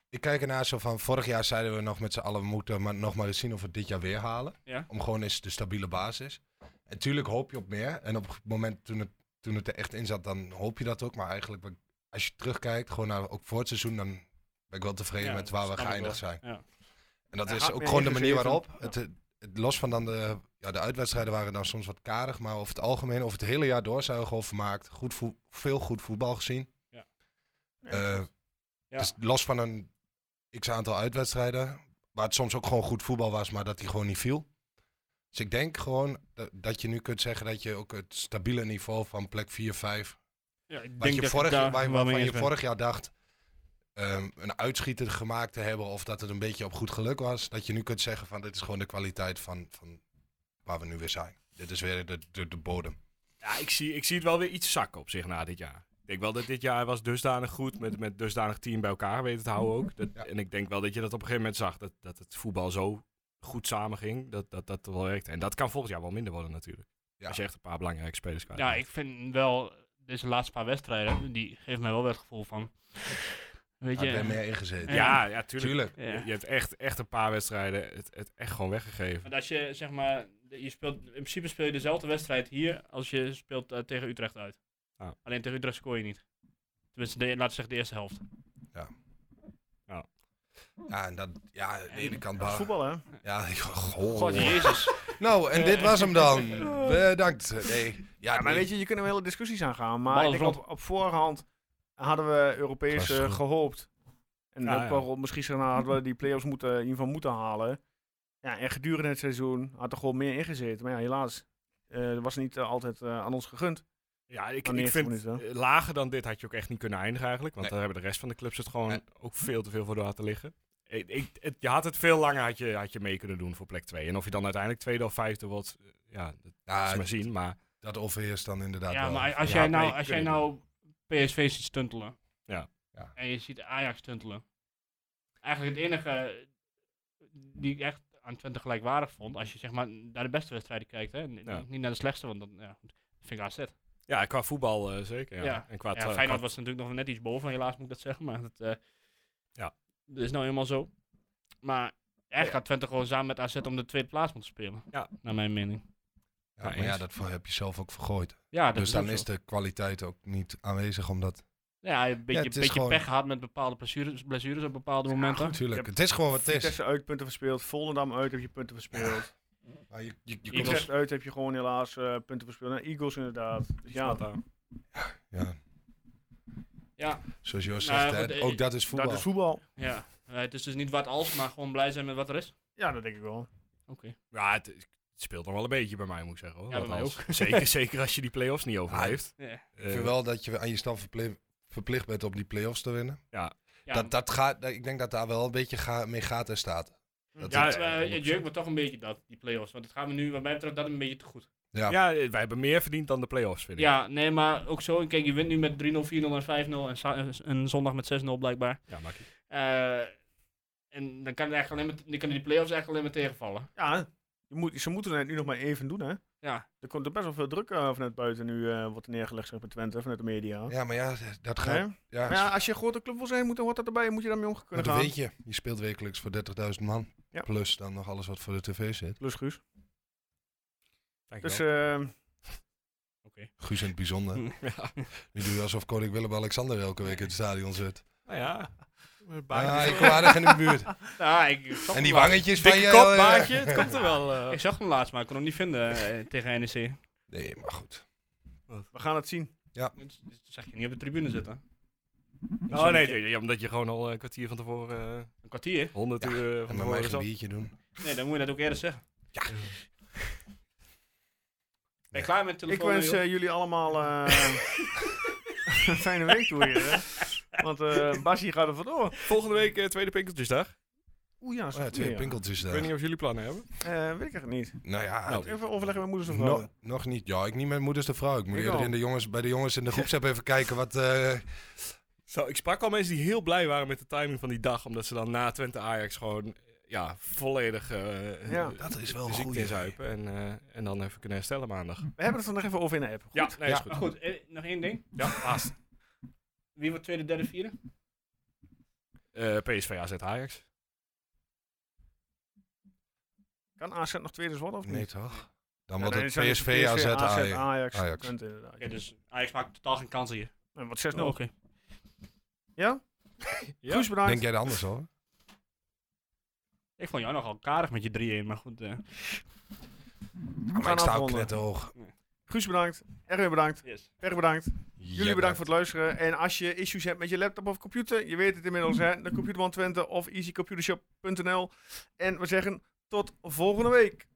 Speaker 6: ik kijk ernaar zo van, vorig jaar zeiden we nog met z'n allen, we moeten maar, nog maar eens zien of we het dit jaar weer halen.
Speaker 5: Ja.
Speaker 6: Om gewoon eens de stabiele basis. En tuurlijk hoop je op meer. En op het moment toen het, toen het er echt in zat, dan hoop je dat ook. Maar eigenlijk, als je terugkijkt, gewoon naar ook voor het seizoen, dan ben ik wel tevreden
Speaker 5: Ja,
Speaker 6: met waar we
Speaker 5: snap ik
Speaker 6: geëindigd zijn.
Speaker 5: wel. Ja.
Speaker 6: En dat
Speaker 1: Ja,
Speaker 6: is
Speaker 1: had
Speaker 6: ook
Speaker 1: meer
Speaker 6: gewoon de manier
Speaker 1: ingegeven.
Speaker 6: waarop. Het, eh, het- los van dan de, ja, de uitwedstrijden waren dan soms wat karig, maar over het algemeen, over het hele jaar door zijn we gewoon vermaakt. Goed voe- veel goed voetbal gezien. Eh,
Speaker 5: Ja.
Speaker 6: Dus los van een x-aantal uitwedstrijden, waar het soms ook gewoon goed voetbal was, maar dat die gewoon niet viel. Dus ik denk gewoon dat, dat je nu kunt zeggen dat je ook het stabiele niveau van plek 4, 5,
Speaker 5: ja, ik
Speaker 6: wat
Speaker 5: denk
Speaker 6: je
Speaker 5: dat
Speaker 6: vorig,
Speaker 5: ik daar
Speaker 6: waar,
Speaker 5: wel mee
Speaker 6: waarvan
Speaker 5: eens
Speaker 6: je
Speaker 5: ben.
Speaker 6: vorig jaar dacht ehm, een uitschieter gemaakt te hebben of dat het een beetje op goed geluk was, dat je nu kunt zeggen van dit is gewoon de kwaliteit van, van waar we nu weer zijn. Dit is weer de, de, de bodem.
Speaker 4: Ja, ik zie, ik zie het wel weer iets zakken op zich na dit jaar. Ik denk wel dat dit jaar was dusdanig goed, met, met dusdanig team bij elkaar weten te houden ook. Dat,
Speaker 6: Ja.
Speaker 4: En ik denk wel dat je dat op een gegeven moment zag, dat, dat het voetbal zo goed samenging, dat dat, dat wel werkte. En dat kan volgend jaar wel minder worden natuurlijk.
Speaker 6: Ja.
Speaker 4: Als je echt een paar belangrijke spelers kwijt
Speaker 5: Ja,
Speaker 4: bent.
Speaker 5: ik vind wel, deze laatste paar wedstrijden, die geven mij wel weer het gevoel van, weet
Speaker 6: Daar
Speaker 5: je...
Speaker 6: ben meer ingezeten.
Speaker 4: ja, ja, tuurlijk.
Speaker 6: tuurlijk.
Speaker 5: ja.
Speaker 4: Je, je hebt echt, echt een paar wedstrijden het, het echt gewoon weggegeven.
Speaker 5: Want als je zeg maar, je speelt, in principe speel je dezelfde wedstrijd hier als je speelt eh, tegen Utrecht uit.
Speaker 4: Ja.
Speaker 5: Alleen tegen Utrecht scoor je niet. Tenminste, de, laten we zeggen de eerste helft.
Speaker 6: Ja, en dat, ja, aan de ene kant.
Speaker 1: Dat is
Speaker 6: waar-
Speaker 1: voetbal, hè?
Speaker 6: Oh, Ja,
Speaker 5: God, jezus.
Speaker 6: Nou, en dit was hem dan. Bedankt. Eh, Nee. Ja,
Speaker 1: Ja, maar
Speaker 6: nee.
Speaker 1: weet je, je kunt er wel hele discussies aan gaan. Maar
Speaker 5: Ballen
Speaker 1: ik denk op, op voorhand hadden we Europees
Speaker 6: Klasse.
Speaker 1: eh, gehoopt. En
Speaker 4: Ja,
Speaker 1: ook
Speaker 4: ja.
Speaker 1: wel misschien zeg maar, hadden we die play-offs moeten, in ieder geval moeten halen. Ja, en gedurende het seizoen had er gewoon meer ingezeten. Maar ja, helaas. eh was niet eh, altijd eh, aan ons gegund.
Speaker 4: Ja, ik,
Speaker 1: Aan
Speaker 4: ik
Speaker 1: 90
Speaker 4: vind
Speaker 1: minuten.
Speaker 4: eh, lager dan dit had je ook echt niet kunnen eindigen eigenlijk. Want
Speaker 6: Nee.
Speaker 4: daar hebben de rest van de clubs het gewoon
Speaker 6: Nee.
Speaker 4: ook veel te veel voor laten liggen. Eh, Ik, ik, het- je had het veel langer had je, had je mee kunnen doen voor plek 2. En of je dan uiteindelijk tweede of vijfde wordt, eh, ja, dat is
Speaker 6: Ja,
Speaker 4: maar zien. Maar
Speaker 6: dat overheerst dan inderdaad
Speaker 5: Ja,
Speaker 6: wel.
Speaker 5: maar als
Speaker 4: Ja,
Speaker 5: jij
Speaker 4: maar
Speaker 5: nou,
Speaker 4: ik
Speaker 5: als
Speaker 4: weet
Speaker 5: jij
Speaker 4: het
Speaker 5: nou PSV ziet stuntelen.
Speaker 4: Ja.
Speaker 6: Ja.
Speaker 5: En je ziet Ajax stuntelen. Eigenlijk het enige die ik echt aan Twente gelijkwaardig vond, als je zeg maar naar de beste wedstrijden kijkt, hè. n-
Speaker 4: Ja.
Speaker 5: Niet naar de slechtste, want dan ja, goed, vind ik AZ.
Speaker 4: ja, qua voetbal eh, zeker. Ja.
Speaker 5: Ja.
Speaker 4: En qua,
Speaker 5: Ja,
Speaker 4: tra-
Speaker 5: Feyenoord
Speaker 4: qua-
Speaker 5: was natuurlijk nog net iets boven, helaas moet ik dat zeggen. Maar dat, eh,
Speaker 4: Ja.
Speaker 5: dat is nou helemaal zo. Maar eigenlijk gaat Twente gewoon samen met AZ om de tweede plaats moeten spelen.
Speaker 4: Ja.
Speaker 5: Naar mijn mening.
Speaker 6: ja, maar ja, dat voor- heb je zelf ook vergooid.
Speaker 5: Ja, dat
Speaker 6: dus
Speaker 5: is
Speaker 6: dan
Speaker 5: ook
Speaker 6: is
Speaker 5: zo.
Speaker 6: de kwaliteit ook niet aanwezig. Omdat,
Speaker 5: Ja, een beetje,
Speaker 6: het is
Speaker 5: beetje
Speaker 6: gewoon-
Speaker 5: pech gehad met bepaalde blessures, blessures op bepaalde momenten.
Speaker 6: natuurlijk,
Speaker 1: Ja,
Speaker 6: het is gewoon wat het is.
Speaker 1: Vitesse uit punten verspeeld. Volendam uit heb je punten verspeeld.
Speaker 6: Maar je, je,
Speaker 5: Eagles.
Speaker 6: je komt
Speaker 1: Utrecht uit heb je gewoon helaas eh, punten verspeeld. En Eagles inderdaad. Dus ja,
Speaker 6: als- ja,
Speaker 5: Ja,
Speaker 6: zoals Joost
Speaker 5: Nou,
Speaker 6: zegt,
Speaker 5: goed,
Speaker 6: hè,
Speaker 5: eh,
Speaker 6: ook dat is voetbal.
Speaker 1: dat is voetbal.
Speaker 5: ja. Eh, het is dus niet wat als, maar gewoon blij zijn met wat er is.
Speaker 1: Ja, dat denk ik wel.
Speaker 5: Oké.
Speaker 4: Ja, het, het speelt nog wel een beetje bij mij, moet ik zeggen. Hoor.
Speaker 5: Ja, bij
Speaker 4: Want
Speaker 5: mij
Speaker 4: als- Zeker, zeker als je die play-offs niet overleeft.
Speaker 5: Ja.
Speaker 4: Eh,
Speaker 6: Ik vind wel dat je aan je staf verple- verplicht bent om die play-offs te winnen.
Speaker 5: Ja,
Speaker 6: dat, dat gaat, ik denk dat daar wel een beetje ga, mee gaat en staat. Dat
Speaker 5: ja,
Speaker 6: het-
Speaker 5: eh, het
Speaker 4: 100%.
Speaker 5: jeukt me toch een beetje dat, die play-offs. Want het gaat me nu, wat mij betreft, dat een beetje te goed.
Speaker 6: ja.
Speaker 4: ja, eh, wij hebben meer verdiend dan de play-offs, vind ik.
Speaker 5: Ja, nee, maar ook zo. En Kijk, je wint nu met 3-0, 4-0 en 5-0 en za- een zondag met 6-0 blijkbaar.
Speaker 4: Ja, maakt niet.
Speaker 5: Eh, en dan kan het eigenlijk alleen maar, dan kunnen die play-offs eigenlijk alleen maar tegenvallen.
Speaker 1: Ja, je moet, ze moeten het nu nog maar even doen, hè?
Speaker 5: Ja.
Speaker 1: Er komt er best wel veel druk eh, vanuit buiten nu, eh, wordt er neergelegd zeg, bij Twente, vanuit de media.
Speaker 6: ja, maar ja, dat
Speaker 1: Hè?
Speaker 6: gaat... Ja,
Speaker 1: Maar ja, als je een grote club wil zijn, moet, hoort dat erbij. Moet je daarmee om
Speaker 6: maar
Speaker 1: kunnen
Speaker 6: dat
Speaker 1: gaan.
Speaker 6: weet je. Je speelt wekelijks voor 30.000 man.
Speaker 1: Ja.
Speaker 6: Plus dan nog alles wat voor de tv zit.
Speaker 1: Plus Guus.
Speaker 4: Dank je
Speaker 1: Dus
Speaker 4: wel.
Speaker 1: eh,
Speaker 5: Oké.
Speaker 6: Guus in het bijzonder.
Speaker 4: Ja.
Speaker 6: Nu doe je alsof koning Willem-Alexander elke week in het stadion zit.
Speaker 4: Nou ja.
Speaker 6: Ah,
Speaker 4: Baantje. Ah,
Speaker 6: ik kom aardig in de buurt.
Speaker 5: Nou, ik, ik zag
Speaker 6: En
Speaker 5: hem
Speaker 6: die
Speaker 5: laatst.
Speaker 6: wangetjes van eh,
Speaker 4: Dikke
Speaker 6: je...
Speaker 4: kop, baantje. Het komt er wel. eh.
Speaker 5: Ik zag hem laatst, maar ik kon hem niet vinden eh, tegen NEC.
Speaker 6: Nee, maar goed.
Speaker 1: We gaan het zien.
Speaker 5: Dat zag je niet op de tribune zitten.
Speaker 4: Oh nee, nee, nee, omdat je gewoon al eh, een kwartier van tevoren eh,
Speaker 5: Een kwartier?
Speaker 4: 100
Speaker 6: Ja,
Speaker 4: uur eh, van
Speaker 6: En dan mijn
Speaker 4: tevoren
Speaker 6: eigen
Speaker 4: zat.
Speaker 6: biertje doen.
Speaker 5: Nee, dan moet je dat ook eerder zeggen.
Speaker 6: Ja.
Speaker 5: Ben je klaar met de
Speaker 1: Ik
Speaker 5: telefoon?
Speaker 1: wens
Speaker 5: joh?
Speaker 1: eh, jullie allemaal eh, een fijne week toe weer. Hè? Want eh Basie gaat er vandoor.
Speaker 4: Volgende week eh, tweede Pinkeltjesdag.
Speaker 1: Oeh ja, is
Speaker 6: Oh ja,
Speaker 1: goed
Speaker 6: twee
Speaker 1: weer.
Speaker 6: pinkeltjes
Speaker 4: Ik weet
Speaker 6: daar.
Speaker 4: niet of jullie plannen hebben.
Speaker 1: Eh, weet ik echt niet.
Speaker 6: Nou ja,
Speaker 4: Nou,
Speaker 1: Even overleggen met moeders of
Speaker 6: no-
Speaker 1: vrouw.
Speaker 6: nog niet. Ja, ik niet met moeders de vrouw. Ik moet
Speaker 1: Ik
Speaker 6: eerder
Speaker 1: al.
Speaker 6: in de jongens, bij de jongens in de groepsapp even kijken wat... eh,
Speaker 4: Zo, ik sprak al mensen die heel blij waren met de timing van die dag. Omdat ze dan na Twente Ajax gewoon ja, volledig eh
Speaker 1: Ja.
Speaker 4: eh,
Speaker 6: Dat is wel
Speaker 4: de ziekte
Speaker 6: goed.
Speaker 4: inzuipen. En, eh, en dan even kunnen herstellen maandag.
Speaker 1: We hebben het er nog even over in de app. Goed?
Speaker 4: Ja, nee, is goed.
Speaker 5: Maar goed, eh, nog één ding.
Speaker 4: Ja, haast.
Speaker 5: Wie wordt tweede, derde, vierde?
Speaker 4: Eh, PSV AZ Ajax.
Speaker 1: Kan AZ nog tweede worden of niet?
Speaker 6: Nee, toch? Dan
Speaker 1: Ja,
Speaker 6: wordt
Speaker 1: nee,
Speaker 6: het
Speaker 1: dan zijn
Speaker 6: PSV, AZ, Ajax.
Speaker 1: Ajax.
Speaker 6: Ajax.
Speaker 1: Twente, inderdaad.
Speaker 5: Oké, dus Ajax maakt totaal geen kans hier.
Speaker 1: En wat 6-0.
Speaker 5: Oh, Oké.
Speaker 1: Ja?
Speaker 4: Ja.
Speaker 1: Guus, bedankt.
Speaker 6: Denk jij er anders hoor?
Speaker 5: Ik vond jou nogal karig met je 3-1, maar goed. eh
Speaker 1: We
Speaker 6: Maar
Speaker 1: gaan
Speaker 6: ik sta ook
Speaker 1: afronden.
Speaker 6: net hoog.
Speaker 1: Guus, bedankt. Erwin, bedankt.
Speaker 5: yes.
Speaker 1: Per, bedankt. Jullie bedankt voor het luisteren. En als je issues hebt met je laptop of computer, je weet het inmiddels, hè? De Computerman Twente of easycomputershop.nl. En we zeggen tot volgende week.